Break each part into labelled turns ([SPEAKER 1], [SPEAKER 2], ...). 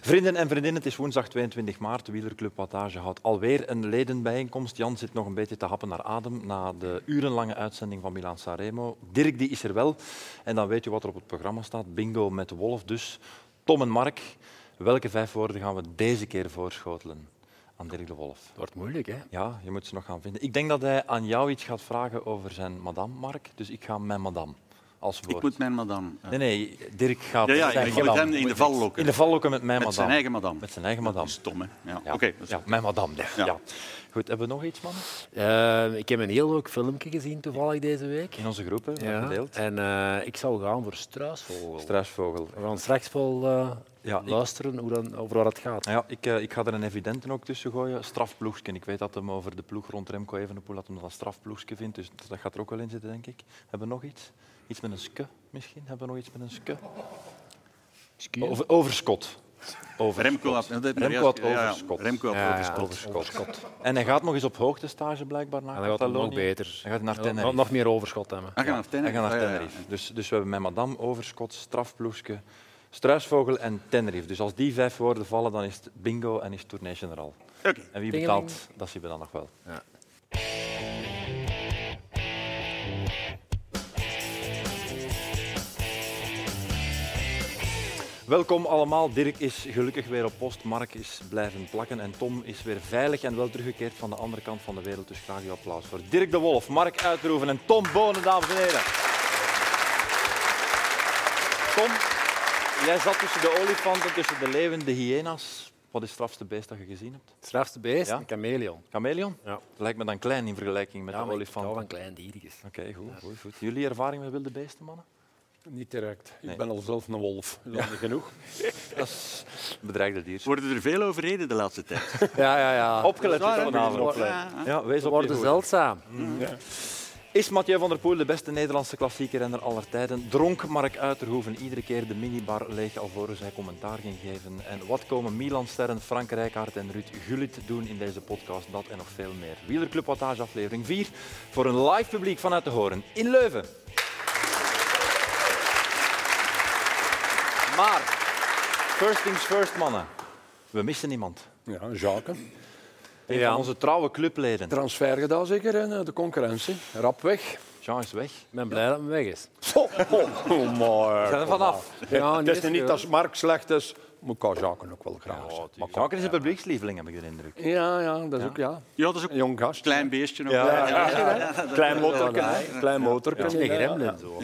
[SPEAKER 1] Vrienden en vriendinnen, het is woensdag 22 maart. De wielerclub Wattage houdt alweer een ledenbijeenkomst. Jan zit nog een beetje te happen naar adem na de urenlange uitzending van Milan Sanremo. Dirk die is er wel. En dan weet u wat er op het programma staat. Bingo met Wolf dus. Tom en Mark, welke vijf woorden gaan we deze keer voorschotelen aan Dirk de Wolf?
[SPEAKER 2] Het wordt moeilijk, hè?
[SPEAKER 1] Ja, je moet ze nog gaan vinden. Ik denk dat hij aan jou iets gaat vragen over zijn madame, Mark. Dus ik ga mijn madame als woord.
[SPEAKER 3] Ik moet mijn madame. eh,
[SPEAKER 1] Nee, nee, Dirk gaat
[SPEAKER 3] Ja, ja,
[SPEAKER 1] zijn
[SPEAKER 3] ik wil
[SPEAKER 1] madame.
[SPEAKER 3] hem in de val lokken.
[SPEAKER 1] In de val lokken met mijn
[SPEAKER 3] met
[SPEAKER 1] madame.
[SPEAKER 3] zijn eigen madame.
[SPEAKER 1] Met zijn eigen madame.
[SPEAKER 3] Dat is dom, hè? Ja.
[SPEAKER 1] Ja,
[SPEAKER 3] Oké, dus dat is
[SPEAKER 1] ja mijn madame. Ja.
[SPEAKER 3] Ja.
[SPEAKER 1] Ja. Goed, hebben we nog iets, man?
[SPEAKER 2] Eh, ik heb een heel leuk filmpje gezien toevallig deze week.
[SPEAKER 1] In onze groep, hè?
[SPEAKER 2] Ja,
[SPEAKER 1] Gedeeld.
[SPEAKER 2] En eh, ik zal gaan voor struisvogel.
[SPEAKER 1] Struisvogel.
[SPEAKER 2] We gaan straks wel eh,
[SPEAKER 1] Ja, ik-
[SPEAKER 2] luisteren hoe dan, over waar het gaat.
[SPEAKER 1] Ja, ik, eh, ik ga er een evidenten ook tussen gooien. Strafploegsken. Ik weet dat hem over de ploeg rond Remco Evenepoel dat hem dat een strafploegsken vindt. Dus dat gaat er ook wel in zitten, denk ik. Hebben we nog iets? Iets met een ske misschien? Hebben we nog iets met een ske?
[SPEAKER 2] Excuse?
[SPEAKER 1] Over, overskot. Over
[SPEAKER 3] Remco had, dat heb ik
[SPEAKER 1] Remco
[SPEAKER 3] juist-
[SPEAKER 1] had
[SPEAKER 3] ja, ja,
[SPEAKER 1] overskot.
[SPEAKER 3] Remco had
[SPEAKER 2] Ja, ja,
[SPEAKER 3] overskot.
[SPEAKER 1] Overskot. En hij gaat nog eens op hoogtestage blijkbaar naar
[SPEAKER 2] En dan gaat het nog
[SPEAKER 1] Catalonië.
[SPEAKER 2] beter.
[SPEAKER 1] Hij gaat naar
[SPEAKER 2] Ja,
[SPEAKER 1] Tenerife.
[SPEAKER 2] Nog meer overschot hebben.
[SPEAKER 3] Hij gaat naar
[SPEAKER 1] Hij
[SPEAKER 3] Tenerife.
[SPEAKER 1] gaat naar
[SPEAKER 3] Ja, ja, ja.
[SPEAKER 1] Tenerife. Dus, dus we hebben met Madame, Overschot, Strafploeske, Struisvogel en Tenerife. Dus als die vijf woorden vallen, dan is het bingo en is het Tournee General.
[SPEAKER 3] Oké.
[SPEAKER 1] En wie
[SPEAKER 2] Tingeling.
[SPEAKER 1] betaalt, dat zien we dan nog wel.
[SPEAKER 2] Ja.
[SPEAKER 1] Welkom allemaal. Dirk is gelukkig weer op post. Mark is blijven plakken. En Tom is weer veilig en wel teruggekeerd van de andere kant van de wereld. Dus graag uw applaus voor Dirk de Wolf, Mark Uitroeven en Tom Bonen, dames en heren. Tom, jij zat tussen de olifanten, tussen de leeuwen, de hyena's. Wat is het strafste beest dat je gezien hebt?
[SPEAKER 2] Het strafste beest,
[SPEAKER 1] Ja.
[SPEAKER 2] een chameleon.
[SPEAKER 1] Chameleon?
[SPEAKER 2] Ja.
[SPEAKER 1] Dat lijkt me dan klein in vergelijking met
[SPEAKER 2] Ja,
[SPEAKER 1] de
[SPEAKER 2] maar ik
[SPEAKER 1] olifanten.
[SPEAKER 2] hou
[SPEAKER 1] Oké,
[SPEAKER 2] van klein diertjes.
[SPEAKER 1] goed, goed, goed. Jullie ervaring met wilde beesten, mannen?
[SPEAKER 4] Niet direct. Ik
[SPEAKER 1] Nee.
[SPEAKER 4] ben al zelf een wolf. Dat is genoeg.
[SPEAKER 1] Dat is bedreigde dier.
[SPEAKER 3] Worden er veel overreden de laatste tijd?
[SPEAKER 2] Ja, ja, ja.
[SPEAKER 1] Opgelet
[SPEAKER 3] Dat is waar, hè?
[SPEAKER 1] vanavond.
[SPEAKER 3] Opgelet.
[SPEAKER 1] Ja, wees
[SPEAKER 2] Ze
[SPEAKER 1] op je
[SPEAKER 2] worden
[SPEAKER 1] hoede.
[SPEAKER 2] zeldzaam.
[SPEAKER 1] Is Mathieu van der Poel de beste Nederlandse klassieke renner aller tijden? Dronk Mark Uiterhoeven iedere keer de minibar leeg alvorens hij commentaar ging geven? En wat komen Milan-sterren Frank Rijkaard en Ruud Gullit doen in deze podcast? Dat en nog veel meer. Wielerclub Wattage aflevering 4 voor een live publiek vanuit de Horen in Leuven. Maar, first things first mannen. We missen iemand.
[SPEAKER 4] Ja, Jacques.
[SPEAKER 1] Een van onze trouwe clubleden.
[SPEAKER 4] Transfer gedaan zeker en eh, de concurrentie. Rap weg.
[SPEAKER 1] Jean is weg.
[SPEAKER 2] Ik ben blij dat hij weg is.
[SPEAKER 4] Oh, oh, oh, maar,
[SPEAKER 1] Zijn er
[SPEAKER 4] kom
[SPEAKER 1] vanaf.
[SPEAKER 4] maar.
[SPEAKER 2] Ja,
[SPEAKER 4] het
[SPEAKER 2] niet
[SPEAKER 4] is nu niet
[SPEAKER 2] veel.
[SPEAKER 4] als Mark slecht is, moet ik aan Jacques ook wel graag. zien. Maar kom.
[SPEAKER 1] Jean is een publiekslieveling, heb ik de indruk.
[SPEAKER 4] Ja, ja, dat is ook ja.
[SPEAKER 3] Ja, dat is ook
[SPEAKER 4] Een
[SPEAKER 3] een
[SPEAKER 4] jong gast.
[SPEAKER 3] klein beestje. nog.
[SPEAKER 4] Ja, ja, ja. Klein motorken. hè. Klein
[SPEAKER 2] Het is
[SPEAKER 4] motorken.
[SPEAKER 2] een
[SPEAKER 4] ja.
[SPEAKER 2] gremlin. Zo.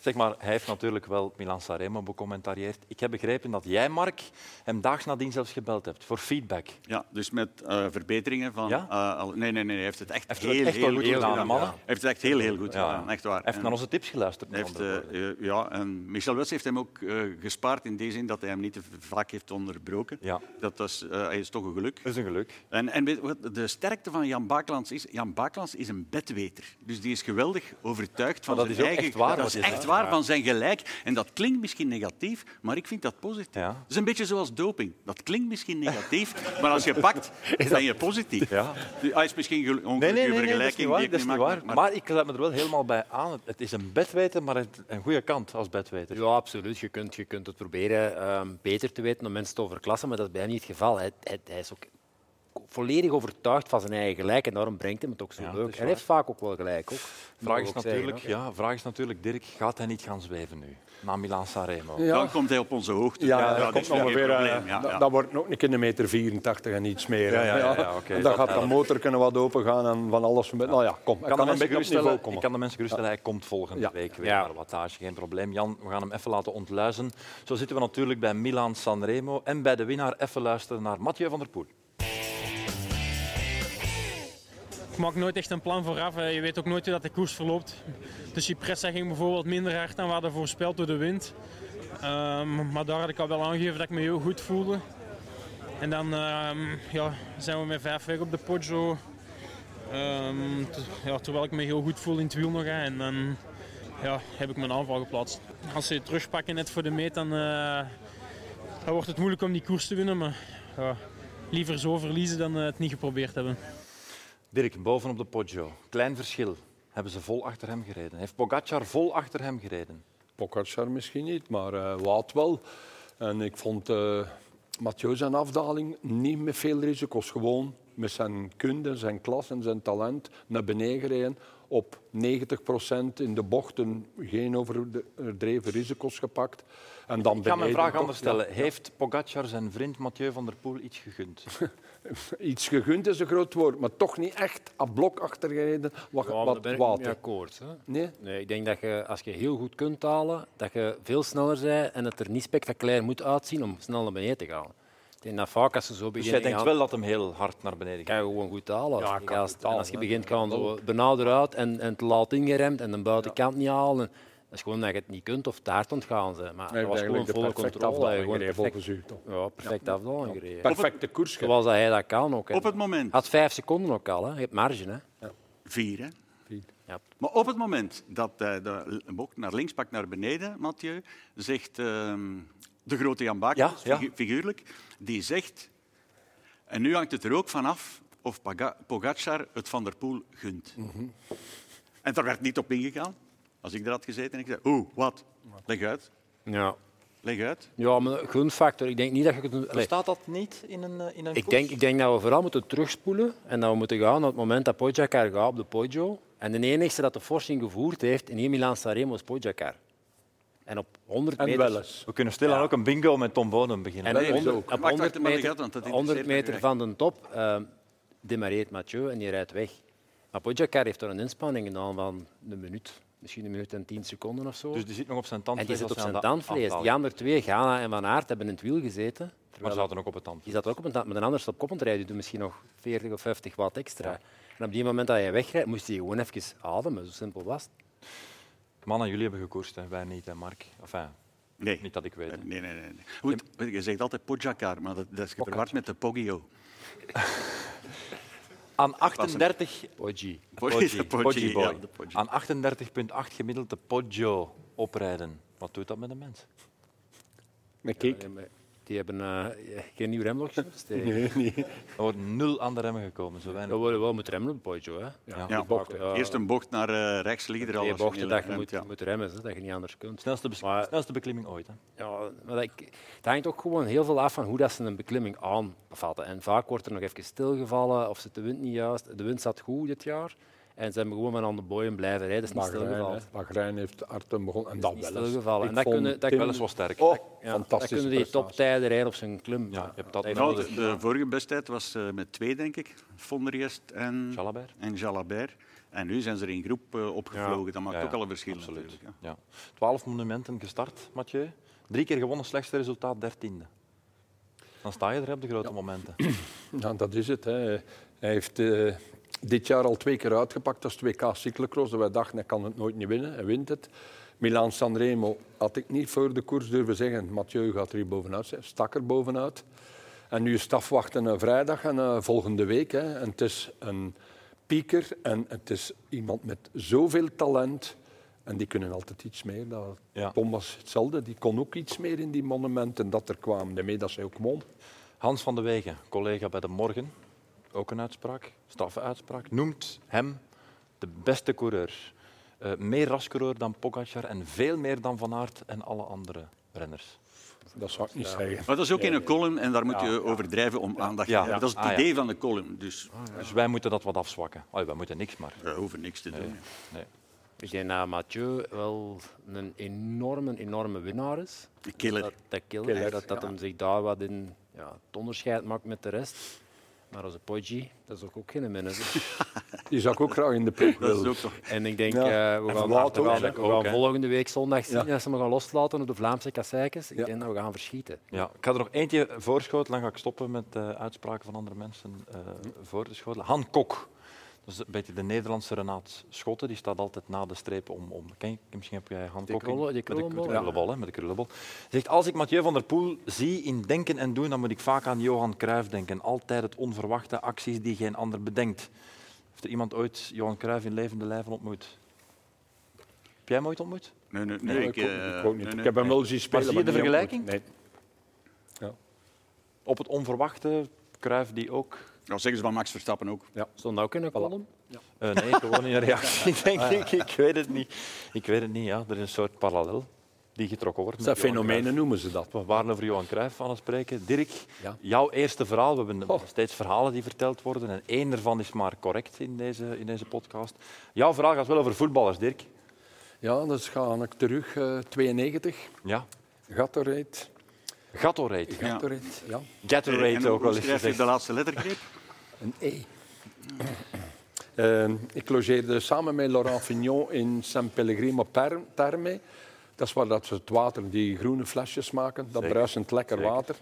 [SPEAKER 1] Zeg maar, hij heeft natuurlijk wel Milan Sanremo becommentarieerd. Ik heb begrepen dat jij, Mark, hem daags nadien zelfs gebeld hebt voor feedback. Hij
[SPEAKER 3] Ja, dus met eh, verbeteringen van...
[SPEAKER 1] Ja?
[SPEAKER 3] eh, al- nee, nee, nee, hij heeft het echt
[SPEAKER 1] Heeft het
[SPEAKER 3] heel,
[SPEAKER 1] echt wel
[SPEAKER 3] heel,
[SPEAKER 1] goed
[SPEAKER 3] heel
[SPEAKER 1] gedaan, mannen.
[SPEAKER 3] Hij heeft het echt heel, heel goed
[SPEAKER 1] Ja.
[SPEAKER 3] gedaan, echt waar.
[SPEAKER 1] heeft
[SPEAKER 3] En
[SPEAKER 1] naar onze tips geluisterd.
[SPEAKER 3] hij
[SPEAKER 1] met
[SPEAKER 3] heeft,
[SPEAKER 1] andere
[SPEAKER 3] eh,
[SPEAKER 1] woorden.
[SPEAKER 3] eh, ja, en Michel Wets heeft hem ook eh, gespaard in die zin dat hij hem niet te vaak heeft onderbroken.
[SPEAKER 1] ja,
[SPEAKER 3] Dat was, eh, hij is toch een geluk.
[SPEAKER 1] dat is een geluk.
[SPEAKER 3] En, en weet je wat de sterkte van Jan Baaklands is? Jan Baaklands is een bedweter. Dus die is geweldig overtuigd van
[SPEAKER 1] Maar dat
[SPEAKER 3] zijn
[SPEAKER 1] is ook
[SPEAKER 3] eigen...
[SPEAKER 1] echt waar
[SPEAKER 3] Dat
[SPEAKER 1] wat
[SPEAKER 3] is
[SPEAKER 1] je zegt.
[SPEAKER 3] echt waar van zijn gelijk. En dat klinkt misschien negatief, maar ik vind dat positief.
[SPEAKER 1] Ja.
[SPEAKER 3] Dat is een beetje zoals doping. Dat klinkt misschien negatief, maar als je pakt, ben je positief.
[SPEAKER 1] Ja.
[SPEAKER 3] Dus Hij is misschien gel- ongelukkig
[SPEAKER 1] Nee, nee,
[SPEAKER 3] een
[SPEAKER 1] nee, nee, dat is
[SPEAKER 3] vergelijking
[SPEAKER 1] niet waar.
[SPEAKER 3] die ik
[SPEAKER 1] Dat is niet
[SPEAKER 3] nu
[SPEAKER 1] waar.
[SPEAKER 3] maak,
[SPEAKER 1] Maar,
[SPEAKER 3] maar-
[SPEAKER 1] ik laat me er wel helemaal bij aan. Het is een bedweten, maar het- een goede kant als bedweter.
[SPEAKER 2] Ja, absoluut. Je kunt, je kunt het proberen ehm, beter te weten om mensen te overklassen, maar dat is bij hem niet het geval. Hij, hij, hij is ook volledig overtuigd van zijn eigen gelijk en daarom brengt hem het ook zo
[SPEAKER 1] Ja, dat
[SPEAKER 2] leuk.
[SPEAKER 1] is
[SPEAKER 2] En hij
[SPEAKER 1] waar.
[SPEAKER 2] heeft vaak ook wel gelijk. Ook. Moet
[SPEAKER 1] Vraag
[SPEAKER 2] ik
[SPEAKER 1] is,
[SPEAKER 2] ook zeggen,
[SPEAKER 1] natuurlijk,
[SPEAKER 2] hè.
[SPEAKER 1] ja, vraag is natuurlijk, Dirk, gaat hij niet gaan zweven nu? Na Milan Sanremo.
[SPEAKER 4] Ja.
[SPEAKER 3] Dan komt hij op onze hoogte.
[SPEAKER 4] Ja,
[SPEAKER 3] dat
[SPEAKER 4] dat
[SPEAKER 3] is
[SPEAKER 4] komt
[SPEAKER 3] geen
[SPEAKER 4] ongeveer. eh,
[SPEAKER 3] probleem. Ja,
[SPEAKER 4] dat-
[SPEAKER 3] ja.
[SPEAKER 4] Dat wordt ook een keer een meter 84 en iets meer. hè.
[SPEAKER 1] Ja, ja, ja, ja, oké,
[SPEAKER 4] dan
[SPEAKER 1] dat
[SPEAKER 4] gaat dat
[SPEAKER 1] helpt.
[SPEAKER 4] motor kunnen wat open gaan en van alles. met- Nou ja, kom. Ik
[SPEAKER 1] Ik
[SPEAKER 4] kan
[SPEAKER 1] kan, de
[SPEAKER 4] een beetje op
[SPEAKER 1] mensen
[SPEAKER 4] niveau
[SPEAKER 1] geruststellen, ik
[SPEAKER 4] komen.
[SPEAKER 1] kan de mensen geruststellen, hij komt volgende
[SPEAKER 4] Ja.
[SPEAKER 1] week weer
[SPEAKER 2] Ja.
[SPEAKER 1] naar Wattage. Geen probleem. Jan, we gaan hem even laten ontluizen. Zo zitten we natuurlijk bij Milan Sanremo en bij de winnaar even luisteren naar Mathieu van der Poel.
[SPEAKER 5] Ik maak nooit echt een plan vooraf. hè. Je weet ook nooit hoe dat de koers verloopt. Dus die pressa ging bijvoorbeeld minder hard dan we hadden voorspeld door de wind. Ehm, maar daar had ik al wel aangegeven dat ik me heel goed voelde. En dan ehm, ja, zijn we met vijf weg op de Poggio. Ehm, t- ja, terwijl ik me heel goed voel in het wiel nog. hè. En dan ja, heb ik mijn aanval geplaatst. Als ze je terugpakken net voor de meet, dan, eh, dan wordt het moeilijk om die koers te winnen. Maar ja, liever zo verliezen dan eh, het niet geprobeerd hebben.
[SPEAKER 1] Dirk, bovenop de Poggio. Klein verschil. Hebben ze vol achter hem gereden? Heeft Pogacar vol achter hem gereden?
[SPEAKER 4] Pogacar misschien niet, maar eh Wout wel. En ik vond eh Mathieu zijn afdaling niet met veel risico's. Gewoon met zijn kunde, zijn klas en zijn talent naar beneden gereden. Op 90 in de bochten geen overdreven risico's gepakt. En dan
[SPEAKER 1] Ik ga mijn
[SPEAKER 4] beneden
[SPEAKER 1] vraag
[SPEAKER 4] toch-
[SPEAKER 1] anders
[SPEAKER 4] Ja.
[SPEAKER 1] stellen. Heeft Pogacar zijn vriend Mathieu van der Poel iets gegund?
[SPEAKER 4] Iets gegund is een groot woord, maar toch niet echt aan blok achtergereden. Wat,
[SPEAKER 2] Ja, maar daar
[SPEAKER 4] wat
[SPEAKER 2] ben ik niet
[SPEAKER 4] water.
[SPEAKER 2] mee akkoord. Hè?
[SPEAKER 4] Nee?
[SPEAKER 2] Nee, ik denk dat je, als je heel goed kunt talen, dat je veel sneller bent en het er niet spectaculair moet uitzien om snel naar beneden te gaan. Ik denk dat vaak als ze zo
[SPEAKER 1] Dus
[SPEAKER 2] beginnen...
[SPEAKER 1] jij denkt
[SPEAKER 2] gaan-
[SPEAKER 1] wel dat hem heel hard naar beneden
[SPEAKER 2] kan
[SPEAKER 1] gaat?
[SPEAKER 2] je gewoon goed talen.
[SPEAKER 4] Ja,
[SPEAKER 2] als,
[SPEAKER 4] kan
[SPEAKER 2] gast.
[SPEAKER 4] goed
[SPEAKER 2] En
[SPEAKER 4] talen,
[SPEAKER 2] als je
[SPEAKER 4] hè.
[SPEAKER 2] begint gaan zo benauwd eruit en, en te laat ingeremd en de buitenkant niet halen. Dat is gewoon dat je het niet kunt of te hard ontgaan zijn. Maar
[SPEAKER 4] Nee,
[SPEAKER 2] dat was gewoon
[SPEAKER 4] eigenlijk de
[SPEAKER 2] volle
[SPEAKER 4] perfecte
[SPEAKER 2] controle.
[SPEAKER 4] afdaling
[SPEAKER 2] Gewoon
[SPEAKER 4] gereden,
[SPEAKER 2] perfect,
[SPEAKER 4] volgens u toch?
[SPEAKER 2] ja, perfect afdaling gereden.
[SPEAKER 4] Perfecte koers gereden.
[SPEAKER 2] Zoals dat hij dat kan ook. hè.
[SPEAKER 3] Op het moment.
[SPEAKER 2] Had vijf seconden ook al. Hè. Je hebt marge. Hè.
[SPEAKER 3] Vier, hè?
[SPEAKER 4] Vier.
[SPEAKER 2] Ja.
[SPEAKER 3] Maar op het moment dat hij de bocht naar links pakt, naar beneden, Mathieu, zegt ehm, de grote Jan Bakels,
[SPEAKER 1] Ja, ja.
[SPEAKER 3] figu- figuurlijk, die zegt... En nu hangt het er ook vanaf of Paga- Pogacar het Van der Poel gunt.
[SPEAKER 4] Mhm.
[SPEAKER 3] En daar werd niet op ingegaan. Als ik er had gezeten en ik zei, oeh, wat? Leg uit,
[SPEAKER 2] Ja.
[SPEAKER 3] leg uit.
[SPEAKER 2] ja, maar gunfactor. Ik denk niet dat je kunt... Allee,
[SPEAKER 1] Staat dat niet in een, eh, in een
[SPEAKER 2] Ik
[SPEAKER 1] koers?
[SPEAKER 2] denk, ik denk dat we vooral moeten terugspoelen en dat we moeten gaan naar het moment dat Pogacar gaat op de Poggio. En de enige dat de forsing gevoerd heeft in Milan Sanremo is Pogacar. En op 100
[SPEAKER 4] En
[SPEAKER 2] meter...
[SPEAKER 4] wel eens.
[SPEAKER 1] We kunnen stilaan
[SPEAKER 2] Ja.
[SPEAKER 1] ook een bingo met Tom Bonen beginnen.
[SPEAKER 2] En
[SPEAKER 3] Nee,
[SPEAKER 2] op
[SPEAKER 3] zo.
[SPEAKER 2] 100, op
[SPEAKER 3] Wacht,
[SPEAKER 2] 100
[SPEAKER 3] wacht, maar
[SPEAKER 2] meter,
[SPEAKER 3] Gat, want dat
[SPEAKER 2] 100
[SPEAKER 3] interesseert
[SPEAKER 2] meter
[SPEAKER 3] mij
[SPEAKER 2] van de top eh demareert Mathieu en die rijdt weg. Maar Pogacar heeft er een inspanning gedaan van een minuut. Misschien een minuut en tien seconden of zo.
[SPEAKER 1] Dus die zit nog op zijn
[SPEAKER 2] en
[SPEAKER 1] tandvlees.
[SPEAKER 2] die zit
[SPEAKER 1] als
[SPEAKER 2] op
[SPEAKER 1] hij aan
[SPEAKER 2] zijn
[SPEAKER 1] de
[SPEAKER 2] tandvlees.
[SPEAKER 1] afdaling
[SPEAKER 2] Die andere twee, Ghana en Van Aert, hebben in het wiel gezeten.
[SPEAKER 1] is. Maar ze zaten ook op het tand.
[SPEAKER 2] Die zat ook op een tand, maar de ander stond op kop aan het rijden. Die doet misschien nog 40 of 50 watt extra. En op die moment dat hij wegrijdt, moest hij gewoon even ademen. Zo simpel was het.
[SPEAKER 1] Mannen, jullie hebben gekoerst, hè. wij niet, hè, Mark. Enfin,
[SPEAKER 3] Nee.
[SPEAKER 1] niet dat ik weet. hè.
[SPEAKER 3] Nee, nee, nee. nee. Goed, je zegt altijd Pogacar, maar dat, dat is verward met de Poggio.
[SPEAKER 1] Aan 38...
[SPEAKER 2] Poggi.
[SPEAKER 1] Poggi, Poggi boy.
[SPEAKER 3] ja, de Poggi.
[SPEAKER 1] Aan 38,8 gemiddeld de Poggio oprijden. Wat doet dat met een mens?
[SPEAKER 4] Met kik.
[SPEAKER 2] Die hebben eh, geen nieuw remblokje. Nee.
[SPEAKER 4] Nee, nee.
[SPEAKER 1] Er wordt nul aan de remmen gekomen, zo weinig.
[SPEAKER 2] We worden wel moeten remmen op Poggio. Hè.
[SPEAKER 1] Ja.
[SPEAKER 3] Ja,
[SPEAKER 2] bochten.
[SPEAKER 3] bochten. Eerst een bocht naar eh, rechts liggen er al.
[SPEAKER 2] Twee
[SPEAKER 3] als je
[SPEAKER 2] bochten
[SPEAKER 3] niet
[SPEAKER 2] dat je
[SPEAKER 3] remt,
[SPEAKER 2] moet,
[SPEAKER 3] ja.
[SPEAKER 2] moet remmen, hè, dat je niet anders kunt.
[SPEAKER 1] Snelste, bes-
[SPEAKER 2] Maar-
[SPEAKER 1] snelste beklimming ooit. Hè.
[SPEAKER 2] Ja, maar dat, ik- het hangt ook gewoon heel veel af van hoe dat ze een beklimming aanvatten. En vaak wordt er nog even stilgevallen of zit de wind niet juist. De wind zat goed dit jaar. En ze hebben gewoon maar aan de boeien blijven rijden. Dat is niet
[SPEAKER 4] Bahrein,
[SPEAKER 2] stilgevallen.
[SPEAKER 4] hè. Bahrein heeft Artem begonnen. En dat
[SPEAKER 2] niet
[SPEAKER 4] wel
[SPEAKER 2] stilgevallen.
[SPEAKER 4] eens.
[SPEAKER 2] En dat kunnen- dat
[SPEAKER 1] Wel eens wel sterk.
[SPEAKER 4] Oh,
[SPEAKER 2] Ja, dan
[SPEAKER 4] fantastische
[SPEAKER 2] kunnen die
[SPEAKER 4] prestatie.
[SPEAKER 2] toptijden rijden op zijn klim.
[SPEAKER 1] Ja, je hebt dat
[SPEAKER 2] heeft
[SPEAKER 1] nodig.
[SPEAKER 2] wel-
[SPEAKER 3] Nou, de vorige bestijd was eh, met twee, denk ik. Fonderjest en,
[SPEAKER 1] Jalabert.
[SPEAKER 3] en Jalabert. En nu zijn ze er in groep eh, opgevlogen. Dat maakt
[SPEAKER 1] Ja, ja,
[SPEAKER 3] ook al een verschil
[SPEAKER 1] absoluut.
[SPEAKER 3] natuurlijk. hè.
[SPEAKER 1] Ja. 12 monumenten gestart, Mathieu. Drie keer gewonnen, slechtste resultaat, dertiende. Dan sta je er op de grote momenten.
[SPEAKER 4] Ja, dat is het. Hè. Hij heeft eh, dit jaar al twee keer uitgepakt. Dat is 2K cyclocross. Dat wij dachten, hij kan het nooit niet winnen. Hij wint het. Milaan Sanremo had ik niet voor de koers durven zeggen. Mathieu gaat er hier bovenuit. zijn. Stak er bovenuit. En nu is het afwachten naar vrijdag en eh, volgende week. Hè. En het is een pieker en het is iemand met zoveel talent. En die kunnen altijd iets meer. Dat
[SPEAKER 1] Ja.
[SPEAKER 4] Tom was hetzelfde. Die kon ook iets meer in die monumenten dat er kwamen. Daarmee dat zij ook won.
[SPEAKER 1] Hans van de Wegen, collega bij de Morgen, ook een uitspraak, straffuitspraak, noemt hem de beste coureur. Eh, meer rascoureur dan Pogacar en veel meer dan Van Aert en alle andere renners.
[SPEAKER 4] Dat zou ik niet zeggen.
[SPEAKER 3] Maar dat is ook in een column en daar moet je overdrijven om aandacht te
[SPEAKER 1] Ja.
[SPEAKER 3] hebben. Dat is het
[SPEAKER 1] Ah, ja.
[SPEAKER 3] idee van de column. Dus
[SPEAKER 1] Dus wij moeten dat wat afzwakken. Allee, wij moeten niks, maar...
[SPEAKER 3] we hoeven niks te doen.
[SPEAKER 1] Nee.
[SPEAKER 2] Ik denk dat Mathieu wel een enorme, enorme winnaar is.
[SPEAKER 3] De killer.
[SPEAKER 2] Dat, dat killer,
[SPEAKER 4] Killer,
[SPEAKER 2] dat, dat hem zich daar wat in ja, het onderscheid maakt met de rest. Maar onze Poggi, dat is ook, ook geen manager.
[SPEAKER 4] Die zou ik ook graag in de ploeg
[SPEAKER 3] Dat is
[SPEAKER 4] willen.
[SPEAKER 3] ook toch...
[SPEAKER 2] En ik denk,
[SPEAKER 4] Ja.
[SPEAKER 2] eh, we gaan,
[SPEAKER 4] En Van Wout
[SPEAKER 2] we
[SPEAKER 4] ook,
[SPEAKER 2] gaan-
[SPEAKER 4] hè?
[SPEAKER 2] we gaan volgende week zondag zien als ze me gaan loslaten op de Vlaamse kasseikens. Ik
[SPEAKER 4] Ja.
[SPEAKER 2] denk dat we gaan verschieten.
[SPEAKER 1] Ja, ik ga er nog eentje voorschoten, dan ga ik stoppen met eh, uitspraken van andere mensen eh,
[SPEAKER 2] Hm?
[SPEAKER 1] voor te schotelen. Han Kok, dat is een beetje de Nederlandse Renaat Schotten, die staat altijd na de streep om. om. Ken je, misschien heb jij Han
[SPEAKER 2] Die
[SPEAKER 1] Kok in-
[SPEAKER 2] krullen- die
[SPEAKER 1] met de-
[SPEAKER 2] krullenbol,
[SPEAKER 1] Met
[SPEAKER 2] ja.
[SPEAKER 1] de krullenbol, hè, met de krullenbol. Zegt, als ik Mathieu van der Poel zie in denken en doen, dan moet ik vaak aan Johan Cruijff denken. Altijd het onverwachte, acties die geen ander bedenkt. Heeft er iemand ooit Johan Cruijff in levende lijven ontmoet? Heb jij hem ooit ontmoet?
[SPEAKER 3] Nee, nee, nee,
[SPEAKER 4] Nee,
[SPEAKER 3] ik,
[SPEAKER 4] ik, ook-
[SPEAKER 3] eh,
[SPEAKER 4] ik ook niet.
[SPEAKER 3] nee,
[SPEAKER 4] Ik
[SPEAKER 3] nee.
[SPEAKER 4] heb hem wel zien spelen.
[SPEAKER 1] zie je de
[SPEAKER 4] niet ontmoet.
[SPEAKER 1] vergelijking?
[SPEAKER 4] Nee.
[SPEAKER 1] Op het onverwachte, Cruijff die ook...
[SPEAKER 3] Dat Nou, zeggen ze van Max Verstappen ook.
[SPEAKER 2] Stond dat ook in een column?
[SPEAKER 1] Eh, nee, gewoon in een reactie, denk ik. Ik weet het niet. Ik weet het niet, ja. Er is een soort parallel. die getrokken wordt.
[SPEAKER 4] Dat
[SPEAKER 1] Met Johan
[SPEAKER 4] fenomenen noemen ze dat.
[SPEAKER 1] Cruijff. We waren over Johan Cruijff aan het spreken. Dirk,
[SPEAKER 4] Ja.
[SPEAKER 1] jouw eerste verhaal. We hebben
[SPEAKER 4] Oh.
[SPEAKER 1] steeds verhalen die verteld worden. En één daarvan is maar correct in deze, in deze podcast. Jouw verhaal gaat wel over voetballers, Dirk.
[SPEAKER 4] Ja, dus ga ik terug. eh 92,
[SPEAKER 1] Ja.
[SPEAKER 4] Gatorade.
[SPEAKER 1] Gatorade.
[SPEAKER 3] Ja.
[SPEAKER 4] Gatorade, ja.
[SPEAKER 1] Gatorade
[SPEAKER 3] Eh, en
[SPEAKER 1] ook wel eens
[SPEAKER 3] schrijf je
[SPEAKER 1] gezegd.
[SPEAKER 3] de laatste lettergreep?
[SPEAKER 4] Een E. Eh, ik logeerde samen met Laurent Fignon in San Pellegrino Per- Terme. Dat is waar dat ze het water, die groene flesjes maken. Dat
[SPEAKER 1] Zeker.
[SPEAKER 4] bruisend lekker
[SPEAKER 1] Zeker.
[SPEAKER 4] water.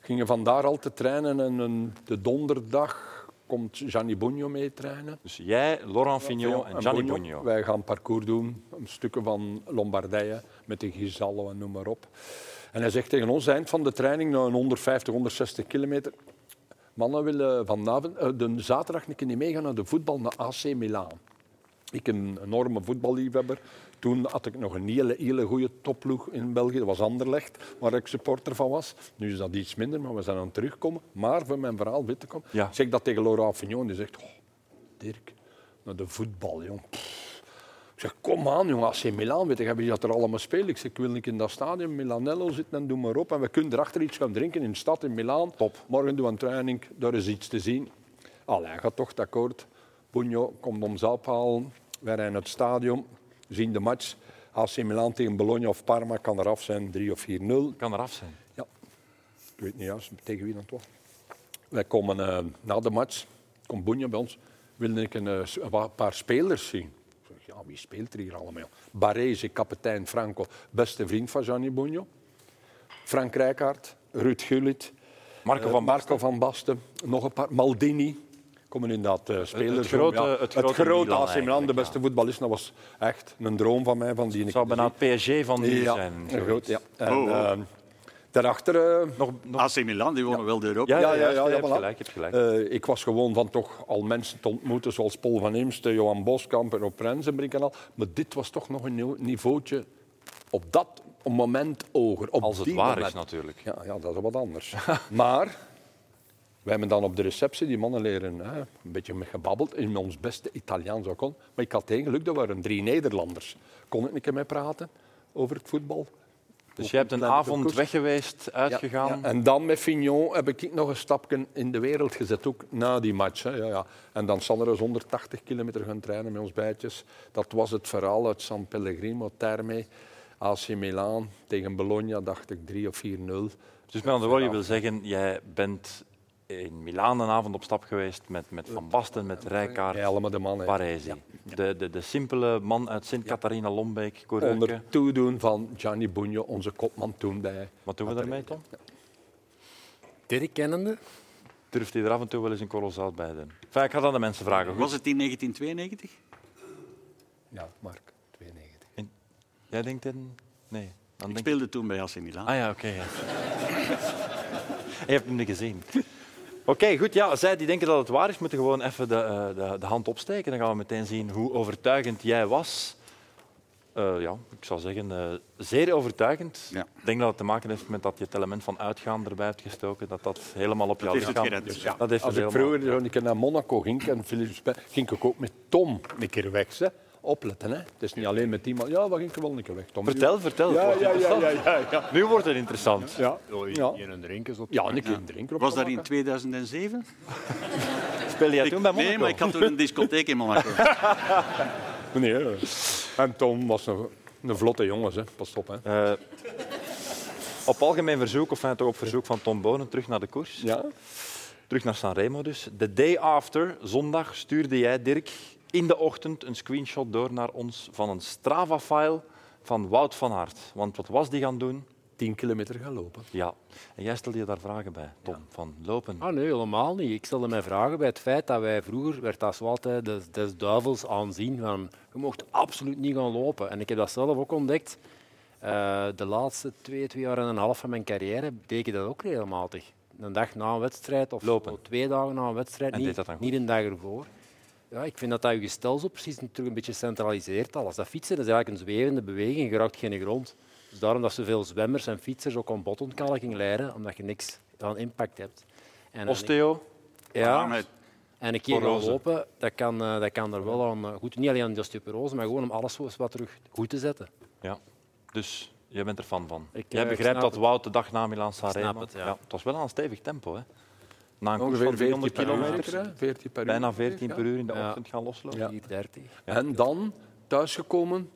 [SPEAKER 4] Gingen vandaar al te trainen en een- de donderdag komt Gianni Bugno mee trainen.
[SPEAKER 1] Dus jij, Laurent Fignon en Gianni Bugno.
[SPEAKER 4] Wij gaan parcours doen, stukken van Lombardije met de Gisallo en noem maar op. En hij zegt tegen ons, eind van de training, na een 150, 160 kilometer, mannen willen vanavond, eh, de zaterdag een keer niet meegaan naar de voetbal naar AC Milaan. Ik een enorme voetballiefhebber. Toen had ik nog een hele, hele goede topploeg in België. Dat was Anderlecht, waar ik supporter van was. Nu is dat iets minder, maar we zijn aan het terugkomen. Maar voor mijn verhaal wit te komen.
[SPEAKER 1] Ja.
[SPEAKER 4] Ik zeg dat tegen Laurent Fignon. Die zegt, "Oh, Dirk, naar de voetbal, jong. Pff." Ik zeg, kom aan, jong, AC Milan, weet je, hebben die dat er allemaal spelen? Ik zeg, ik wil niet in dat stadion Milanello zitten en doe maar op. En we kunnen erachter iets gaan drinken in de stad, in Milaan. Top. Morgen doen we een training, daar is iets te zien. Allee, hij gaat toch het akkoord. Bugno komt ons ophalen. Wij rijden naar het stadion, zien de match. AC Milan tegen Bologna of Parma kan eraf zijn, 3 of 4-0.
[SPEAKER 1] Kan eraf zijn.
[SPEAKER 4] Ja, ik weet niet juist tegen wie dat was. Wij komen eh, na de match, komt Bonja bij ons, wilde ik een, eh, s- een wa- paar spelers zien. Ik zeg, ja, wie speelt er hier allemaal? Barese, kapitein Franco, beste vriend van Gianni Bonjo. Frank Rijkaard, Ruud Gullit,
[SPEAKER 1] Marco
[SPEAKER 4] eh,
[SPEAKER 1] van Basten.
[SPEAKER 4] Marco van Basten, nog een paar, Maldini. Komen inderdaad eh spelers.
[SPEAKER 1] het grote-
[SPEAKER 4] om, ja,
[SPEAKER 1] het grote Milan
[SPEAKER 4] AC Milan, de
[SPEAKER 1] eigenlijk,
[SPEAKER 4] beste
[SPEAKER 1] ja.
[SPEAKER 4] voetballist. Dat was echt een droom van mij. Van die
[SPEAKER 1] Het zou bijna het PSG van die
[SPEAKER 4] ja,
[SPEAKER 1] zijn.
[SPEAKER 4] een groot, ja. En,
[SPEAKER 3] Oh, oh.
[SPEAKER 4] eh, daarachter eh,
[SPEAKER 1] Nog, nog...
[SPEAKER 3] AC Milan, die wonen wel de
[SPEAKER 1] Ja,
[SPEAKER 3] Europa.
[SPEAKER 1] ja,
[SPEAKER 4] ja, ja, ja,
[SPEAKER 1] je hebt
[SPEAKER 4] voilà.
[SPEAKER 1] gelijk. Je hebt gelijk.
[SPEAKER 4] Eh, ik was gewoon van toch al mensen te ontmoeten, zoals Paul van Imste, Johan Boskamp en op Rensenbrink en al. Maar dit was toch nog een nieuw- niveautje op dat moment hoger. Op
[SPEAKER 1] Als het
[SPEAKER 4] die
[SPEAKER 1] waar
[SPEAKER 4] moment.
[SPEAKER 1] is natuurlijk.
[SPEAKER 4] Ja, ja, dat is wat anders. maar wij hebben dan op de receptie die mannen leren hè, een beetje mee gebabbeld in ons beste Italiaans ook kon. Maar ik had geen geluk, dat waren drie Nederlanders. Kon ik een keer mee praten over het voetbal.
[SPEAKER 1] Dus je hebt een
[SPEAKER 4] kleine
[SPEAKER 1] avond
[SPEAKER 4] parcours.
[SPEAKER 1] weg geweest,
[SPEAKER 4] Ja,
[SPEAKER 1] uitgegaan.
[SPEAKER 4] ja. eh, En dan met Fignon heb ik nog een stapje in de wereld gezet, ook na die match. Hè. Ja, ja. En dan zal er eens 180 kilometer gaan trainen met ons bijtjes. Dat was het verhaal uit San Pellegrino, Terme, AC Milan tegen Bologna, dacht ik 3 of 4-0.
[SPEAKER 1] Dus met andere woorden, je wil zeggen, jij bent in Milaan een avond op stap geweest met,
[SPEAKER 4] Eh,
[SPEAKER 1] met Van Basten, met Rijkaard,
[SPEAKER 4] Bij allemaal de mannen.
[SPEAKER 1] Baresi. De, de, de simpele man uit Sint-Catharina-Lombeek, Koreuke.
[SPEAKER 4] Onder toedoen van Gianni Bugno, onze kopman toen bij.
[SPEAKER 1] Wat doen we daarmee, Tom?
[SPEAKER 2] Dirk kennende?
[SPEAKER 1] Durft hij er af en toe wel eens een kolossaal bij doen? Enfin, ik ga dat aan de mensen vragen. Goed?
[SPEAKER 3] Was het in 1992?
[SPEAKER 4] Ja, Mark, 92.
[SPEAKER 1] Jij denkt in... Nee. Dan
[SPEAKER 3] Ik
[SPEAKER 1] denk...
[SPEAKER 3] speelde toen bij AC Milan.
[SPEAKER 1] Ah ja, oké. ja. Je hebt hem niet gezien. Oké, goed. Ja, zij die denken dat het waar is, moeten gewoon even de, eh, de, de hand opsteken. Dan gaan we meteen zien hoe overtuigend jij was. Eh, ja, ik zou zeggen, eh, zeer overtuigend.
[SPEAKER 3] Ja.
[SPEAKER 1] Ik denk dat het te maken heeft met dat je het element van uitgaan erbij hebt gestoken. Dat dat helemaal op jou
[SPEAKER 3] heeft het
[SPEAKER 1] lichaam-
[SPEAKER 3] gered, dus ja.
[SPEAKER 1] Dat heeft
[SPEAKER 4] Als
[SPEAKER 1] het
[SPEAKER 4] ik
[SPEAKER 1] helemaal-
[SPEAKER 4] vroeger zo een keer naar Monaco ging, en Philips, Pe- ging ik ook met Tom een keer weg. Hè. Opletten, hè. Het is niet alleen met die man. Ja, we gingen wel een keer weg, Tom.
[SPEAKER 1] Vertel, vertel.
[SPEAKER 4] Ja,
[SPEAKER 1] het wordt
[SPEAKER 4] ja, ja,
[SPEAKER 1] interessant.
[SPEAKER 4] ja, ja, ja.
[SPEAKER 1] Nu wordt het interessant.
[SPEAKER 4] Ja, ja.
[SPEAKER 2] Hier een drinkers op.
[SPEAKER 4] ja een keer een drinker op
[SPEAKER 3] Was dat in
[SPEAKER 4] maken.
[SPEAKER 3] 2007?
[SPEAKER 1] Speel jij
[SPEAKER 3] Ik-
[SPEAKER 1] toen bij Monaco?
[SPEAKER 3] nee, maar ik had toen een discotheek in Monaco.
[SPEAKER 4] Nee, eh. en Tom was een, een vlotte jongens, hè. pas op. Hè.
[SPEAKER 1] Eh, op algemeen verzoek, of fijn, toch op verzoek van Tom Bonen, terug naar de koers.
[SPEAKER 4] Ja.
[SPEAKER 1] Terug naar Sanremo dus. The day after, zondag, stuurde jij, Dirk, in de ochtend een screenshot door naar ons van een Strava-file van Wout van Aert. Want wat was die gaan doen?
[SPEAKER 4] Tien kilometer gaan lopen.
[SPEAKER 1] Ja. En jij stelde je daar vragen bij, Tom, van lopen.
[SPEAKER 2] Ah, nee, helemaal niet. Ik stelde mij vragen bij het feit dat wij vroeger, werd dat zo altijd des, des duivels aanzien. Van, je mocht absoluut niet gaan lopen. En ik heb dat zelf ook ontdekt. Eh, de laatste twee, twee jaar en een half van mijn carrière deed ik dat ook regelmatig. Een dag na een wedstrijd of
[SPEAKER 1] Lopen.
[SPEAKER 2] twee dagen na een wedstrijd.
[SPEAKER 1] En
[SPEAKER 2] niet,
[SPEAKER 1] deed dat dan goed?
[SPEAKER 2] niet een dag ervoor. Ja, ik vind dat dat je gestel zo precies natuurlijk een beetje centraliseert alles. Dat fietsen dat is eigenlijk een zwevende beweging, je raakt geen grond. Dus daarom dat zoveel zwemmers en fietsers ook aan botontkalking leiden, omdat je niks aan impact hebt. En- en ik-
[SPEAKER 1] Osteo,
[SPEAKER 2] ja,
[SPEAKER 3] Arnoud,
[SPEAKER 2] en een keer gaan
[SPEAKER 1] porose.
[SPEAKER 2] lopen, dat kan, eh, dat kan er wel aan eh, goed. Niet alleen aan de osteoporose, maar gewoon om alles zo eens wat terug goed te zetten.
[SPEAKER 1] ja. Dus Jij bent er fan van.
[SPEAKER 2] Ik, eh,
[SPEAKER 1] Jij
[SPEAKER 2] ik
[SPEAKER 1] begrijpt
[SPEAKER 2] snap
[SPEAKER 1] dat Wout de dag na Milan Sanremo...
[SPEAKER 2] snap het, ja.
[SPEAKER 1] het was wel aan een stevig tempo. Hè. Na een koers
[SPEAKER 4] Ongeveer
[SPEAKER 1] van 300
[SPEAKER 4] 14 kilometer.
[SPEAKER 1] kilometer,
[SPEAKER 4] hè? 14 per uur.
[SPEAKER 1] bijna 14 per uur in de
[SPEAKER 2] Ja.
[SPEAKER 1] ochtend gaan loslopen.
[SPEAKER 4] Ja.
[SPEAKER 2] 4.30.
[SPEAKER 4] En dan thuisgekomen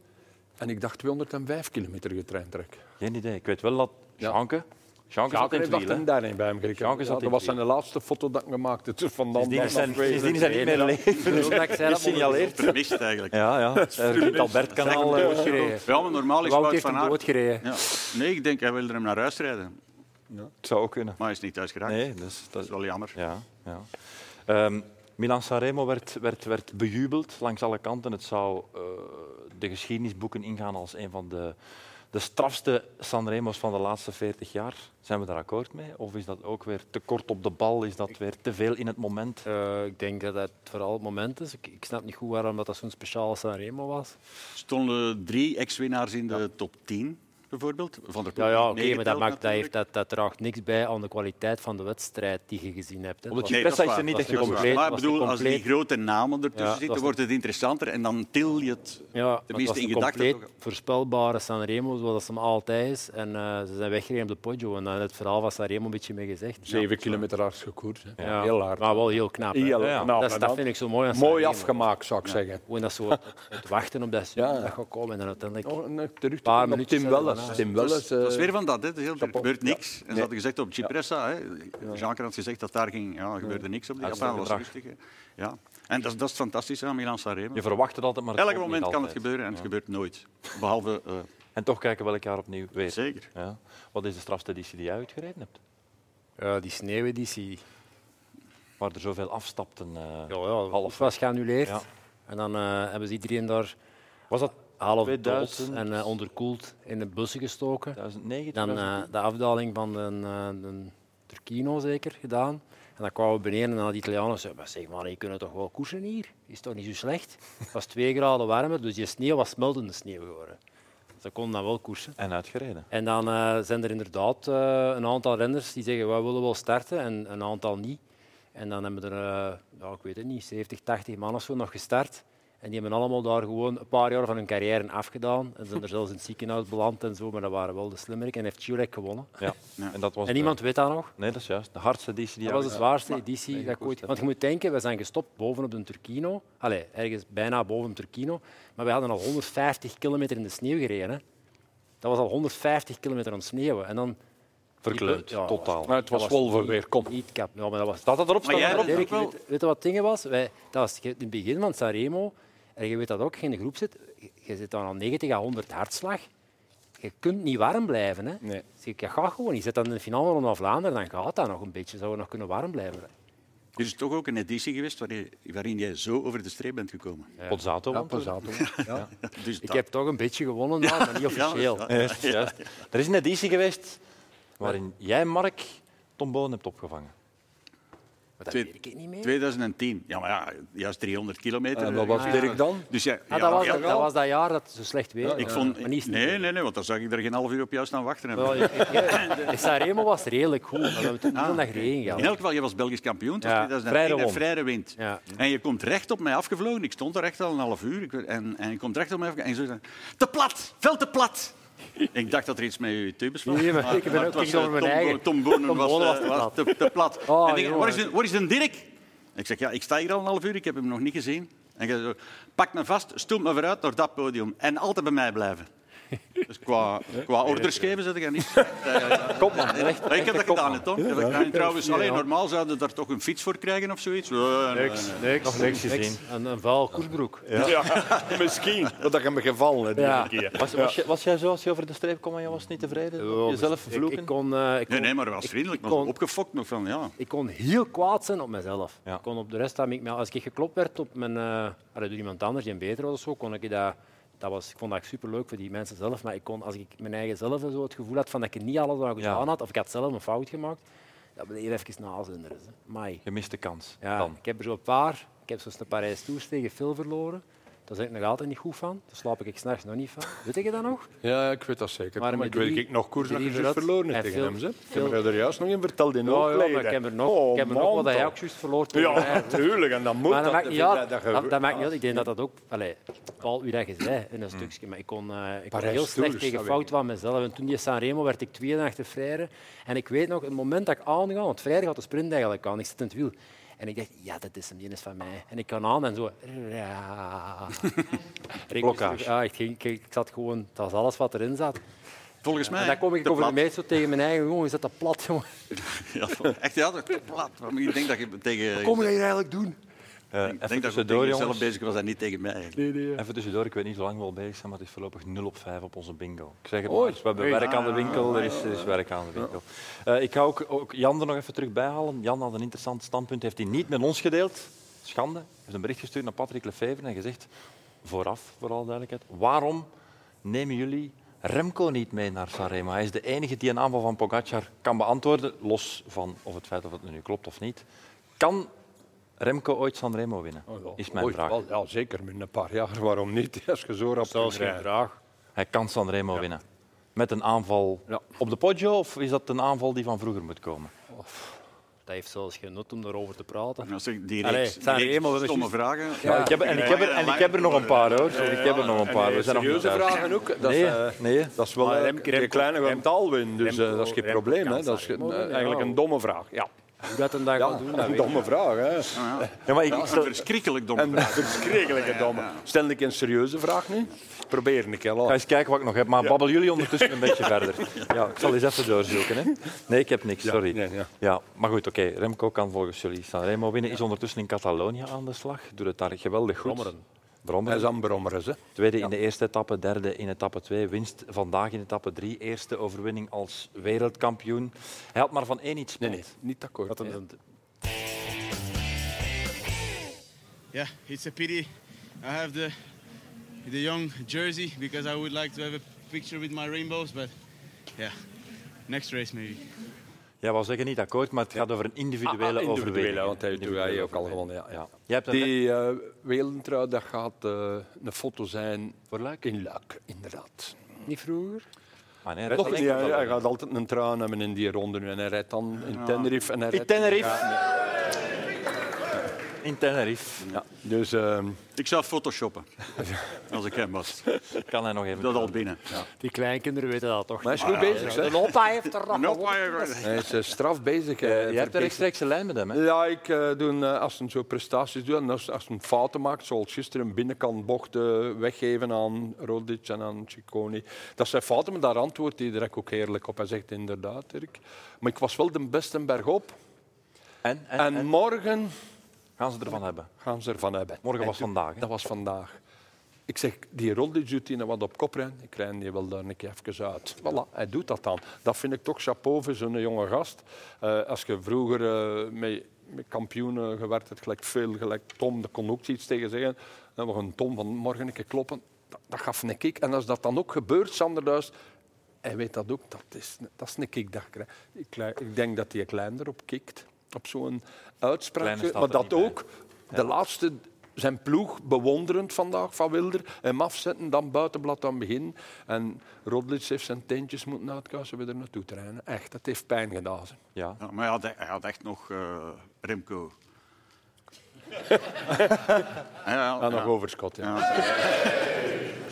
[SPEAKER 4] en ik dacht 205 kilometer getraind trek.
[SPEAKER 1] Geen idee. Ik weet wel dat
[SPEAKER 4] Ja.
[SPEAKER 1] Janke... Janke zat in
[SPEAKER 4] Ik
[SPEAKER 1] het
[SPEAKER 4] dacht
[SPEAKER 1] wiel. hè.
[SPEAKER 4] hem daarin bij hem gekregen.
[SPEAKER 1] Janke zat in
[SPEAKER 4] dat
[SPEAKER 1] het
[SPEAKER 4] was
[SPEAKER 1] wiel.
[SPEAKER 4] zijn laatste foto dat ik gemaakt heb. Dus vandaan
[SPEAKER 1] Sindsdien is
[SPEAKER 4] dan
[SPEAKER 1] hij- sindsdien is hij niet meer leven.
[SPEAKER 2] Omdat ik zei dat
[SPEAKER 1] Gesignaleerd.
[SPEAKER 3] Vermist eigenlijk. Ja.
[SPEAKER 1] Ja, Eh, ja. Het Albertkanaal. eh,
[SPEAKER 2] doodgereden.
[SPEAKER 3] maar normaal is
[SPEAKER 2] Wout
[SPEAKER 3] Wout
[SPEAKER 2] heeft
[SPEAKER 3] van
[SPEAKER 2] hem
[SPEAKER 3] Aert...
[SPEAKER 2] doodgereden.
[SPEAKER 3] Ja. Nee, ik denk, hij wilde hem naar huis rijden.
[SPEAKER 1] Het zou ook kunnen.
[SPEAKER 3] Maar hij is niet thuis geraakt.
[SPEAKER 1] Nee, dus,
[SPEAKER 3] Dat is wel jammer.
[SPEAKER 1] Ja, ja. Ehm, Milan Sanremo werd, werd, werd bejubeld langs alle kanten. Het zou eh, de geschiedenisboeken ingaan als een van de, de strafste Sanremo's van de laatste 40 jaar. Zijn we daar akkoord mee? Of is dat ook weer te kort op de bal? Is dat weer te veel in het moment?
[SPEAKER 2] Eh, ik denk dat dat vooral het moment is. Ik, ik snap niet goed waarom dat, dat zo'n speciale Sanremo was.
[SPEAKER 3] Er stonden drie ex-winnaars in de top 10, bijvoorbeeld. Van der Poel
[SPEAKER 2] Ja, ja oké,
[SPEAKER 3] heeft negen
[SPEAKER 2] maar dat,
[SPEAKER 3] geteld,
[SPEAKER 2] maakt, dat, heeft,
[SPEAKER 3] natuurlijk.
[SPEAKER 2] dat, dat draagt niks bij aan de kwaliteit van de wedstrijd die je gezien hebt. hè.
[SPEAKER 1] Omdat
[SPEAKER 2] Het
[SPEAKER 1] je
[SPEAKER 3] Nee,
[SPEAKER 2] was-
[SPEAKER 3] dat
[SPEAKER 1] pressa
[SPEAKER 3] is
[SPEAKER 1] is er niet
[SPEAKER 3] waar,
[SPEAKER 2] dat
[SPEAKER 1] echt
[SPEAKER 2] is een
[SPEAKER 1] gekomen.
[SPEAKER 2] compleet-
[SPEAKER 3] Maar ik
[SPEAKER 2] was
[SPEAKER 3] bedoel,
[SPEAKER 2] een
[SPEAKER 3] als die
[SPEAKER 2] compleet-
[SPEAKER 3] grote namen
[SPEAKER 2] Ja,
[SPEAKER 3] ertussen
[SPEAKER 2] dat
[SPEAKER 3] zitten,
[SPEAKER 2] was
[SPEAKER 3] wordt het interessanter. En dan til je het.
[SPEAKER 2] Ja, maar het
[SPEAKER 3] Tenminste,
[SPEAKER 2] was
[SPEAKER 3] in
[SPEAKER 2] een
[SPEAKER 3] gedachten
[SPEAKER 2] compleet
[SPEAKER 3] toch-
[SPEAKER 2] voorspelbare Sanremo, zoals dat ze hem altijd is. En eh, ze zijn weggereden op de Poggio. En daar is het verhaal van Sanremo een beetje mee gezegd.
[SPEAKER 4] 7 kilometer hard gekoerd. hè.
[SPEAKER 2] Ja,
[SPEAKER 4] Heel hard.
[SPEAKER 2] Maar wel heel knap. hè.
[SPEAKER 4] Heel
[SPEAKER 1] ja.
[SPEAKER 4] knap,
[SPEAKER 2] Dat, is-
[SPEAKER 4] hè,
[SPEAKER 2] dat
[SPEAKER 4] dan.
[SPEAKER 2] vind ik zo mooi aan
[SPEAKER 4] Mooi
[SPEAKER 2] Sanremo.
[SPEAKER 4] afgemaakt, zou ik zeggen.
[SPEAKER 2] Gewoon dat zo het wachten op dat ze
[SPEAKER 4] Ja. Oh.
[SPEAKER 2] dat gaat komen. En dan uiteindelijk...
[SPEAKER 4] Nog een terug
[SPEAKER 2] Paar
[SPEAKER 4] te op
[SPEAKER 2] minuutjes zijn
[SPEAKER 4] Tim
[SPEAKER 2] er
[SPEAKER 4] Welles.
[SPEAKER 2] daarna.
[SPEAKER 4] Tim
[SPEAKER 3] Dat
[SPEAKER 4] Welles.
[SPEAKER 3] is, dat is
[SPEAKER 4] eh,
[SPEAKER 3] weer van dat. Hè. Het is heel- Er
[SPEAKER 4] chapeau.
[SPEAKER 3] gebeurt
[SPEAKER 4] Ja.
[SPEAKER 3] niks. En ze hadden gezegd op Cipressa, hè. Jean-Claude had gezegd dat daar ging, ja, er gebeurde niks op die afstand. Dat was
[SPEAKER 1] Uitstekend
[SPEAKER 3] rustig. hè. Ja. En dat, is- dat is fantastisch aan Milan Sanremo.
[SPEAKER 1] Je verwacht het altijd, maar het
[SPEAKER 3] Elk
[SPEAKER 1] komt niet
[SPEAKER 3] moment kan het
[SPEAKER 1] altijd.
[SPEAKER 3] gebeuren en het gebeurt nooit. Behalve, eh,
[SPEAKER 1] En toch kijken we elk jaar opnieuw weer.
[SPEAKER 3] zeker.
[SPEAKER 1] Ja. Wat is de strafste editie die jij uitgereden hebt?
[SPEAKER 2] Ja, die sneeuweditie.
[SPEAKER 1] Waar er zoveel afstapten. eh.
[SPEAKER 2] Ja, ja,
[SPEAKER 1] Half.
[SPEAKER 2] half was geannuleerd.
[SPEAKER 1] Ja.
[SPEAKER 2] En dan eh, hebben ze iedereen daar
[SPEAKER 1] Was dat
[SPEAKER 2] half
[SPEAKER 1] 2000?
[SPEAKER 2] dood en eh, onderkoeld in de bussen gestoken.
[SPEAKER 1] 2009?
[SPEAKER 2] Dan eh,
[SPEAKER 1] 2010?
[SPEAKER 2] de afdaling van de, eh, de Turkino zeker gedaan. En dan kwamen we beneden en dan de Italianen zeiden, "Maar zeg maar, je kunt toch wel koersen hier? Is toch niet zo slecht? Het was twee graden warmer, dus die sneeuw was smeltende sneeuw geworden. Ze konden dan wel koersen.
[SPEAKER 1] En uitgereden.
[SPEAKER 2] En dan eh, zijn er inderdaad eh, een aantal renners die zeggen wij willen wel starten en een aantal niet. En dan hebben er, eh, ja, ik weet het niet, 70, 80 man of zo nog gestart. En die hebben allemaal daar gewoon een paar jaar van hun carrière afgedaan. En zijn er zelfs in het ziekenhuis beland en zo, maar dat waren wel de slimmerik. En heeft Jurek gewonnen.
[SPEAKER 1] Ja. En, dat was de-
[SPEAKER 2] En niemand weet dat nog.
[SPEAKER 1] Nee, dat is juist. De hardste editie die
[SPEAKER 2] Dat
[SPEAKER 1] jij
[SPEAKER 2] was de zwaarste editie dat ik ooit... Want je moet denken, we zijn gestopt bovenop de Turkino. Allee, ergens bijna bovenop Turkino. Maar we hadden al 150 kilometer in de sneeuw gereden. hè. Dat was al 150 kilometer aan sneeuwen. En dan
[SPEAKER 1] Verkleund,
[SPEAKER 2] Ja,
[SPEAKER 1] totaal.
[SPEAKER 4] Maar Nou, het was Wolverweer, kom.
[SPEAKER 2] Niet kap. Ja, maar dat was
[SPEAKER 1] Staat dat erop?
[SPEAKER 3] Maar
[SPEAKER 1] Staat
[SPEAKER 3] jij
[SPEAKER 1] dat erop?
[SPEAKER 3] hebt
[SPEAKER 2] Dirk,
[SPEAKER 3] ook wel...
[SPEAKER 2] weet, weet je wat het ding was? Wij, dat was in het begin van Sanremo, en je weet dat ook, je in de groep zit, je- je zit dan aan 90 à 100 hartslag. Je kunt niet warm blijven. Hè?
[SPEAKER 4] Nee.
[SPEAKER 2] Dus je- je gaat gewoon. Je zit dan in de finale van Vlaanderen, dan gaat dat nog een beetje. Zou we nog kunnen warm blijven?
[SPEAKER 3] Er is toch ook een editie geweest waarin, waarin jij zo over de streep bent gekomen.
[SPEAKER 1] Pozzato,
[SPEAKER 4] Ja,
[SPEAKER 1] want-
[SPEAKER 4] Pozzato.
[SPEAKER 3] Dus
[SPEAKER 2] Ik
[SPEAKER 3] dat-
[SPEAKER 2] heb toch een beetje gewonnen, daar, maar niet officieel.
[SPEAKER 3] Ja,
[SPEAKER 1] Juist, juist. Er is een editie geweest waarin jij, Mark, Tom Boon hebt opgevangen.
[SPEAKER 2] Maar dat
[SPEAKER 3] Twee-
[SPEAKER 2] weet ik niet meer.
[SPEAKER 3] 2010. Ja, maar ja, juist 300 kilometer.
[SPEAKER 4] En wat was Dirk dan?
[SPEAKER 3] Dus jij,
[SPEAKER 2] Ah,
[SPEAKER 3] ja,
[SPEAKER 2] dat, was,
[SPEAKER 3] ja,
[SPEAKER 2] dat, was dat jaar dat het zo slecht weer was.
[SPEAKER 3] ik vond,
[SPEAKER 2] Maar niet sneeuw.
[SPEAKER 3] nee, nee, nee, want dan zag ik er geen half uur op jou staan wachten.
[SPEAKER 2] Wel, ik- ik- ik- Sanremo was redelijk goed, maar we hebben toen niet ah, regen gehad.
[SPEAKER 3] In elk geval, je was Belgisch kampioen.
[SPEAKER 2] Ja,
[SPEAKER 3] Dat is
[SPEAKER 1] Freire
[SPEAKER 3] een
[SPEAKER 1] won.
[SPEAKER 3] vrije wind.
[SPEAKER 2] Ja.
[SPEAKER 3] En je komt recht op mij afgevlogen. Ik stond er echt al een half uur. Ik, weet- en, en je komt recht op mij afgevlogen. En je zegt, te plat, veel te plat. Ik dacht dat er iets met je tubes was.
[SPEAKER 2] Nee, maar ik ben ook
[SPEAKER 3] het was,
[SPEAKER 2] tegen
[SPEAKER 3] eh,
[SPEAKER 2] over mijn
[SPEAKER 3] Tom
[SPEAKER 2] eigen.
[SPEAKER 3] Bo- Tom Bonen
[SPEAKER 2] Tom
[SPEAKER 3] was,
[SPEAKER 2] Bonen
[SPEAKER 3] eh,
[SPEAKER 2] was te
[SPEAKER 3] was
[SPEAKER 2] plat.
[SPEAKER 3] te, te plat.
[SPEAKER 2] Oh,
[SPEAKER 3] en ik,
[SPEAKER 2] jongen.
[SPEAKER 3] waar, is de, waar is de Dirk? Ik zeg, ja, ik sta hier al een half uur. Ik heb hem nog niet gezien. En jij zo, pak me vast, stoot me vooruit naar dat podium. En altijd bij mij blijven. Dus qua, qua orders geven zit ik er niet.
[SPEAKER 1] Kom man, echt.
[SPEAKER 3] Ik heb dat gedaan, hè, Tom. Ik heb dat gedaan. En Trouwens, alleen normaal zouden daar toch een fiets voor krijgen of zoiets. Nee, nee, nee.
[SPEAKER 2] niks,
[SPEAKER 1] Nog niks gezien.
[SPEAKER 2] Een, een vuil koersbroek.
[SPEAKER 4] Misschien. Dat hem gevallen. hè, die
[SPEAKER 2] Ja.
[SPEAKER 4] keer.
[SPEAKER 1] Was, was, je- was jij zo als je over de streep kwam en je was niet tevreden?
[SPEAKER 2] Wel,
[SPEAKER 1] Jezelf
[SPEAKER 2] dus Ik,
[SPEAKER 1] vloeken?
[SPEAKER 2] ik, kon, eh, ik, kon,
[SPEAKER 3] Nee, nee, maar hij was vriendelijk. Maar
[SPEAKER 2] kon-
[SPEAKER 3] opgefokt nog van, ja.
[SPEAKER 2] ik kon heel kwaad zijn op mezelf.
[SPEAKER 1] Ja.
[SPEAKER 2] Ik kon op de rest, dat ik, me- als ik geklopt werd op mijn, eh, allee, door iemand anders die een beter was of zo, kon ik dat... Dat was, ik vond dat superleuk voor die mensen zelf, maar ik kon, als ik mijn eigen zelf zo het gevoel had van dat ik niet alles aan gedaan had, of ik had zelf een fout gemaakt, dat bleef even nazinderen. hè. Amai.
[SPEAKER 1] Je mist de kans.
[SPEAKER 2] Ja,
[SPEAKER 1] Dan.
[SPEAKER 2] ik heb er zo'n paar. Ik heb zo'n Parijs Tours tegen Phil verloren. Daar ben ik nog altijd niet goed van. Daar slaap ik s'nachts nog niet van. Weet ik dat nog?
[SPEAKER 4] Ja, ik weet dat zeker.
[SPEAKER 2] Maar
[SPEAKER 4] Maar,
[SPEAKER 2] met
[SPEAKER 4] ik weet
[SPEAKER 2] drie-
[SPEAKER 4] ik nog koers nog
[SPEAKER 2] drie
[SPEAKER 4] juist
[SPEAKER 2] verrat-
[SPEAKER 4] verloren
[SPEAKER 2] en
[SPEAKER 4] tegen
[SPEAKER 2] veel-
[SPEAKER 4] hem. Ze. Ik
[SPEAKER 2] veel-
[SPEAKER 4] heb me er juist nog in verteld in
[SPEAKER 2] Ja, ja,
[SPEAKER 4] Hoogleden.
[SPEAKER 2] maar ik heb er nog,
[SPEAKER 4] Oh,
[SPEAKER 2] ik heb er nog wat
[SPEAKER 4] man,
[SPEAKER 2] dat jij ook
[SPEAKER 4] toch.
[SPEAKER 2] juist verloor tegen mij.
[SPEAKER 4] Ja, tuurlijk. En dan moet
[SPEAKER 2] Maar dat maakt niet uit. Ah,
[SPEAKER 4] dat
[SPEAKER 2] Dat,
[SPEAKER 4] ge-
[SPEAKER 2] dat maakt niet uit. Ik denk dat dat ook... Allee, Paul, u dat je zei in een stukje. Maar ik kon, eh, ik kon
[SPEAKER 4] Hmm. Parijs
[SPEAKER 2] heel slecht
[SPEAKER 4] Tours,
[SPEAKER 2] tegen
[SPEAKER 4] dat
[SPEAKER 2] fout van mezelf. En toen die Sanremo werd ik tweede achter Freire. En ik weet nog, het moment dat ik aanga, want vrijdag had de sprint eigenlijk aan. Ik zit in het wiel. En ik dacht, ja, dat is hem, die is van mij. En ik kan aan en zo. Ja. En ik moest
[SPEAKER 1] Blokkage.
[SPEAKER 2] terug- Ja, ik, ging, ik, ik zat gewoon... Dat was alles wat erin zat.
[SPEAKER 3] Volgens mij.
[SPEAKER 2] En dan kom ik
[SPEAKER 3] te
[SPEAKER 2] over de
[SPEAKER 3] plat.
[SPEAKER 2] meid zo tegen mijn eigen jongen. Je zet dat plat, jongen.
[SPEAKER 3] Ja, echt, ja, dat is te plat. Maar ik denk dat je tegen...
[SPEAKER 2] Kom je hier eigenlijk doen?
[SPEAKER 1] Eh,
[SPEAKER 3] ik
[SPEAKER 1] even
[SPEAKER 3] denk dat je tegen
[SPEAKER 1] tussendoor,
[SPEAKER 3] jezelf
[SPEAKER 1] jongens.
[SPEAKER 3] bezig was en niet tegen mij. eigenlijk.
[SPEAKER 1] Even tussendoor, ik weet niet hoe lang we al bezig zijn, maar het is voorlopig 0 op 5 op onze bingo. Ik zeg het
[SPEAKER 4] Oei.
[SPEAKER 1] maar, eens, we hebben
[SPEAKER 3] Oei.
[SPEAKER 1] werk aan de
[SPEAKER 3] Ah,
[SPEAKER 1] winkel, er is, er is werk aan de winkel. Eh, ik ga ook, ook Jan er nog even terug bij halen. Jan had een interessant standpunt, heeft hij niet met ons gedeeld. Schande. Hij heeft een bericht gestuurd naar Patrick Lefevre en gezegd, vooraf, voor alle duidelijkheid, waarom nemen jullie Remco niet mee naar Sanremo? Hij is de enige die een aanval van Pogacar kan beantwoorden, los van of het feit of het nu klopt of niet. Kan Remco ooit Sanremo winnen?
[SPEAKER 4] Oh, ja.
[SPEAKER 1] Is mijn
[SPEAKER 4] Ooit
[SPEAKER 1] vraag.
[SPEAKER 4] wel, ja, zeker. Binnen een paar jaar. Waarom niet? Als je zo rap kunt rijden.
[SPEAKER 2] vraag.
[SPEAKER 1] Hij kan Sanremo winnen. Met een aanval
[SPEAKER 4] Ja.
[SPEAKER 1] op de Poggio, of is dat een aanval die van vroeger moet komen?
[SPEAKER 2] Dat heeft zelfs genut om erover te praten.
[SPEAKER 3] Nou, zeg, die
[SPEAKER 2] Allee,
[SPEAKER 3] reeks, die
[SPEAKER 2] zijn er
[SPEAKER 3] reeks
[SPEAKER 2] eenmaal wel eens
[SPEAKER 3] stomme
[SPEAKER 2] juist-
[SPEAKER 3] vragen.
[SPEAKER 1] Ja, ik heb, en, ik heb er, en ik heb er nog een paar, hoor. Ik heb er nog een paar. We zijn nog niet
[SPEAKER 4] Serieuze
[SPEAKER 1] thuis.
[SPEAKER 4] vragen ook. Dat is,
[SPEAKER 1] Nee,
[SPEAKER 4] eh,
[SPEAKER 1] nee.
[SPEAKER 4] Dat is wel
[SPEAKER 2] Maar
[SPEAKER 4] een
[SPEAKER 2] Remco-
[SPEAKER 4] een kleine
[SPEAKER 2] Remco-
[SPEAKER 4] getal win, dus eh,
[SPEAKER 2] Remco-
[SPEAKER 4] dat is geen
[SPEAKER 2] Remco
[SPEAKER 4] probleem.
[SPEAKER 2] kan
[SPEAKER 4] Hè. Dat is
[SPEAKER 2] Sanremo
[SPEAKER 4] ge- eh,
[SPEAKER 2] winnen, ja.
[SPEAKER 4] eigenlijk een domme vraag. Ja,
[SPEAKER 2] Hoe dat een dag
[SPEAKER 4] ja
[SPEAKER 2] gaat doen, dat
[SPEAKER 4] een
[SPEAKER 2] weet ik
[SPEAKER 4] domme vraag. Hè.
[SPEAKER 1] Ja, maar ik,
[SPEAKER 3] Dat
[SPEAKER 1] ik
[SPEAKER 3] is een
[SPEAKER 1] stel-
[SPEAKER 3] verschrikkelijk dom.
[SPEAKER 4] Een verschrikkelijke domme. Stel ik een serieuze vraag nu? Probeer ik, hè.
[SPEAKER 1] ga
[SPEAKER 4] laat.
[SPEAKER 1] eens kijken wat ik nog heb, maar babbel jullie ondertussen een beetje verder. Ja, ik zal eens even doorzoeken. Hè. Nee, ik heb niks, sorry.
[SPEAKER 4] nee, ja.
[SPEAKER 1] Ja, maar goed, oké. Remco kan volgens jullie Sanremo winnen. Is ondertussen in Catalonië aan de slag. Doet het daar geweldig goed.
[SPEAKER 2] Brommeren.
[SPEAKER 4] Hij
[SPEAKER 1] Brommeren.
[SPEAKER 4] is aan brommeren, hè.
[SPEAKER 1] Tweede in de eerste etappe, derde in etappe 2, winst vandaag in etappe 3, eerste overwinning als wereldkampioen. Hij had maar van één iets spijt.
[SPEAKER 4] Nee, nee, niet akkoord.
[SPEAKER 2] Dat een- een-
[SPEAKER 6] yeah, it's a pity I have the the young jersey because I would like to have a picture with my rainbows, but yeah, next race maybe.
[SPEAKER 1] Jij wou zeggen niet akkoord, maar het gaat over een individuele,
[SPEAKER 4] Ah, ah, individuele,
[SPEAKER 1] overwinning.
[SPEAKER 4] want hij-
[SPEAKER 1] Individuele
[SPEAKER 4] hij ook al
[SPEAKER 1] overwinning.
[SPEAKER 4] gewonnen, ja, ja.
[SPEAKER 1] Jij hebt een wet-
[SPEAKER 4] Die eh wereldtrui, dat gaat eh, een foto zijn voor Luik? in Luik, inderdaad.
[SPEAKER 2] Niet vroeger?
[SPEAKER 1] Ah, nee,
[SPEAKER 4] Toch
[SPEAKER 1] dat
[SPEAKER 4] niet,
[SPEAKER 1] denk
[SPEAKER 4] hij,
[SPEAKER 1] ik wel.
[SPEAKER 4] hij gaat altijd een trui hebben in die ronde nu en hij rijdt dan in Tenerife. En hij
[SPEAKER 1] In
[SPEAKER 4] rijdt-
[SPEAKER 1] Tenerife.
[SPEAKER 4] Ja,
[SPEAKER 1] In Tenerife.
[SPEAKER 4] ja. Dus ehm,
[SPEAKER 3] Ik zou photoshoppen, als ik hem was.
[SPEAKER 1] Kan hij nog even...
[SPEAKER 3] Dat al binnen.
[SPEAKER 2] Die kleinkinderen weten dat toch?
[SPEAKER 4] maar hij is goed bezig, hè.
[SPEAKER 2] opa heeft er
[SPEAKER 3] Nou,
[SPEAKER 2] nog
[SPEAKER 4] Hij is eh, straf bezig. eh,
[SPEAKER 1] Je hebt
[SPEAKER 4] verkeerd.
[SPEAKER 1] een rechtstreekse lijn met hem, hè?
[SPEAKER 4] Ja, ik eh, doe, eh, als hij zo prestaties doet en als, als hij fouten maakt, zoals gisteren een binnenkantbocht eh, weggeven aan Rodic en aan Ciccone. Dat zijn fouten, maar daar antwoordt hij direct ook eerlijk op. Hij zegt inderdaad, Erik. Maar ik was wel de beste bergop.
[SPEAKER 1] En, en,
[SPEAKER 4] En
[SPEAKER 1] en
[SPEAKER 4] morgen
[SPEAKER 1] gaan ze ervan hebben.
[SPEAKER 4] gaan ze ervan hebben.
[SPEAKER 1] Morgen
[SPEAKER 4] En
[SPEAKER 1] was
[SPEAKER 4] toen-
[SPEAKER 1] vandaag, hè?
[SPEAKER 4] Dat was vandaag. Ik zeg, die Rodic doet die nou wat op kop rijden. Ik rij die wel daar een keer even uit. Voilà, hij doet dat dan. Dat vind ik toch chapeau voor zo'n jonge gast. Eh, als je vroeger eh, met, met kampioenen gewerkt hebt, gelijk veel, gelijk Tom, daar kon ook iets tegen zeggen. Dan we gaan Tom van morgen een keer kloppen. Dat, dat gaf een kick. En als dat dan ook gebeurt, Sander Duis, hij weet dat ook. Dat is, dat is een kick dat ik krijg. Ik, klei- ik denk dat hij klein erop kikt. Op zo'n uitspraak.
[SPEAKER 1] Kleine staat
[SPEAKER 4] Maar
[SPEAKER 1] er
[SPEAKER 4] dat
[SPEAKER 1] niet bij.
[SPEAKER 4] ook de laatste, zijn ploeg bewonderend vandaag van Wilder. Hem afzetten, dan buitenblad aan het begin. En Rodlitz heeft zijn tentjes moeten uitkuisen om er naartoe te rijden. Echt, dat heeft pijn gedaan. ze.
[SPEAKER 1] Ja.
[SPEAKER 3] Ja, maar hij had, hij had echt nog eh, Remco. ja, ja,
[SPEAKER 4] En nog
[SPEAKER 3] ja.
[SPEAKER 4] overschot, ja.
[SPEAKER 3] Ja.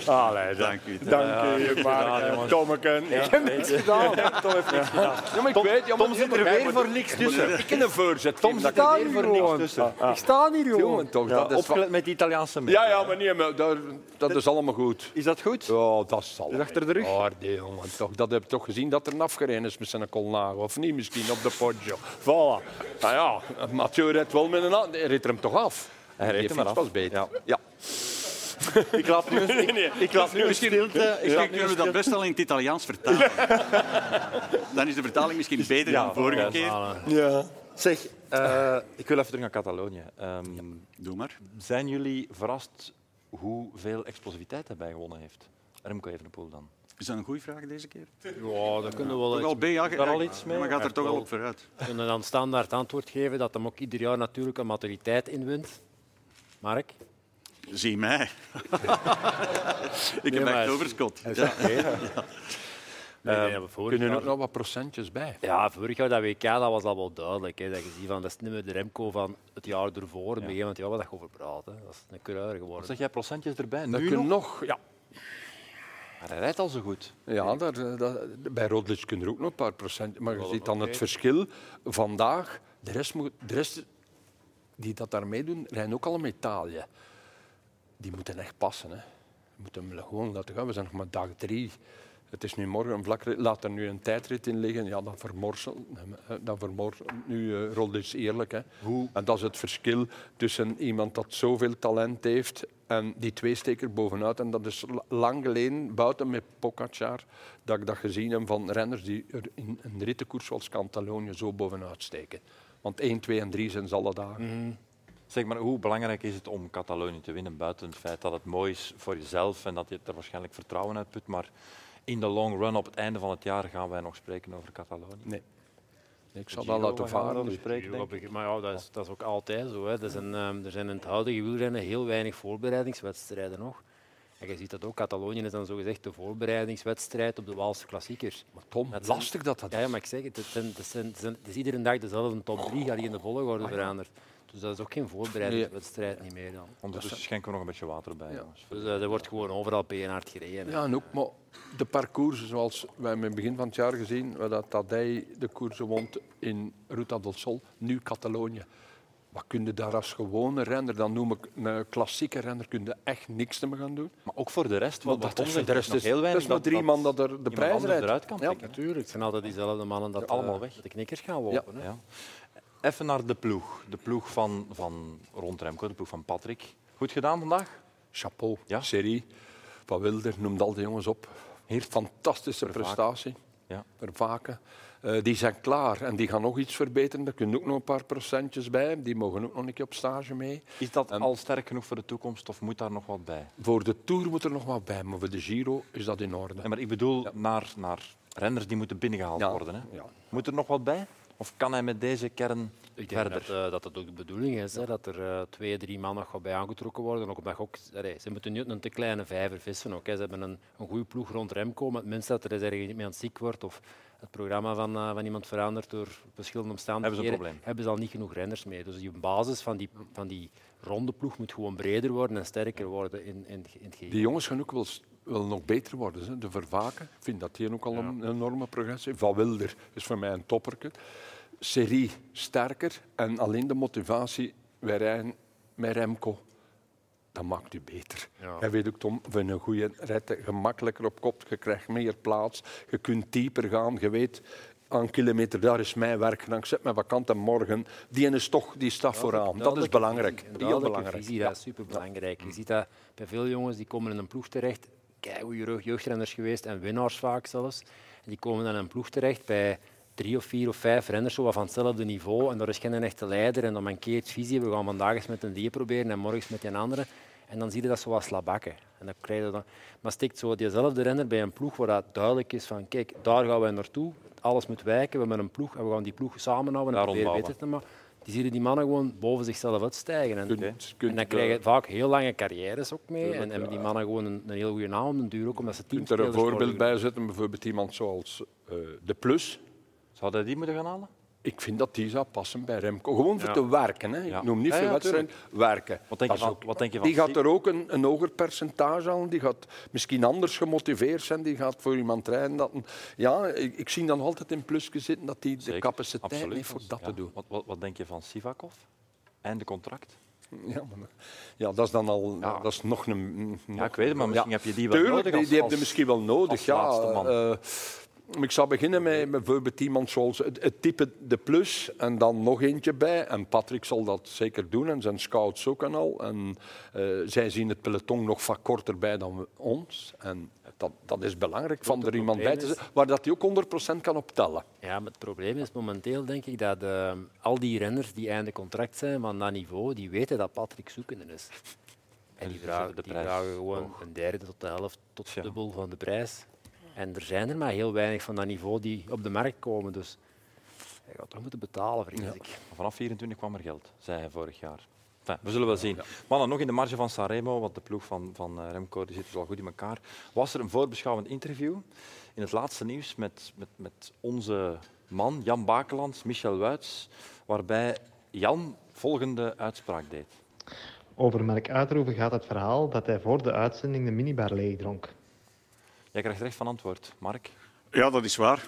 [SPEAKER 4] Allee,
[SPEAKER 3] Dank u.
[SPEAKER 4] Dank u, Mark. Tommeken. Ik heb niks gedaan. Tom heeft niks gedaan. Ja, maar ik weet, ja, maar
[SPEAKER 1] Tom zit er
[SPEAKER 4] maar wij
[SPEAKER 1] weer
[SPEAKER 4] moeten-
[SPEAKER 1] voor niks tussen.
[SPEAKER 4] Ik in een voorzet.
[SPEAKER 1] Tom zit er weer voor niks tussen.
[SPEAKER 2] Ik sta hier,
[SPEAKER 4] Jongen, toch, dat is wa-
[SPEAKER 1] Opgelet met die Italiaanse mensen.
[SPEAKER 4] Ja, ja, maar nee, maar daar, dat is allemaal goed.
[SPEAKER 1] Is dat goed?
[SPEAKER 4] Ja, dat zal.
[SPEAKER 1] Is achter de rug?
[SPEAKER 4] Oh, nee, jongen, toch, dat heb je toch gezien dat er een afgereden is met zijn colnago. Of niet misschien op de Poggio. Voilà. Nou ja, Mathieu redt wel met een hand. Hij reed er hem toch af.
[SPEAKER 1] Hij reed
[SPEAKER 4] Die
[SPEAKER 1] hem maar
[SPEAKER 4] fiets
[SPEAKER 1] af.
[SPEAKER 4] was beter.
[SPEAKER 1] Ja.
[SPEAKER 4] Ja.
[SPEAKER 1] Ik laat nu een, ik, ik laat nu een stilte. Ik
[SPEAKER 3] Misschien
[SPEAKER 1] laat nu
[SPEAKER 3] kunnen
[SPEAKER 1] een
[SPEAKER 3] we dat best al in het Italiaans vertalen. Dan is de vertaling misschien beter dan vorige keer.
[SPEAKER 1] Zeg, eh, ik wil even terug naar Catalonië. Ehm,
[SPEAKER 3] Doe maar.
[SPEAKER 1] Zijn jullie verrast hoeveel explosiviteit daarbij gewonnen heeft? Remco Evenepoel dan.
[SPEAKER 3] Is dat een goede vraag deze keer?
[SPEAKER 2] Ja, dat kunnen we
[SPEAKER 3] Ook
[SPEAKER 2] wel
[SPEAKER 3] al B, ja,
[SPEAKER 1] daar al iets mee?
[SPEAKER 3] maar gaat er toch al op vooruit.
[SPEAKER 2] We kunnen dan standaard antwoord geven dat hem ook ieder jaar natuurlijk een maturiteit inwint. Mark?
[SPEAKER 3] Zie mij. ik heb
[SPEAKER 2] maar-
[SPEAKER 3] echt overschot.
[SPEAKER 2] Ja.
[SPEAKER 4] Eh,
[SPEAKER 2] nee, maar vorig
[SPEAKER 4] kunnen er
[SPEAKER 2] jaar-
[SPEAKER 4] ook nog wat procentjes bij?
[SPEAKER 2] Ehm, Ja, vorig jaar dat WK dat was al wel duidelijk. Hè, dat je ziet van, dat is niet meer de Remco van het jaar ervoor. In het begin van het jaar was dat over praat. Hè. Dat is een coureur geworden.
[SPEAKER 1] Zeg jij procentjes erbij?
[SPEAKER 4] Dat
[SPEAKER 1] nu
[SPEAKER 4] kunnen
[SPEAKER 1] nog?
[SPEAKER 4] nog, ja.
[SPEAKER 1] Maar hij rijdt al zo goed.
[SPEAKER 4] Ja, daar, eh, dat- bij Roglic kunnen er ook nog een paar procent. Maar je ziet dan het verschil. Vandaag, de rest, moet, de rest die dat daar meedoen, rijden ook al in Italië. Die moeten echt passen. Hè. We moeten hem gewoon laten gaan. We zijn nog maar dag drie. Het is nu morgen een vlakrit. Laat er nu een tijdrit in liggen. Ja, dan vermorselt hem, hè. dan vermorselt nu eh Roglic eerlijk. Hè. En dat is het verschil tussen iemand dat zoveel talent heeft en die twee steker bovenuit. En dat is la- lang geleden, buiten met Pogacar, dat ik dat gezien heb van renners die er in een rittenkoers zoals Catalonië zo bovenuit steken. Want 1, 2 en 3 zijn ze alle dagen.
[SPEAKER 1] Zeg maar, hoe belangrijk is het om Catalonië te winnen, buiten het feit dat het mooi is voor jezelf en dat je er waarschijnlijk vertrouwen uit put, maar in de long run, op het einde van het jaar, gaan wij nog spreken over Catalonië.
[SPEAKER 4] Nee. Ik zal
[SPEAKER 1] Giro,
[SPEAKER 4] dat laten
[SPEAKER 1] we gaan
[SPEAKER 4] varen.
[SPEAKER 1] erover
[SPEAKER 4] dus.
[SPEAKER 1] spreken,
[SPEAKER 2] Ja,
[SPEAKER 1] denk ik.
[SPEAKER 2] begin- maar ja, dat is, dat is ook altijd zo. Hè. Er, zijn, ehm, er zijn in het huidige wielrennen heel weinig voorbereidingswedstrijden nog. En je ziet dat ook. Catalonië is dan zogezegd de voorbereidingswedstrijd op de Waalse klassiekers.
[SPEAKER 4] Maar Tom,
[SPEAKER 2] Dat zijn-
[SPEAKER 4] lastig dat dat
[SPEAKER 2] Ja, ja, maar ik zeg het, het, zijn, het, zijn, het, zijn- het is iedere dag dezelfde top drie, gaat die in de
[SPEAKER 1] Ah,
[SPEAKER 2] volgorde veranderd. Dus dat is ook geen voorbereidingswedstrijd niet meer dan.
[SPEAKER 1] Ondertussen schenken we nog een beetje water bij,
[SPEAKER 4] Ja.
[SPEAKER 1] jongens.
[SPEAKER 2] Dus eh, er wordt gewoon overal PNR gereden. hè.
[SPEAKER 4] Ja, en ook maar de parcours zoals wij hebben in het begin van het jaar gezien, waar dat Tadej de koersen won in Ruta del Sol, nu Catalonië. Wat kun je daar als gewone renner, dan noem ik een klassieke renner, kun je echt niks te gaan doen.
[SPEAKER 1] Maar ook voor de rest, want dat
[SPEAKER 4] Want dat is-
[SPEAKER 1] komt
[SPEAKER 4] de rest
[SPEAKER 1] nog
[SPEAKER 4] is,
[SPEAKER 1] heel
[SPEAKER 4] dat
[SPEAKER 1] weinig.
[SPEAKER 4] is maar drie man dat er de
[SPEAKER 1] iemand
[SPEAKER 4] prijs
[SPEAKER 1] anders
[SPEAKER 4] rijdt.
[SPEAKER 1] eruit kan
[SPEAKER 4] Ja.
[SPEAKER 1] pikken.
[SPEAKER 2] Natuurlijk, het zijn altijd diezelfde mannen dat
[SPEAKER 1] Ja, allemaal
[SPEAKER 2] eh,
[SPEAKER 1] weg.
[SPEAKER 2] dat de knikkers gaan lopen. hè.
[SPEAKER 1] Ja. Even naar de ploeg. De ploeg van, van Rond Remco, de ploeg van Patrick. Goed gedaan vandaag?
[SPEAKER 4] Chapeau,
[SPEAKER 1] Ja.
[SPEAKER 4] Serie, Van Wilder, noemt al die jongens op. Heer, fantastische prestatie.
[SPEAKER 1] Ja.
[SPEAKER 4] Vervaken. Eh, die zijn klaar en die gaan nog iets verbeteren. Daar kunnen ook nog een paar procentjes bij. Die mogen ook nog een keer op stage mee.
[SPEAKER 1] Is dat
[SPEAKER 4] En-
[SPEAKER 1] al sterk genoeg voor de toekomst of moet daar nog wat bij?
[SPEAKER 4] Voor de Tour moet er nog wat bij, maar voor de Giro is dat in orde.
[SPEAKER 1] Nee, maar ik bedoel naar, naar renners die moeten binnengehaald
[SPEAKER 4] Ja,
[SPEAKER 1] worden. Hè?
[SPEAKER 4] ja.
[SPEAKER 1] Moet er nog wat bij? Of kan hij met deze kern
[SPEAKER 2] Ik denk
[SPEAKER 1] verder?
[SPEAKER 2] dat, eh, dat dat ook de bedoeling is, hè, dat er eh, twee, drie man nog wat bij aangetrokken worden. Ook omdat je ook, allee, ze moeten niet een te kleine vijver vissen. Ook, hè. Ze hebben een, een goede ploeg rond Remco, maar het minst dat er eens ergens iemand ziek wordt of het programma van, eh, van iemand verandert door verschillende omstandigheden,
[SPEAKER 1] probleem.
[SPEAKER 2] hebben ze al niet genoeg renners mee. Dus die basis van die, van die ronde ploeg moet gewoon breder worden en sterker worden in, in, in het geheel.
[SPEAKER 4] Die jongens gaan ook wel, s- wel nog beter worden. Ze. De Vervaken, ik vind dat hier ook al een enorme progressie. Van Wilder is voor mij een topperke. Serie sterker en alleen de motivatie, wij rijden met Remco, dat maakt u beter.
[SPEAKER 2] Ja.
[SPEAKER 4] Hij weet ook, Tom, van een goede rijdt gemakkelijker op kop, je krijgt meer plaats, je kunt dieper gaan, je weet... Aan kilometer, daar is mijn werk. En ik zet mijn vakant en morgen. Die ene is toch, die staat vooraan. Dat is
[SPEAKER 2] Duidelijke
[SPEAKER 4] belangrijk.
[SPEAKER 2] visie, een
[SPEAKER 4] Heel
[SPEAKER 2] duidelijke
[SPEAKER 4] belangrijk.
[SPEAKER 2] Visie, Dat is superbelangrijk. Je ziet dat bij veel jongens die komen in een ploeg terecht. Kijk, goede jeugdrenners geweest en winnaars vaak zelfs. En die komen dan in een ploeg terecht bij drie of vier of vijf renners zo wat van hetzelfde niveau. En daar is geen echte leider en dan mankeert visie. We gaan vandaag eens met een die proberen en morgens met een andere. En dan zie je dat zo wat slabakken. En dan krijg je dan... Maar stikt zo diezelfde renner bij een ploeg waar dat duidelijk is van kijk, daar gaan wij naartoe. Alles moet wijken, we hebben een ploeg en we gaan die ploeg samenhouden en
[SPEAKER 1] Daar
[SPEAKER 2] proberen
[SPEAKER 1] ontbouwen.
[SPEAKER 2] beter te maken. Die zien die mannen gewoon boven zichzelf uitstijgen. En,
[SPEAKER 4] Kunt-
[SPEAKER 2] en
[SPEAKER 4] kunt,
[SPEAKER 2] dan
[SPEAKER 4] eh,
[SPEAKER 2] krijgen vaak heel lange carrières ook mee. En,
[SPEAKER 4] Tuurlijk,
[SPEAKER 2] en
[SPEAKER 4] ja.
[SPEAKER 2] die mannen gewoon een, een heel goede naam op den duur ook, omdat ze
[SPEAKER 4] Je kunt er een
[SPEAKER 2] teamspelers
[SPEAKER 4] voorbeeld
[SPEAKER 2] worden.
[SPEAKER 4] bij zetten, bijvoorbeeld iemand zoals eh, De Plus.
[SPEAKER 1] Zou hij die moeten gaan halen?
[SPEAKER 4] Ik vind dat die zou passen bij Remco. Gewoon voor te werken. Hè.
[SPEAKER 1] Ja.
[SPEAKER 4] Ik noem niet
[SPEAKER 1] Ja,
[SPEAKER 4] veel
[SPEAKER 1] ja,
[SPEAKER 4] wedstrijden. Werken.
[SPEAKER 1] Wat denk je
[SPEAKER 4] Dat is
[SPEAKER 1] van-
[SPEAKER 4] ook-
[SPEAKER 1] wat denk je van
[SPEAKER 4] die gaat
[SPEAKER 1] Siem?
[SPEAKER 4] er ook een, een hoger percentage aan. Die gaat misschien anders gemotiveerd zijn. Die gaat voor iemand rijden. Dat een- ja, ik, ik zie dan altijd in Plus zitten dat die de
[SPEAKER 1] Zeker,
[SPEAKER 4] capaciteit
[SPEAKER 1] absoluut.
[SPEAKER 4] heeft voor dat
[SPEAKER 1] Ja.
[SPEAKER 4] te doen.
[SPEAKER 1] Wat, wat, wat denk je van Sivakov? Einde contract?
[SPEAKER 4] Ja, maar, ja, dat is dan al... Dat is nog een...
[SPEAKER 1] Ja, ik weet het, maar misschien heb je die wel
[SPEAKER 4] Tuurlijk,
[SPEAKER 1] nodig.
[SPEAKER 4] die,
[SPEAKER 1] als-
[SPEAKER 4] die heb je
[SPEAKER 1] als-
[SPEAKER 4] misschien wel nodig.
[SPEAKER 1] als
[SPEAKER 4] ja,
[SPEAKER 1] laatste man.
[SPEAKER 4] eh, maar ik zou beginnen met bijvoorbeeld iemand zoals het, het type De Plus en dan nog eentje bij. En Patrick zal dat zeker doen en zijn scouts ook en al. En eh, zij zien het peloton nog vaak korter bij dan we- ons. En dat, dat is belangrijk, van er iemand bij te
[SPEAKER 2] probleem
[SPEAKER 4] zijn waar dat hij ook 100% kan op tellen.
[SPEAKER 2] Ja, maar het probleem is momenteel, denk ik, dat eh, al die renners die einde contract zijn van dat niveau, die weten dat Patrick zoekende is. En die
[SPEAKER 1] Dus
[SPEAKER 2] vragen,
[SPEAKER 1] de
[SPEAKER 2] die
[SPEAKER 1] prijs
[SPEAKER 2] vragen gewoon een derde tot de helft, tot
[SPEAKER 1] Tja.
[SPEAKER 2] dubbel van de prijs. En er zijn er maar heel weinig van dat niveau die op de markt komen. Dus je gaat toch moeten betalen, vrees ik.
[SPEAKER 1] Vanaf 24 kwam er geld, zei hij vorig jaar. Enfin, we zullen wel zien. Mannen, nog in de marge van Sanremo, want de ploeg van, van eh, Remco die zit dus al goed in elkaar. Was er een voorbeschouwend interview in het laatste nieuws met, met, met onze man Jan Bakelands, Michel Wuits, waarbij Jan volgende uitspraak deed.
[SPEAKER 7] Over Mark Uiterhoeven gaat het verhaal dat hij voor de uitzending de minibar leeg dronk.
[SPEAKER 1] Jij krijgt recht van antwoord, Mark.
[SPEAKER 3] Ja, dat is waar.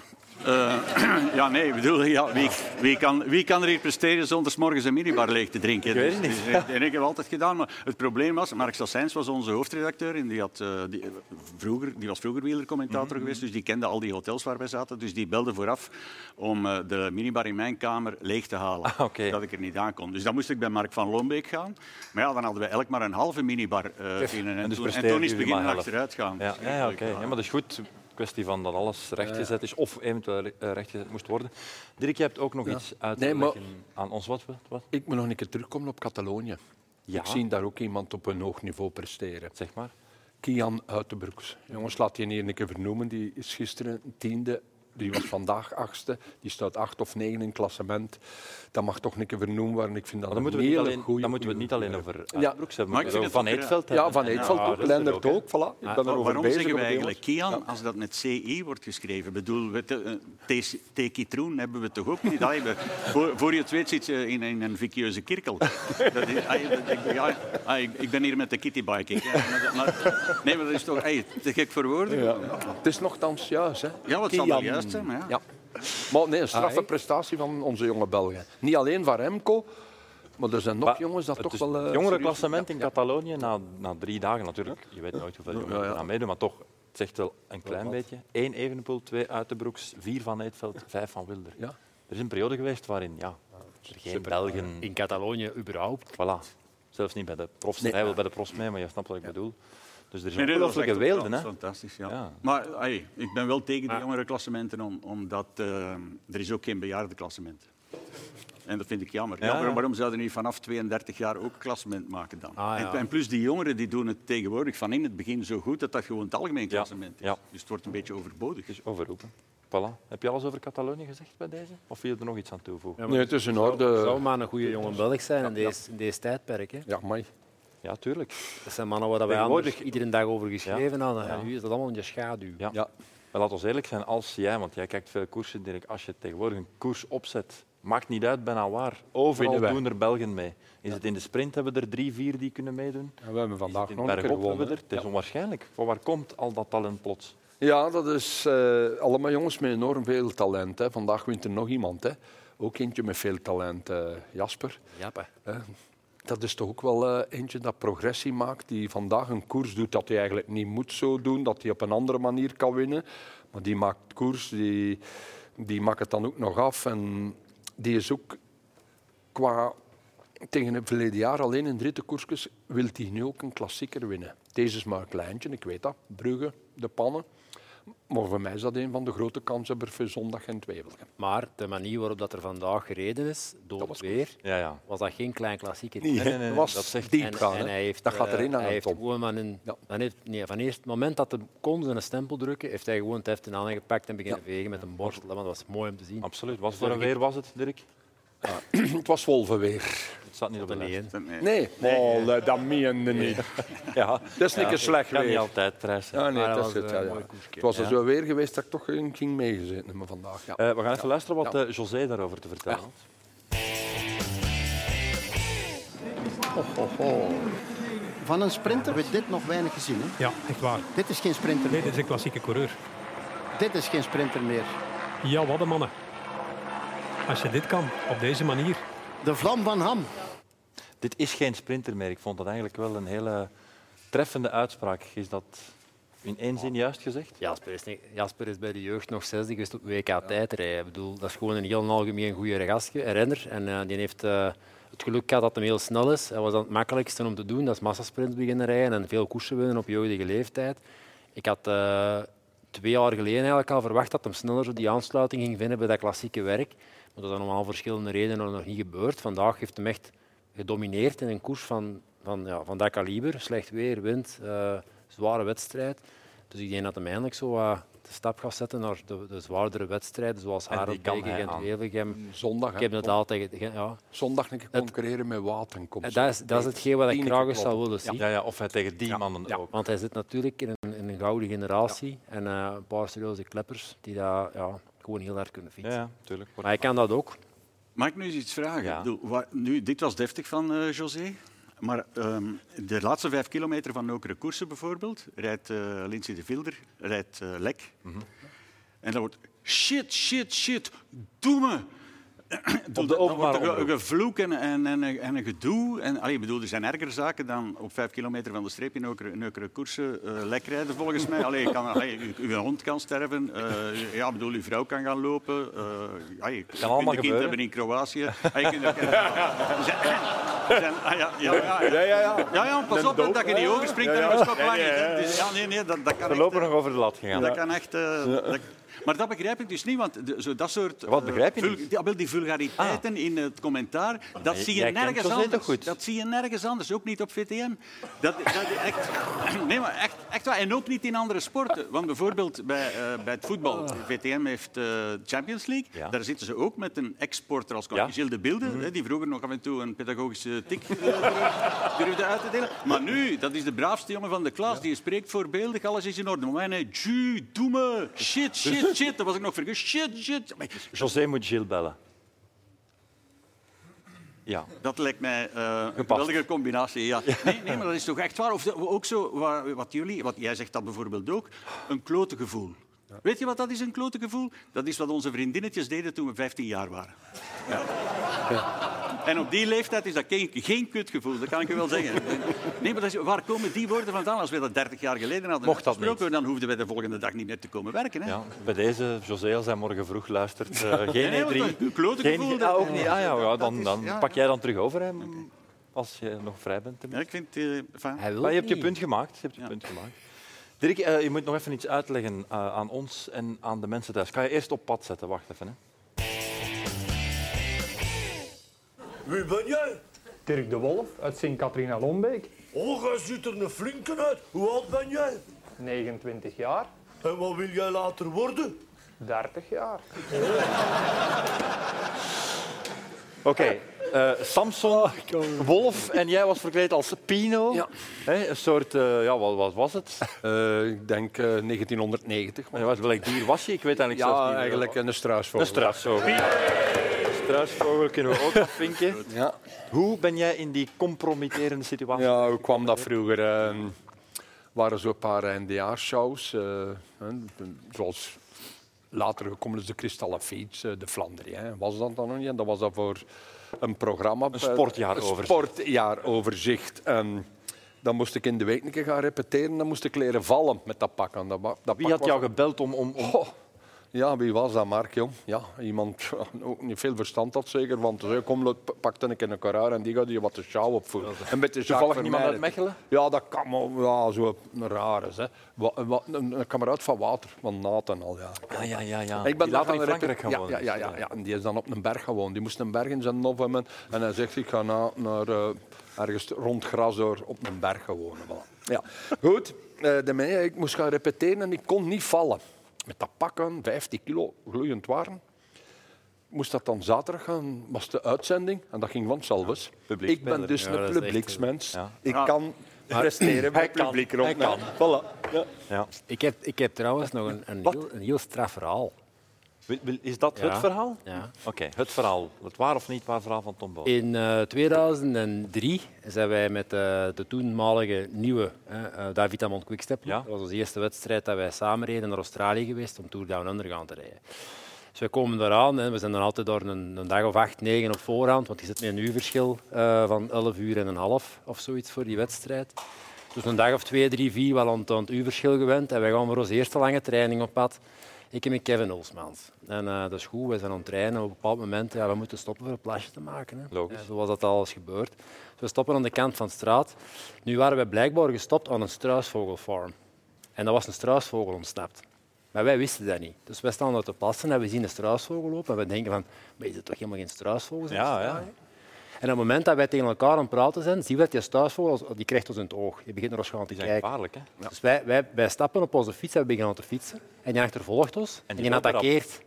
[SPEAKER 3] Eh, ja, nee, ik bedoel, ja, wie, wie, kan, wie kan er hier presteren zonder 's morgens een minibar leeg te drinken?
[SPEAKER 1] Ik weet het
[SPEAKER 3] Dus-
[SPEAKER 1] niet.
[SPEAKER 3] dus ik- en ik heb altijd gedaan. Maar het probleem was, Mark Sassijns was onze hoofdredacteur. En die, had, eh, die, eh, vroeger, die was vroeger wielercommentator
[SPEAKER 1] Mhm,
[SPEAKER 3] geweest, dus die kende al die hotels waar wij zaten. Dus die belde vooraf om eh, de minibar in mijn kamer leeg te halen.
[SPEAKER 1] Ah, oké.
[SPEAKER 3] Dat ik er niet aankom. Dus dan moest ik bij Mark van Loonbeek gaan. Maar ja, dan hadden we elk maar een halve minibar eh binnen. En,
[SPEAKER 1] dus
[SPEAKER 3] toen, en
[SPEAKER 1] presteren
[SPEAKER 3] toen is
[SPEAKER 1] jullie maar
[SPEAKER 3] het beginnen
[SPEAKER 1] helft.
[SPEAKER 3] achteruit gaan.
[SPEAKER 1] Ja, ja, ja, oké. ja, maar dat is goed. Kwestie van dat alles rechtgezet is of eventueel eh, rechtgezet moest worden. Dirk, je hebt ook nog iets uit te
[SPEAKER 4] Nee, maar-
[SPEAKER 1] leggen aan ons. Wat? wat- wat?
[SPEAKER 4] Ik moet nog een keer terugkomen op Catalonië.
[SPEAKER 1] Ja.
[SPEAKER 4] Ik zie daar ook iemand op een hoog niveau presteren.
[SPEAKER 1] Zeg maar.
[SPEAKER 4] Kian Uitenbroeks. Jongens, laat die hier een keer vernoemen. Die is gisteren tiende. Die was vandaag achtste. Die staat acht of negen in het klassement. Dat mag toch een keer vernoemd worden. Ik vind dat
[SPEAKER 1] Maar dan
[SPEAKER 4] een
[SPEAKER 1] moeten we het niet
[SPEAKER 4] hele
[SPEAKER 1] alleen,
[SPEAKER 4] goeie-
[SPEAKER 1] dan moeten we het niet alleen
[SPEAKER 4] goeie-
[SPEAKER 1] over
[SPEAKER 4] Ja.
[SPEAKER 1] Uitbroeks hebben.
[SPEAKER 3] Maar
[SPEAKER 1] we
[SPEAKER 3] ik
[SPEAKER 1] moeten
[SPEAKER 3] vind
[SPEAKER 1] het
[SPEAKER 3] het
[SPEAKER 1] over Van
[SPEAKER 3] ook,
[SPEAKER 1] Eetveld
[SPEAKER 4] Ja, Van Eetveld
[SPEAKER 1] Ja,
[SPEAKER 4] ook.
[SPEAKER 1] dat is er
[SPEAKER 4] Lennert
[SPEAKER 1] ook, hè.
[SPEAKER 4] ook. Voilà. Ik
[SPEAKER 3] Maar
[SPEAKER 4] ben erover
[SPEAKER 3] waarom
[SPEAKER 4] bezig.
[SPEAKER 3] zeggen we
[SPEAKER 4] met die
[SPEAKER 3] eigenlijk
[SPEAKER 4] jongens.
[SPEAKER 3] Kian als dat met CI wordt geschreven? Ik bedoel, we te- eh, te- tekitroen hebben we toch ook niet? Allee, we- voor, voor je het weet zit je in, in een vikieuze kirkel. Dat is, ai, dat- ik, ja, ai, ik- ik ben hier met de kittybike. ik, hè. Maar dat- maar- nee, maar dat is toch ai, te gek voor woorden? Ja,
[SPEAKER 4] Het is nogthans juist. Hè.
[SPEAKER 3] wat zal wel
[SPEAKER 4] Kian.
[SPEAKER 3] juist zijn? Maar ja.
[SPEAKER 4] Ja. Maar nee, een straffe prestatie van onze jonge Belgen. Niet alleen van Remco, maar er zijn nog
[SPEAKER 1] Maar
[SPEAKER 4] jongens dat
[SPEAKER 1] het
[SPEAKER 4] toch
[SPEAKER 1] is
[SPEAKER 4] wel... eh,
[SPEAKER 1] het jongere
[SPEAKER 4] serieus-
[SPEAKER 1] klassement in Catalonië na, na drie dagen natuurlijk. Je weet nooit hoeveel jongeren
[SPEAKER 4] ja.
[SPEAKER 1] eraan meedoen, maar toch, het zegt wel een klein beetje. Eén Evenepoel, twee Uitenbroeks, vier Van Eetveld, vijf Van Wilder.
[SPEAKER 4] Ja.
[SPEAKER 1] Er is een periode geweest waarin ja, er geen Belgen...
[SPEAKER 2] In Catalonië überhaupt.
[SPEAKER 1] Voilà. Zelfs niet bij de profs. Hij wil bij de profs mee, maar je snapt wat ik bedoel. Dus er is
[SPEAKER 3] Nee,
[SPEAKER 1] een
[SPEAKER 3] nee, dat is
[SPEAKER 1] ongelooflijke
[SPEAKER 3] echt-
[SPEAKER 1] weelde.
[SPEAKER 3] dat
[SPEAKER 1] Hè?
[SPEAKER 3] is Fantastisch, ja.
[SPEAKER 1] Ja. Ah.
[SPEAKER 3] Maar ai, ik ben wel tegen de jongere klassementen, om, omdat eh, er is ook geen bejaardenklassement. En dat vind ik jammer.
[SPEAKER 1] Ja,
[SPEAKER 3] Ja, maar
[SPEAKER 1] ja.
[SPEAKER 3] waarom zouden die vanaf 32 jaar ook klassement maken dan?
[SPEAKER 2] Ah, ja.
[SPEAKER 3] en, en plus, die jongeren die doen het tegenwoordig van in het begin zo goed dat dat gewoon het algemeen klassement is.
[SPEAKER 1] ja.
[SPEAKER 3] Dus het wordt een beetje overbodig.
[SPEAKER 1] Dus overroepen. Voilà. Heb je alles over Catalonië gezegd bij deze? Of wil je er nog iets aan toevoegen?
[SPEAKER 4] Nee, het is in orde.
[SPEAKER 2] Zou maar een goede jongen Belg zijn in deze, in deze tijdperk. Hè.
[SPEAKER 4] Ja, amai.
[SPEAKER 1] Ja, tuurlijk.
[SPEAKER 2] Dat zijn mannen waar we
[SPEAKER 1] Tegenwoordig-
[SPEAKER 2] anders iedere dag over geschreven hadden. En nu is dat allemaal in je schaduw.
[SPEAKER 1] Ja.
[SPEAKER 4] Ja.
[SPEAKER 1] Maar laat ons eerlijk zijn, als jij, want jij kijkt veel koersen, Dirk, als je tegenwoordig een koers opzet, maakt niet uit bijna waar, overal
[SPEAKER 4] Winnen wij.
[SPEAKER 1] doen er Belgen mee. Is het in de sprint hebben we er drie, vier die kunnen meedoen?
[SPEAKER 4] En we hebben vandaag
[SPEAKER 1] In
[SPEAKER 4] nog een keer
[SPEAKER 1] bergop hebben we er.
[SPEAKER 4] gewonnen.
[SPEAKER 1] Het is onwaarschijnlijk. Van waar komt al dat talent plots?
[SPEAKER 4] Ja, dat is eh, allemaal jongens met enorm veel talent. Hè. Vandaag wint er nog iemand. Hè. Ook eentje met veel talent, eh, Jasper.
[SPEAKER 2] Jappe.
[SPEAKER 4] Dat is toch ook wel eh, eentje dat progressie maakt, die vandaag een koers doet dat hij eigenlijk niet moet zo doen, dat hij op een andere manier kan winnen. Maar die maakt koers, die, die maakt het dan ook nog af. En die is ook qua tegen het verleden jaar alleen in de rittenkoersjes, wil hij nu ook een klassieker winnen. Deze is maar een kleintje, ik weet dat. Brugge, de pannen. Maar voor mij is dat een van de grote kansen voor zondag en Wevelgem.
[SPEAKER 2] Maar de manier waarop dat er vandaag gereden is, door het weer,
[SPEAKER 1] Ja, ja.
[SPEAKER 2] was dat geen klein klassieker.
[SPEAKER 4] dat was diep
[SPEAKER 2] En,
[SPEAKER 4] gaan.
[SPEAKER 2] en
[SPEAKER 4] hè.
[SPEAKER 2] hij heeft,
[SPEAKER 4] dat gaat
[SPEAKER 2] eh,
[SPEAKER 4] erin
[SPEAKER 2] hij
[SPEAKER 4] hangen,
[SPEAKER 2] heeft
[SPEAKER 4] Tom.
[SPEAKER 2] gewoon van, een,
[SPEAKER 4] Ja.
[SPEAKER 2] van, heeft, nee, van eerst het moment dat de kon zijn stempel drukken, heeft hij gewoon het heft in handen gepakt en beginnen vegen met een borstel. Want dat was mooi om te zien.
[SPEAKER 1] Absoluut. Wat voor een weer was het, Dirk?
[SPEAKER 4] Het was Wolven weer.
[SPEAKER 1] Het staat niet op de
[SPEAKER 2] Nee,
[SPEAKER 1] lijst.
[SPEAKER 2] hè.
[SPEAKER 3] Nee.
[SPEAKER 4] Nee. Oh, le- dat meende niet.
[SPEAKER 1] Ja.
[SPEAKER 4] Dat is niet een slecht
[SPEAKER 1] Kan niet
[SPEAKER 4] weer.
[SPEAKER 1] altijd, eh, Thijs.
[SPEAKER 4] Ja, nee,
[SPEAKER 2] Maar
[SPEAKER 4] dat
[SPEAKER 2] dat
[SPEAKER 4] is
[SPEAKER 2] was
[SPEAKER 4] het.
[SPEAKER 2] een
[SPEAKER 4] Ja, ja.
[SPEAKER 2] mooi
[SPEAKER 4] Het was er zo weer geweest dat ik toch een ging meegezeten hebben vandaag. Ja.
[SPEAKER 1] Eh, we gaan even luisteren wat eh, José daarover te vertellen had.
[SPEAKER 8] Van een sprinter werd dit nog weinig gezien. Hè?
[SPEAKER 9] Ja, echt waar.
[SPEAKER 8] Dit is geen sprinter
[SPEAKER 9] Nee,
[SPEAKER 8] meer.
[SPEAKER 9] dit is een klassieke coureur.
[SPEAKER 8] Dit is geen sprinter meer.
[SPEAKER 9] Ja, wat een mannen. Als je dit kan, op deze manier.
[SPEAKER 8] De vlam van Ham.
[SPEAKER 1] Dit is geen sprinter meer. Ik vond dat eigenlijk wel een hele treffende uitspraak. Is dat in één zin juist gezegd?
[SPEAKER 2] Jasper is, niet- Jasper is bij de jeugd nog 60 geweest op WK tijdrijden. Ik bedoel, dat is gewoon een heel algemeen goede gastje, een renner. En eh, die heeft eh, het geluk gehad dat hij heel snel is. Hij was dan het makkelijkste om te doen. Dat is massasprints beginnen rijden en veel koersen winnen op jeugdige leeftijd. Ik had eh, twee jaar geleden eigenlijk al verwacht dat hij sneller zo die aansluiting ging vinden bij dat klassieke werk. Maar dat is dan om al verschillende redenen nog niet gebeurd. Vandaag heeft hem echt gedomineerd in een koers van, van, ja, van dat kaliber. Slecht weer, wind, eh, zware wedstrijd. Dus ik denk dat hem eindelijk zo wat de stap gaat zetten naar de, de zwaardere wedstrijden, zoals
[SPEAKER 1] En die kan
[SPEAKER 2] Harelbeke
[SPEAKER 1] hij
[SPEAKER 2] en
[SPEAKER 1] aan.
[SPEAKER 2] Wevelgem.
[SPEAKER 4] Zondag,
[SPEAKER 2] Ik
[SPEAKER 4] hè,
[SPEAKER 2] heb het al Eh, tegen... Gent- Ja.
[SPEAKER 4] zondag een keer concurreren met Watenkomst.
[SPEAKER 2] En Dat, is, dat is hetgeen wat ik
[SPEAKER 4] Tieneke
[SPEAKER 2] graag eens zou
[SPEAKER 4] kloppen.
[SPEAKER 2] willen zien.
[SPEAKER 1] Ja, ja, of hij tegen die mannen ook.
[SPEAKER 2] Want hij zit natuurlijk in een, in een gouden generatie en eh, een paar serieuze kleppers die daar ja, gewoon heel hard kunnen
[SPEAKER 1] Ja,
[SPEAKER 2] fietsen.
[SPEAKER 1] ja, tuurlijk.
[SPEAKER 2] Maar hij kan dat ook.
[SPEAKER 3] Mag ik nu eens iets vragen?
[SPEAKER 1] Ja.
[SPEAKER 3] Ik bedoel, wa- nu, dit was deftig van eh, José. Maar ehm, de laatste vijf kilometer van Nokere Koersen bijvoorbeeld, rijdt eh Lindsay de Vilder, rijdt eh, Lek.
[SPEAKER 1] Mhm.
[SPEAKER 3] En dan wordt shit, shit, shit, doe me. Doe- dan
[SPEAKER 1] openbare
[SPEAKER 3] wordt er ge-
[SPEAKER 1] omroep.
[SPEAKER 3] gevloek en, en, en, en een gedoe. En, allee, ik bedoel, er zijn erger zaken dan op vijf kilometer van de streep in Nokere, Nokere Koersen eh, lek rijden, volgens mij. Allee, je kan, allee, u- uw hond kan sterven, eh, ja, ik bedoel, uw vrouw kan gaan lopen. eh ja, je
[SPEAKER 1] Kan allemaal
[SPEAKER 3] je kunt een kind
[SPEAKER 1] gebeuren.
[SPEAKER 3] hebben in Kroatië. Ah, je kunt ook- Er zijn- er zijn- ah, ja, ja, ja, ja. Ja, ja, pas op hè, dat je niet overspringt en over stoplijn. Ja, nee, nee, dat, dat kan echt...
[SPEAKER 1] Voorlopig
[SPEAKER 3] eh,
[SPEAKER 1] nog over de lat gegaan.
[SPEAKER 3] Dat kan echt eh, dat- maar dat begrijp ik dus niet, want de- zo dat soort...
[SPEAKER 1] Wat
[SPEAKER 3] eh,
[SPEAKER 1] begrijp je
[SPEAKER 3] vul-
[SPEAKER 1] niet? Ah.
[SPEAKER 3] ja, wel, die vulgariteiten in het commentaar, dat zie je
[SPEAKER 1] jij kent
[SPEAKER 3] nergens
[SPEAKER 1] José toch
[SPEAKER 3] anders.
[SPEAKER 1] goed?
[SPEAKER 3] Dat zie je nergens anders, ook niet op VTM. Dat, dat echt, nee, maar echt, echt waar. En ook niet in andere sporten. Want bijvoorbeeld bij, eh, bij het voetbal. VTM heeft eh, Champions League.
[SPEAKER 1] Ja.
[SPEAKER 3] Daar zitten ze ook met een exporter als ja.
[SPEAKER 1] Ja.
[SPEAKER 3] Gilles de Bilde. hè, Die vroeger nog af en toe een pedagogische tik eh, durfde- durfde uit te delen. Maar nu, dat is de braafste jongen van de klas. Die spreekt voorbeeldig, alles is in orde. Maar wij, nee, ju, doe me, shit, shit, shit. Dat was ik nog vergeten. Shit, shit. Maar
[SPEAKER 1] José moet Gilles bellen. Ja.
[SPEAKER 3] Dat lijkt mij eh, een geweldige combinatie. Ja. Nee, nee, maar dat is toch echt waar. Of de- ook zo, wa- wat jullie, wat jij zegt dat bijvoorbeeld ook, een klote gevoel. Weet je wat dat is, een klote gevoel? Dat is wat onze vriendinnetjes deden toen we 15 jaar waren. Ja. En op die leeftijd is dat geen, geen kutgevoel, dat kan ik je wel zeggen. Nee, maar dat is, waar komen die woorden vandaan? Als we dat 30 jaar geleden hadden
[SPEAKER 1] Mocht dat
[SPEAKER 3] gesproken, dan hoefden we de volgende dag niet meer te komen werken. Hè?
[SPEAKER 1] Ja, bij deze, José, als hij morgen vroeg luistert, eh, geen
[SPEAKER 3] nee, want
[SPEAKER 1] E3.
[SPEAKER 3] dat- klote
[SPEAKER 1] geen,
[SPEAKER 3] gevoel,
[SPEAKER 1] ah,
[SPEAKER 3] dat-
[SPEAKER 1] ook niet. Ah, ja, ja, dan,
[SPEAKER 3] is- ja,
[SPEAKER 1] dan pak jij dan terug over, hè, als je nog vrij bent.
[SPEAKER 3] Ja, ik vind... eh, enfin,
[SPEAKER 2] Hij wil
[SPEAKER 1] Maar je hebt
[SPEAKER 2] het
[SPEAKER 1] je
[SPEAKER 2] niet.
[SPEAKER 1] punt gemaakt. Je hebt je punt gemaakt. Dirk, eh, je moet nog even iets uitleggen eh, aan ons en aan de mensen thuis. Kan je eerst op pad zetten? Wacht even. Hè.
[SPEAKER 10] Wie ben jij?
[SPEAKER 9] Dirk de Wolf uit Sint-Catharina-Lombeek,
[SPEAKER 10] Oh, jij ziet er een flinke uit. Hoe oud ben jij?
[SPEAKER 9] 29 jaar,
[SPEAKER 10] En wat wil jij later worden?
[SPEAKER 9] 30 jaar.
[SPEAKER 1] Oké. eh, Samson,
[SPEAKER 4] Oh,
[SPEAKER 1] Wolf en jij was verkleed als Pino. Hè, een soort, eh, ja, wat, wat was het?
[SPEAKER 4] Eh, ik denk eh, 1990.
[SPEAKER 1] En wat- Welk dier was je? Ik weet eigenlijk zelfs
[SPEAKER 4] Ja,
[SPEAKER 1] niet.
[SPEAKER 4] eigenlijk een eh, struisvogel.
[SPEAKER 1] Een struisvogel. Een struisvogel kunnen we ook afvinken.
[SPEAKER 4] Ja.
[SPEAKER 1] Hoe ben jij in die compromitterende situatie?
[SPEAKER 4] Ja, hoe kwam dat vroeger? Er waren zo'n paar NDA-shows, eh, hè, zoals later gekomen is de Kristallen Fiets, eh, de Flandriën. Was dat dan nog niet? En dat was dat voor een programma.
[SPEAKER 1] Een sportjaaroverzicht.
[SPEAKER 4] Een sportjaaroverzicht. En dan moest ik in de week een keer gaan repeteren. Dan moest ik leren vallen met dat pak aan. Dat, wa- dat
[SPEAKER 1] Wie
[SPEAKER 4] pak
[SPEAKER 1] had
[SPEAKER 4] was-
[SPEAKER 1] jou gebeld om... om, om...
[SPEAKER 4] Goh. Ja, wie was dat, Mark? Jong? Ja, iemand ook niet veel verstand had zeker, want hij zei, kom, loop, pak dan een keer een karaar en die gaat je wat de sjouw opvoeren. Een beetje Jacques
[SPEAKER 1] Toevallig niemand
[SPEAKER 4] Vermeijden.
[SPEAKER 1] uit Mechelen?
[SPEAKER 4] Ja, dat kan maar. Ja, zo een rare. Hè. Wa- wa- een, een kameraad van Water, van Nathan al, ja.
[SPEAKER 1] Ah, ja, ja, ja.
[SPEAKER 4] Ik ben
[SPEAKER 1] Die later
[SPEAKER 4] dan
[SPEAKER 1] in
[SPEAKER 4] gaan
[SPEAKER 1] Frankrijk
[SPEAKER 4] repen-
[SPEAKER 1] gaan
[SPEAKER 4] ja,
[SPEAKER 1] wonen.
[SPEAKER 4] Ja, ja, ja, ja. En die is dan op een berg gewoon. Die moest een berg in zijn nof hebben. En hij zegt, ik ga na, naar eh, ergens rond Grasor op een berg gaan wonen. Voilà. Ja. Goed, eh, de mij, ik moest gaan repeteren en ik kon niet vallen. Met dat pakken, 15 kilo, gloeiend warm. Moest dat dan zaterdag gaan, was de uitzending. En dat ging vanzelf. ik ben
[SPEAKER 1] publiekspeler.
[SPEAKER 4] dus
[SPEAKER 2] Ja, dat
[SPEAKER 4] een
[SPEAKER 2] is echt, eh,
[SPEAKER 4] publieksmens.
[SPEAKER 1] ja.
[SPEAKER 4] Ik
[SPEAKER 3] Ja.
[SPEAKER 4] kan presteren met
[SPEAKER 1] kan,
[SPEAKER 4] publiek rond
[SPEAKER 1] hij
[SPEAKER 4] mij.
[SPEAKER 1] kan.
[SPEAKER 4] Voilà. Ja.
[SPEAKER 1] Ja.
[SPEAKER 2] Ik heb, ik heb trouwens nog een, een, heel, een heel straf verhaal.
[SPEAKER 1] Wil- wil- Is dat
[SPEAKER 2] Ja.
[SPEAKER 1] het verhaal?
[SPEAKER 2] Ja.
[SPEAKER 1] Oké, het verhaal. Het waar of niet waar verhaal van Tom Boos.
[SPEAKER 2] In eh, 2003 zijn wij met eh, de toenmalige nieuwe hè, eh, David Amon Quickstep.
[SPEAKER 1] Ja.
[SPEAKER 2] Dat was onze eerste wedstrijd dat wij samen reden naar Australië geweest om Tour Down Under gaan te rijden. Dus wij komen eraan en we zijn dan altijd daar een, een dag of acht, negen op voorhand, want je zit met een uurverschil eh, van 11 uur en een half of zoiets voor die wedstrijd. Dus een dag of twee, drie, vier wel aan, het- aan het uurverschil gewend en wij gaan voor onze eerste lange training op pad. Ik en met Kevin Olsmans. En eh, dat is goed, we zijn aan het trainen. Op een bepaald moment, ja, we moeten stoppen voor een plasje te maken. Hè.
[SPEAKER 1] Logisch.
[SPEAKER 2] Ja, zoals dat al is gebeurd. Dus we stoppen aan de kant van de straat. Nu waren we blijkbaar gestopt aan een struisvogelfarm. En dat was een struisvogel ontsnapt. Maar wij wisten dat niet. Dus wij staan uit te plassen en we zien een struisvogel lopen. En we denken van, maar is het toch helemaal geen struisvogel?
[SPEAKER 1] Ja, ja.
[SPEAKER 2] En op het moment dat wij tegen elkaar aan het praten zijn, zien we dat die struisvogel, die krijgt ons in het oog. Die begint naar ons gaan te
[SPEAKER 1] Die zijn
[SPEAKER 2] kijken.
[SPEAKER 1] gevaarlijk, hè?
[SPEAKER 2] Dus wij, wij, wij stappen op onze fiets en we beginnen te fietsen. En die achtervolgt ons en die,
[SPEAKER 1] loopt eraf.
[SPEAKER 2] attaqueert.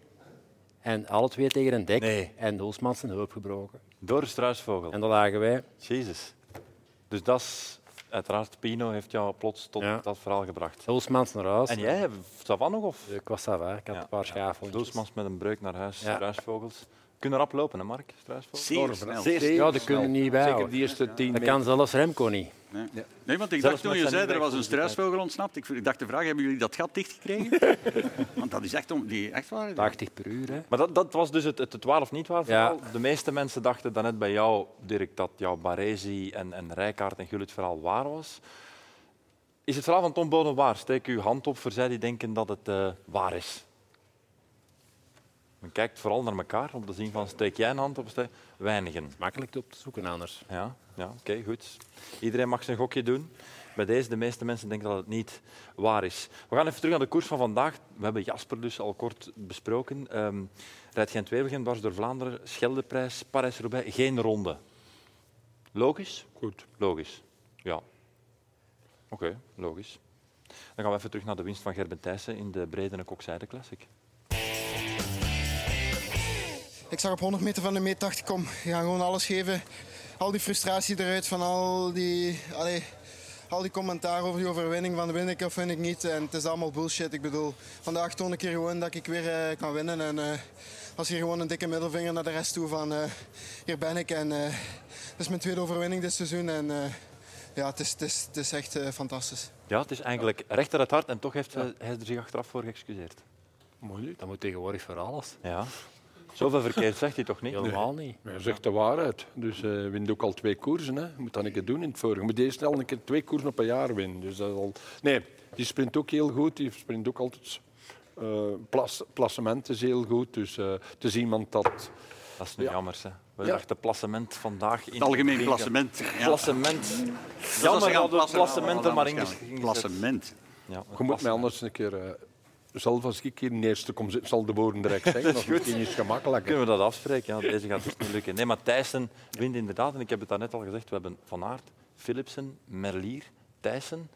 [SPEAKER 2] En alle twee tegen een dek.
[SPEAKER 1] Nee.
[SPEAKER 2] En Hulsman zijn heup gebroken.
[SPEAKER 1] Door een struisvogel.
[SPEAKER 2] En dan lagen wij.
[SPEAKER 1] Jezus. Dus dat is... Uiteraard, Pino heeft jou plots tot
[SPEAKER 2] Ja.
[SPEAKER 1] dat verhaal gebracht.
[SPEAKER 2] Hulsmans naar huis.
[SPEAKER 1] En jij, Savan nog? Of?
[SPEAKER 2] Ik was daar, ik had
[SPEAKER 1] Ja.
[SPEAKER 2] een paar schaafhondjes.
[SPEAKER 1] Doosmans met een breuk naar huis,
[SPEAKER 2] Ja.
[SPEAKER 1] struisvogels. Kunnen rap lopen, hè, Mark? Struisvogels?
[SPEAKER 3] Zeer snel.
[SPEAKER 2] Ja, dat kunnen niet
[SPEAKER 4] Zeker
[SPEAKER 2] bijhouden.
[SPEAKER 4] die eerste tien
[SPEAKER 2] Dat
[SPEAKER 4] meter.
[SPEAKER 2] kan zelfs Remco niet.
[SPEAKER 3] Nee. nee, want ik
[SPEAKER 1] Zelfs
[SPEAKER 3] dacht toen
[SPEAKER 1] met
[SPEAKER 3] je
[SPEAKER 1] zijn
[SPEAKER 3] zei er was
[SPEAKER 1] inwerking
[SPEAKER 3] een struisvogel ontsnapt. Ik, ik dacht de vraag, hebben jullie dat gat dichtgekregen? want dat is echt, om, die, echt waar.
[SPEAKER 2] 80 per uur, hè.
[SPEAKER 1] Maar dat, dat was dus het, het, het waar of niet waar verhaal.
[SPEAKER 2] Ja.
[SPEAKER 1] De meeste mensen dachten daarnet bij jou, Dirk, dat jouw Baresi en, en Rijkaard en Gullit verhaal waar was. Is het verhaal van Tom Bodem waar? Steek uw hand op voor zij die denken dat het eh, waar is. Men kijkt vooral naar elkaar om te zien van steek jij een hand op, steek... weinigen.
[SPEAKER 2] Makkelijk op te zoeken anders.
[SPEAKER 1] Ja, ja oké, goed. Iedereen mag zijn gokje doen. Bij deze, de meeste mensen denken dat het niet waar is. We gaan even terug naar de koers van vandaag. We hebben Jasper dus al kort besproken. Ehm Rijdt gent wevelgem dwars door Vlaanderen, Scheldeprijs, Parijs-Roubaix, geen ronde. Logisch? Goed. Logisch, ja. Oké, logisch. Dan gaan we even terug naar de winst van Gerben Thijssen in de Bredene Kokzijde Classic.
[SPEAKER 8] Ik zag op 100 meter van de meet, dacht ik, kom, we gaan gewoon alles geven. Al die frustratie eruit van al die, allee, al die commentaar over die overwinning van win ik of win ik niet. En het is allemaal bullshit. Ik bedoel, vandaag toon ik hier gewoon dat ik weer eh, kan winnen. En eh was hier gewoon een dikke middelvinger naar de rest toe van eh, hier ben ik. En eh het is mijn tweede overwinning dit seizoen. En eh, ja, het is, het is, het is echt eh, fantastisch.
[SPEAKER 1] Ja, het is eigenlijk recht uit het hart en toch heeft hij- hij er zich achteraf voor geëxcuseerd.
[SPEAKER 4] Moeilijk.
[SPEAKER 2] Dat moet tegenwoordig voor alles.
[SPEAKER 1] Ja. Zoveel verkeerd zegt hij toch niet?
[SPEAKER 2] Helemaal niet.
[SPEAKER 4] Hij zegt de waarheid. Dus eh wint ook al twee koersen. Hè. Je moet dat een keer doen in het vorige. Je moet deze al een keer twee koersen op een jaar winnen. Dus dat is al... Nee, die sprint ook heel goed. Die sprint ook altijd... eh plas, placement is heel goed. Dus eh, het is iemand dat...
[SPEAKER 1] Dat is nu
[SPEAKER 4] Ja.
[SPEAKER 1] jammer. Hè. We
[SPEAKER 4] Ja.
[SPEAKER 1] dachten klassement vandaag in
[SPEAKER 3] Het algemeen klassement.
[SPEAKER 1] Ja.
[SPEAKER 3] Ja.
[SPEAKER 1] Klassement. Jammer dat we het klassement er maar in is- in is-
[SPEAKER 3] Klassement.
[SPEAKER 1] Ja,
[SPEAKER 4] Je moet mij anders een keer... eh, zelf als ik hier in eerste kom zitten, zal de woorden direct zeggen. dat is misschien iets gemakkelijker.
[SPEAKER 1] Kunnen we dat afspreken? Ja, deze gaat dus niet lukken. Nee, maar Thijssen wint inderdaad. En ik heb het daarnet al gezegd. We hebben Van Aert, Philipsen, Merlier, Thijssen.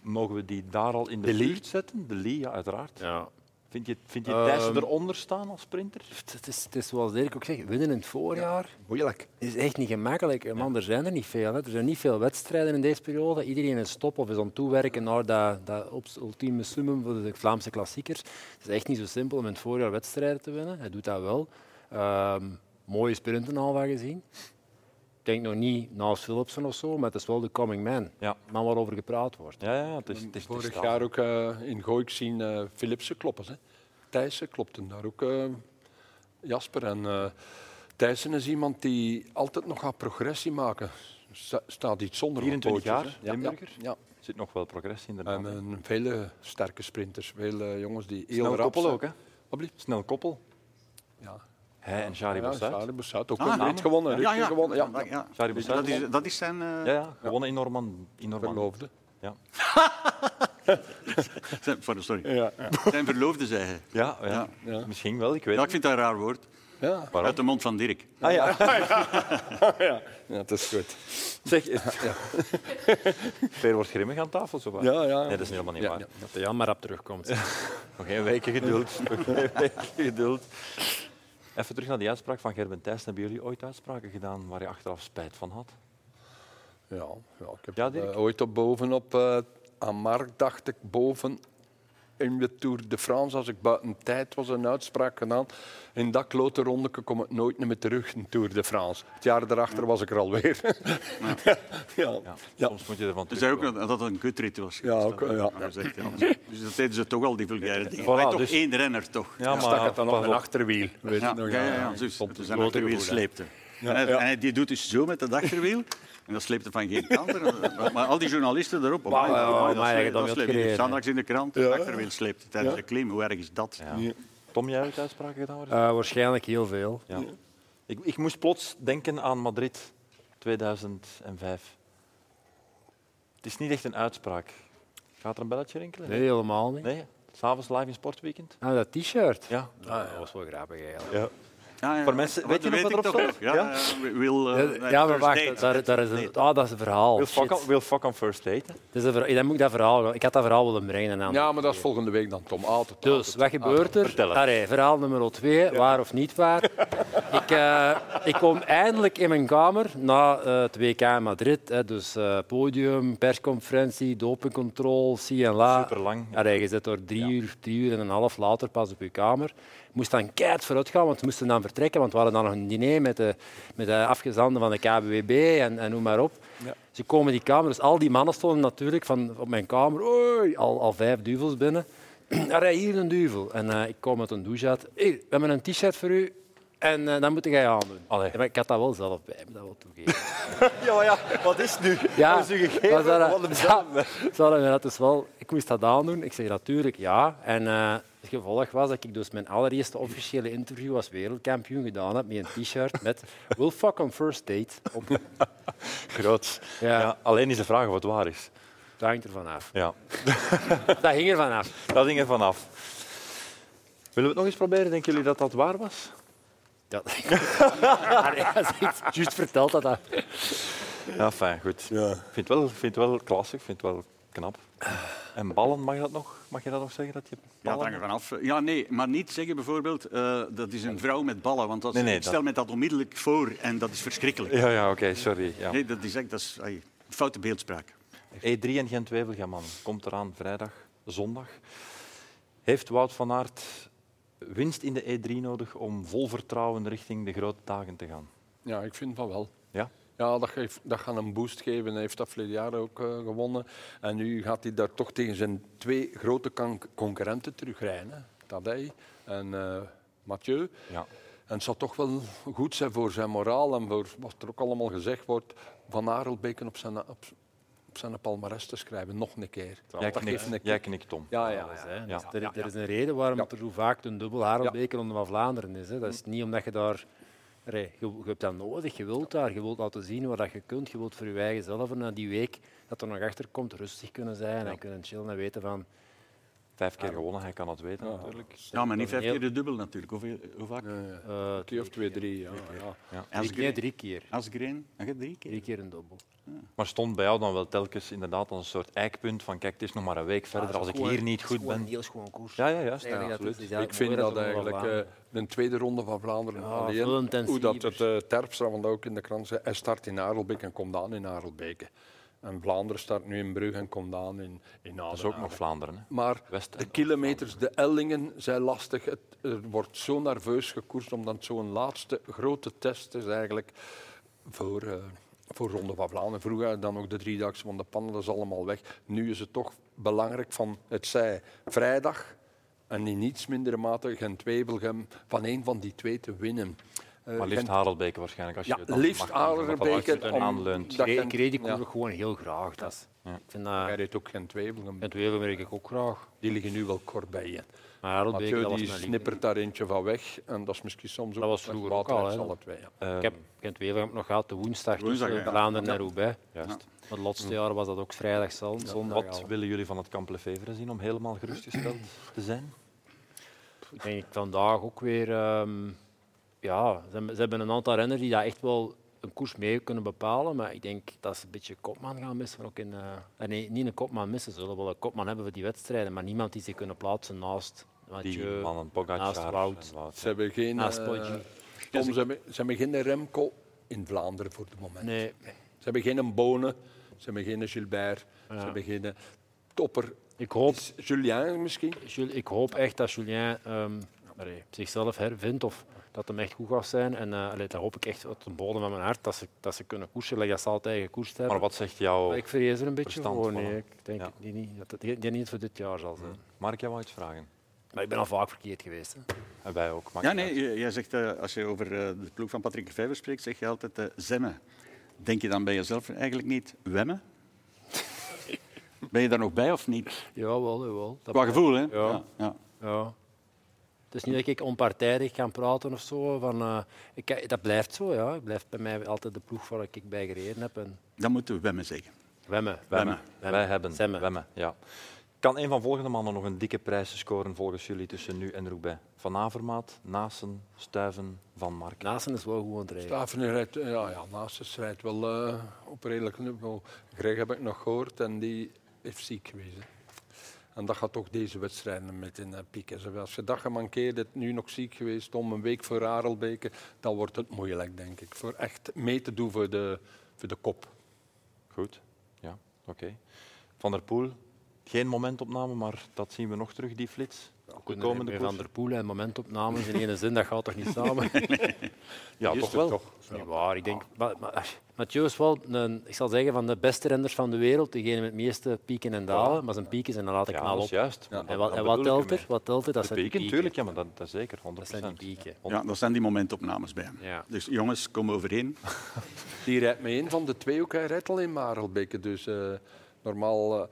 [SPEAKER 1] Mogen we die daar al in de, buurt zetten? De Lee, ja, uiteraard.
[SPEAKER 2] Ja.
[SPEAKER 1] Vind je, vind je Thijssen
[SPEAKER 4] Ehm.
[SPEAKER 1] eronder staan als sprinter?
[SPEAKER 2] Het is, het is zoals Dirk ook zegt, winnen in het voorjaar
[SPEAKER 4] Moeilijk.
[SPEAKER 2] is echt niet gemakkelijk. Eh, Man, er zijn er niet veel. Hè. Er zijn niet veel wedstrijden in deze periode. Iedereen is stop of is aan het toewerken naar dat, dat obs- ultieme summum voor de Vlaamse klassiekers. Het is echt niet zo simpel om in het voorjaar wedstrijden te winnen. Hij doet dat wel. Ehm, mooie sprinten al wat gezien. Ik denk nog niet naast Philipsen of zo, maar het is wel de coming man.
[SPEAKER 1] Ja.
[SPEAKER 2] De Man waarover gepraat wordt.
[SPEAKER 1] Ja, ja, het is, het is, het is
[SPEAKER 4] Vorig
[SPEAKER 1] daar.
[SPEAKER 4] jaar ook eh, in Gooik zien eh, Philipsen kloppen. Hè. Thijssen klopte daar ook. eh, Jasper en eh Thijssen is iemand die altijd nog gaat progressie maken. Sta- staat iets zonder op
[SPEAKER 1] 24
[SPEAKER 4] pootjes,
[SPEAKER 1] jaar,
[SPEAKER 4] hè. Ja,
[SPEAKER 1] Limburger.
[SPEAKER 4] Ja,
[SPEAKER 1] Er zit nog wel progressie
[SPEAKER 4] ja.
[SPEAKER 1] inderdaad.
[SPEAKER 4] En,
[SPEAKER 1] de
[SPEAKER 4] eh, vele sterke sprinters, vele jongens die heel
[SPEAKER 1] Snel
[SPEAKER 4] rap
[SPEAKER 1] koppel
[SPEAKER 4] zijn.
[SPEAKER 1] ook, hè?
[SPEAKER 4] Wat blieft?
[SPEAKER 1] Snel koppel.
[SPEAKER 4] Ja.
[SPEAKER 1] Hij en Shari
[SPEAKER 4] Ja,
[SPEAKER 1] Bossard.
[SPEAKER 4] Sarah Boussaert, ook
[SPEAKER 3] Ah,
[SPEAKER 4] een
[SPEAKER 3] ja.
[SPEAKER 4] rit gewonnen, een
[SPEAKER 3] Ja,
[SPEAKER 4] ritje
[SPEAKER 3] ja.
[SPEAKER 4] gewonnen. Ja,
[SPEAKER 3] Ja, ja.
[SPEAKER 1] Sorry, maar
[SPEAKER 3] Dat
[SPEAKER 1] zelfs-
[SPEAKER 3] is, dat is zijn, eh,
[SPEAKER 1] Ja, ja, gewonnen in Norman. In Norman.
[SPEAKER 4] verloofde.
[SPEAKER 1] Ja.
[SPEAKER 3] zijn, sorry, sorry.
[SPEAKER 4] Ja.
[SPEAKER 3] zijn verloofde, zei hij.
[SPEAKER 1] Ja, ja.
[SPEAKER 4] Ja.
[SPEAKER 1] misschien wel, ik weet
[SPEAKER 3] Ja,
[SPEAKER 1] het
[SPEAKER 3] ik vind dat een raar woord.
[SPEAKER 4] Ja.
[SPEAKER 1] Waarom?
[SPEAKER 3] Uit de mond van Dirk.
[SPEAKER 1] niet. Ah, ja.
[SPEAKER 4] ja, dat is goed.
[SPEAKER 1] Zeg, Peer wordt grimmig aan tafel, zo wat.
[SPEAKER 4] Ja, ja.
[SPEAKER 1] Nee, dat is helemaal niet
[SPEAKER 4] Ja,
[SPEAKER 1] waar.
[SPEAKER 4] ja.
[SPEAKER 2] Dat hij jammer op terugkomt.
[SPEAKER 1] Nog geen weekje geduld. Nog geen weekje geduld. Even terug naar die uitspraak van Gerben Thijssen. Hebben jullie ooit uitspraken gedaan waar je achteraf spijt van had?
[SPEAKER 4] Ja, ja ik heb
[SPEAKER 1] Ja,
[SPEAKER 4] dat,
[SPEAKER 1] Dirk?
[SPEAKER 4] eh, ooit op bovenop eh aan Mark dacht ik boven in de Tour de France, als ik buiten tijd was, een uitspraak gedaan. In dat klote rondeke kom ik nooit meer terug in Tour de France. Het jaar daarachter was ik er alweer. Ja, ja.
[SPEAKER 1] Ja.
[SPEAKER 4] Ja.
[SPEAKER 1] Soms moet je ervan
[SPEAKER 3] Dus zei ook
[SPEAKER 1] terugkomen.
[SPEAKER 3] dat dat een kutrit was.
[SPEAKER 4] Ja, ook, ja.
[SPEAKER 3] Maar dat is echt anders. Dus dat deden ze toch al, die vulgaire dingen.
[SPEAKER 1] eh, Voilà,
[SPEAKER 3] Maar toch
[SPEAKER 1] dus-
[SPEAKER 3] één renner, toch?
[SPEAKER 1] Ja, maar
[SPEAKER 4] Stak het dan nog
[SPEAKER 1] pas
[SPEAKER 4] een
[SPEAKER 1] op.
[SPEAKER 4] achterwiel. Weet
[SPEAKER 3] Ja,
[SPEAKER 4] je nog, eh,
[SPEAKER 3] ja, ja, ja, zus.
[SPEAKER 4] Stond
[SPEAKER 3] Dus
[SPEAKER 4] een
[SPEAKER 3] een achterwiel
[SPEAKER 4] grote wiel, hè.
[SPEAKER 3] sleepte. En hij- en hij- die doet dus zo met dat achterwiel. En dat sleepte van geen kant. er. Maar- Maar al die journalisten erop. Wow,
[SPEAKER 2] ja, ja,
[SPEAKER 3] dat
[SPEAKER 2] maar
[SPEAKER 3] sleept-
[SPEAKER 2] dat
[SPEAKER 3] dat
[SPEAKER 2] wil
[SPEAKER 3] sleept.
[SPEAKER 2] creëren,
[SPEAKER 3] Er staat
[SPEAKER 2] hè.
[SPEAKER 3] straks in de krant. Het achterwiel sleept tijdens de klim. Hoe erg is dat?
[SPEAKER 1] Tom, jij ooit uitspraken gedaan? waar je-
[SPEAKER 2] Eh, waarschijnlijk heel veel.
[SPEAKER 1] Ja. Ik, ik moest plots denken aan Madrid 2005. Het is niet echt een uitspraak. Gaat er een belletje rinkelen?
[SPEAKER 2] Nee, helemaal niet.
[SPEAKER 1] Nee? S'avonds live in Sportweekend?
[SPEAKER 2] Ah, dat t-shirt.
[SPEAKER 1] Ja.
[SPEAKER 2] Ah, dat was wel grappig eigenlijk.
[SPEAKER 1] Ja.
[SPEAKER 3] Ja, ja.
[SPEAKER 1] Voor mensen-
[SPEAKER 3] Wat,
[SPEAKER 1] weet je nog wat
[SPEAKER 3] ik
[SPEAKER 1] erop
[SPEAKER 3] toch
[SPEAKER 1] staat?
[SPEAKER 3] nog. Ja,
[SPEAKER 1] Ja?
[SPEAKER 3] ja, we- we'll, eh,
[SPEAKER 2] Ja, ja, maar
[SPEAKER 3] first
[SPEAKER 2] wacht,
[SPEAKER 3] date.
[SPEAKER 2] daar, daar is een, ah, dat is een verhaal.
[SPEAKER 1] Will fuck,
[SPEAKER 2] Shit.
[SPEAKER 1] on, will fuck on first date.
[SPEAKER 2] Dus een verhaal- dan moet ik dat verhaal... Ik had dat verhaal willen brengen. aan.
[SPEAKER 4] Ja, maar dat is volgende week dan, Tom. Altijd.
[SPEAKER 2] Dus, wat gebeurt er?
[SPEAKER 1] vertel het.
[SPEAKER 2] Allee, verhaal nummer twee, waar of niet waar. ik, eh, ik kom eindelijk in mijn kamer na eh, het WK in Madrid. Hè, dus eh, podium, persconferentie, dopingcontrole, CNLA.
[SPEAKER 1] Superlang, ja.
[SPEAKER 2] Allee, je zit er drie, uur, drie uur en een half later pas op je kamer. Ik moest dan keihard vooruit gaan, want we moesten dan vertrekken. Want we hadden dan nog een diner met de, met de afgezanden van de KBWB en, en noem maar op. Ze komen die kamer, dus al die mannen stonden natuurlijk van, op mijn kamer. Oei, al, al vijf duvels binnen. Allee, hier een duvel. En eh, ik kom uit een douche uit. Hier, we hebben een t-shirt voor u. En eh, dat moet jij aandoen.
[SPEAKER 1] Allee.
[SPEAKER 2] Ja, maar ik had dat wel zelf bij me, dat wil ik toegeven.
[SPEAKER 1] Ja, maar ja, wat is het nu?
[SPEAKER 2] Ja,
[SPEAKER 1] Hebben ze u gegeven?
[SPEAKER 2] maar ze hadden-
[SPEAKER 1] Wat een
[SPEAKER 2] ze
[SPEAKER 1] dame.
[SPEAKER 2] Ze hadden mij dat dus wel... Ik moest dat aandoen. Ik zei natuurlijk ja. En eh, het gevolg was dat ik dus mijn allereerste officiële interview als wereldkampioen gedaan heb met een t-shirt met Will fuck on first date. Op,
[SPEAKER 1] Groot.
[SPEAKER 2] Ja.
[SPEAKER 1] Ja. alleen is de vraag of het waar is.
[SPEAKER 2] dat hangt er vanaf.
[SPEAKER 1] Ja,
[SPEAKER 2] Dat hing er vanaf.
[SPEAKER 1] dat ging er vanaf. Willen we het nog eens proberen? Denken jullie dat dat waar was?
[SPEAKER 2] Ja. Allee, als ik juist verteld dat dat...
[SPEAKER 1] Ja, fijn, goed. Ik vind het wel, ik vind het wel klasse, ik vind het wel knap. En ballen, mag je dat nog, mag je dat nog zeggen? Dat je
[SPEAKER 3] Ja, het
[SPEAKER 1] ballen...
[SPEAKER 3] hangt er vanaf. Ja, nee, maar niet zeggen bijvoorbeeld eh, dat is een vrouw met ballen, want dat is-
[SPEAKER 1] Nee, nee,
[SPEAKER 3] ik stel
[SPEAKER 1] dat-
[SPEAKER 3] me dat onmiddellijk voor en dat is verschrikkelijk.
[SPEAKER 1] ja, ja oké, sorry. Ja.
[SPEAKER 3] Nee, dat is echt dat is, ai, foute beeldspraak.
[SPEAKER 1] E3 en gent wevelgem komt eraan vrijdag, zondag. Heeft Wout van Aert winst in de E3 nodig om vol vertrouwen richting de grote dagen te gaan?
[SPEAKER 4] Ja, ik vind van wel.
[SPEAKER 1] Ja?
[SPEAKER 4] Ja, dat, geeft, dat gaat een boost geven. Hij heeft dat verleden jaar ook eh, gewonnen. En nu gaat hij daar toch tegen zijn twee grote kan- concurrenten terugrijden. hè. Tadej en eh, Mathieu.
[SPEAKER 1] Ja.
[SPEAKER 4] En het zal toch wel goed zijn voor zijn moraal en voor wat er ook allemaal gezegd wordt. Van Aarelbeken op zijn, op, op zijn palmarès te schrijven, nog een keer.
[SPEAKER 1] Jij
[SPEAKER 4] dat
[SPEAKER 1] knikt,
[SPEAKER 4] geeft een
[SPEAKER 1] jij
[SPEAKER 4] kick.
[SPEAKER 1] knikt, Tom.
[SPEAKER 4] Ja, ja.
[SPEAKER 2] Alles,
[SPEAKER 4] ja.
[SPEAKER 2] hè. Dus
[SPEAKER 1] Ja.
[SPEAKER 2] Er, er is een reden waarom
[SPEAKER 4] Ja.
[SPEAKER 2] er zo vaak een dubbel harelbeker onder van Vlaanderen is. Hè. Dat is niet omdat je daar... Allee, Je, je hebt dat nodig, je wilt daar. Je wilt laten zien wat dat je kunt. Je wilt voor je eigen zelf en na die week dat er nog achter komt rustig kunnen zijn en kunnen chillen en weten van...
[SPEAKER 1] Vijf keer gewonnen, hij kan dat weten natuurlijk.
[SPEAKER 3] Ja, maar niet
[SPEAKER 2] Dat is
[SPEAKER 3] vijf
[SPEAKER 2] een
[SPEAKER 3] keer de dubbel natuurlijk. Hoeveel, hoe vaak?
[SPEAKER 2] eh,
[SPEAKER 4] Twee of twee, drie. Ja, ja.
[SPEAKER 2] drie,
[SPEAKER 3] Asgreen.
[SPEAKER 2] nee, drie keer.
[SPEAKER 3] Asgreen, dan gaat drie keer.
[SPEAKER 2] Drie keer een dubbel.
[SPEAKER 1] Maar stond bij jou dan wel telkens inderdaad als een soort eikpunt van kijk, het is nog maar een week verder, als ik hier niet goed
[SPEAKER 2] Gewoon een
[SPEAKER 1] ben...
[SPEAKER 2] heel schoon koers.
[SPEAKER 1] Ja, ja, juist.
[SPEAKER 2] Nee, dat
[SPEAKER 1] Ja,
[SPEAKER 2] is-
[SPEAKER 1] absoluut.
[SPEAKER 2] is eigenlijk
[SPEAKER 4] ik vind
[SPEAKER 2] mooi
[SPEAKER 4] dat
[SPEAKER 2] er onder van
[SPEAKER 4] eigenlijk eh, een tweede ronde van Vlaanderen.
[SPEAKER 2] Ja,
[SPEAKER 4] alleen,
[SPEAKER 2] veel intensiever.
[SPEAKER 4] hoe dat het eh Terpstra, want dat ook in de krant zei, hij start in Aardelbeek en komt aan in Aardelbeke. En Vlaanderen start nu in Brugge en komt aan in, in
[SPEAKER 1] Dat is ook nog
[SPEAKER 4] Adenauer.
[SPEAKER 1] Vlaanderen. Hè.
[SPEAKER 4] Maar
[SPEAKER 1] West-
[SPEAKER 4] de
[SPEAKER 1] en
[SPEAKER 4] kilometers, de ellingen zijn lastig. Het, er wordt zo nerveus gekoerst, omdat zo'n laatste grote test is eigenlijk voor, eh, voor Ronde van Vlaanderen. Vroeger dan ook de driedaagse van de pannen, dat is allemaal weg. Nu is het toch belangrijk van, het zij vrijdag en in niets mindere mate Gent-Wevelgem, van een van die twee te winnen. Eh,
[SPEAKER 1] Maar liefst
[SPEAKER 4] Gent-
[SPEAKER 1] Harelbeke waarschijnlijk. Als je
[SPEAKER 4] Ja,
[SPEAKER 1] het dan mag
[SPEAKER 4] liefst
[SPEAKER 1] noemen, omdat dat
[SPEAKER 4] Aardelbeke.
[SPEAKER 1] achterin
[SPEAKER 4] om-
[SPEAKER 1] aanleunt.
[SPEAKER 4] dat
[SPEAKER 2] Ik reed-
[SPEAKER 4] Gent-
[SPEAKER 2] Ik reed die koers
[SPEAKER 4] ja.
[SPEAKER 2] ook gewoon heel graag. Dat is, Ik vind dat...
[SPEAKER 4] Hij reed ook Gent-Wevelgem.
[SPEAKER 2] Het Wevel merk ik ook graag.
[SPEAKER 4] Die liggen nu wel kort bij je.
[SPEAKER 2] Maar Harelbeker,
[SPEAKER 4] Mathieu
[SPEAKER 2] dat was
[SPEAKER 4] die
[SPEAKER 2] mijn liefde.
[SPEAKER 4] snippert daar eentje van weg. En dat is misschien soms ook...
[SPEAKER 2] Dat was
[SPEAKER 4] een
[SPEAKER 2] vroeger
[SPEAKER 4] slecht
[SPEAKER 2] ook al,
[SPEAKER 4] waterhuis,
[SPEAKER 2] hè?
[SPEAKER 4] alle twee, ja.
[SPEAKER 2] Ik heb Gent Wevelgem nog gehad, de woensdag,
[SPEAKER 3] Woensdag,
[SPEAKER 2] tussen
[SPEAKER 3] ja.
[SPEAKER 2] Vlaanderen en Roubaix.
[SPEAKER 1] Juist.
[SPEAKER 2] Maar het laatste jaar was dat ook vrijdag, zal- zondag.
[SPEAKER 1] Wat
[SPEAKER 2] al.
[SPEAKER 1] willen jullie van het Kamp Lefevre zien om helemaal gerustgesteld te zijn?
[SPEAKER 2] Ik denk vandaag ook weer... ehm, ja, ze, hebben- ze hebben een aantal renners die dat echt wel een koers mee kunnen bepalen. Maar ik denk dat ze een beetje kopman gaan missen. Ook in, eh, eh, nee, niet een kopman missen. Ze zullen wel een kopman hebben voor die wedstrijden. Maar niemand die zich kunnen plaatsen naast
[SPEAKER 1] Die
[SPEAKER 2] Mathieu,
[SPEAKER 1] mannen,
[SPEAKER 2] naast
[SPEAKER 1] Pogacar
[SPEAKER 2] Wout.
[SPEAKER 1] en Wout.
[SPEAKER 4] Ze hebben geen...
[SPEAKER 2] Naast
[SPEAKER 4] eh,
[SPEAKER 2] Poggi.
[SPEAKER 4] Tom, ze, hebben, ze hebben geen Remco in Vlaanderen voor het moment.
[SPEAKER 2] Nee,
[SPEAKER 4] Ze hebben geen Bonen. Ze hebben geen Gilbert. Ze hebben geen eh, topper.
[SPEAKER 2] ik hoop
[SPEAKER 4] Is Julien misschien?
[SPEAKER 2] Jul- ik hoop echt dat Julien ehm, allee, zichzelf hervindt of dat hem echt goed gaat zijn. En eh allee, dat hoop ik echt uit de bodem van mijn hart, dat ze, dat ze kunnen koersen. like Dat ze altijd gekoerst hebben.
[SPEAKER 1] Maar wat zegt jouw...
[SPEAKER 2] ik vrees er een beetje
[SPEAKER 1] verstand
[SPEAKER 2] voor.
[SPEAKER 1] van
[SPEAKER 2] Nee,
[SPEAKER 1] hem?
[SPEAKER 2] ik denk
[SPEAKER 1] Ja. Mm.
[SPEAKER 2] het niet- niet, dat het ik denk niet voor dit jaar zal zijn.
[SPEAKER 1] Mag ik jou wel iets vragen?
[SPEAKER 2] Maar ik ben al vaak verkeerd geweest. Hè.
[SPEAKER 1] En wij ook. maakt
[SPEAKER 3] Ja,
[SPEAKER 1] niet
[SPEAKER 3] nee,
[SPEAKER 1] uit.
[SPEAKER 3] j- jij zegt, eh, als je over eh, de ploeg van Patrick Vijver spreekt, zeg je altijd eh zemmen. Denk je dan bij jezelf eigenlijk niet wemmen? ben je daar nog bij of niet?
[SPEAKER 2] Jawel, jawel. Dat
[SPEAKER 3] Qua gevoel, hè?
[SPEAKER 2] Ja.
[SPEAKER 3] ja.
[SPEAKER 2] Ja. Het is niet dat ik onpartijdig kan praten of zo. Van, eh, ik, dat blijft zo, ja. Het blijft bij mij altijd de ploeg waar ik bij gereden heb. En
[SPEAKER 3] Dan moeten we wemmen zeggen.
[SPEAKER 2] wemmen.
[SPEAKER 1] Wemmen.
[SPEAKER 3] Wemmen.
[SPEAKER 1] Wij hebben.
[SPEAKER 2] Zemmen.
[SPEAKER 1] Wemmen, ja. Kan een van volgende mannen nog een dikke prijs scoren volgens jullie tussen nu en Roubaix? Van Avermaat, Nasen, Stuiven, Van Marken.
[SPEAKER 2] Naasten is wel gewoon rijden.
[SPEAKER 4] Staven rijdt, eh, ja, ja, naast rijdt wel eh, op redelijk niveau. Greg heb ik nog gehoord en die is ziek geweest. hè. En dat gaat ook deze wedstrijden met in eh, pieken. Zo, Als je dat gemankeerd hebt, nu nog ziek geweest, om een week voor Arelbeke, dan wordt het moeilijk, denk ik. Voor echt mee te doen voor de, voor de kop.
[SPEAKER 1] Goed, ja, oké. Van der Poel, geen momentopname, maar dat zien we nog terug, die flits. De komende
[SPEAKER 2] Van
[SPEAKER 1] koers.
[SPEAKER 2] der Poel en momentopnames in één zin, dat gaat toch niet samen?
[SPEAKER 1] Ja,
[SPEAKER 4] Gisteren
[SPEAKER 1] toch wel.
[SPEAKER 4] toch.
[SPEAKER 2] Dat is niet waar. Ik denk, maar, maar, Mathieu is wel een, ik zal zeggen, van de beste renners van de wereld. Degene met de meeste pieken en dalen. Maar zijn pieken zijn dan later
[SPEAKER 1] Ja,
[SPEAKER 2] knal
[SPEAKER 1] dat
[SPEAKER 2] op.
[SPEAKER 1] is juist.
[SPEAKER 2] En
[SPEAKER 1] Dat-
[SPEAKER 2] wat, en
[SPEAKER 1] dat
[SPEAKER 2] wat
[SPEAKER 1] bedoel ik
[SPEAKER 2] telt er?
[SPEAKER 1] ermee.
[SPEAKER 2] Wat telt er? Dat
[SPEAKER 1] De
[SPEAKER 2] zijn die
[SPEAKER 1] pieken,
[SPEAKER 2] pieken.
[SPEAKER 1] tuurlijk, ja, maar dat, dat is zeker, 100%.
[SPEAKER 2] Dat zijn die pieken.
[SPEAKER 3] Ja, dat zijn die momentopnames bij hem.
[SPEAKER 2] Ja.
[SPEAKER 3] Dus jongens, kom overeen.
[SPEAKER 4] Die rijdt mee een van de twee ook. Hij rijdt al in Marelbeke. Dus eh, normaal... eh,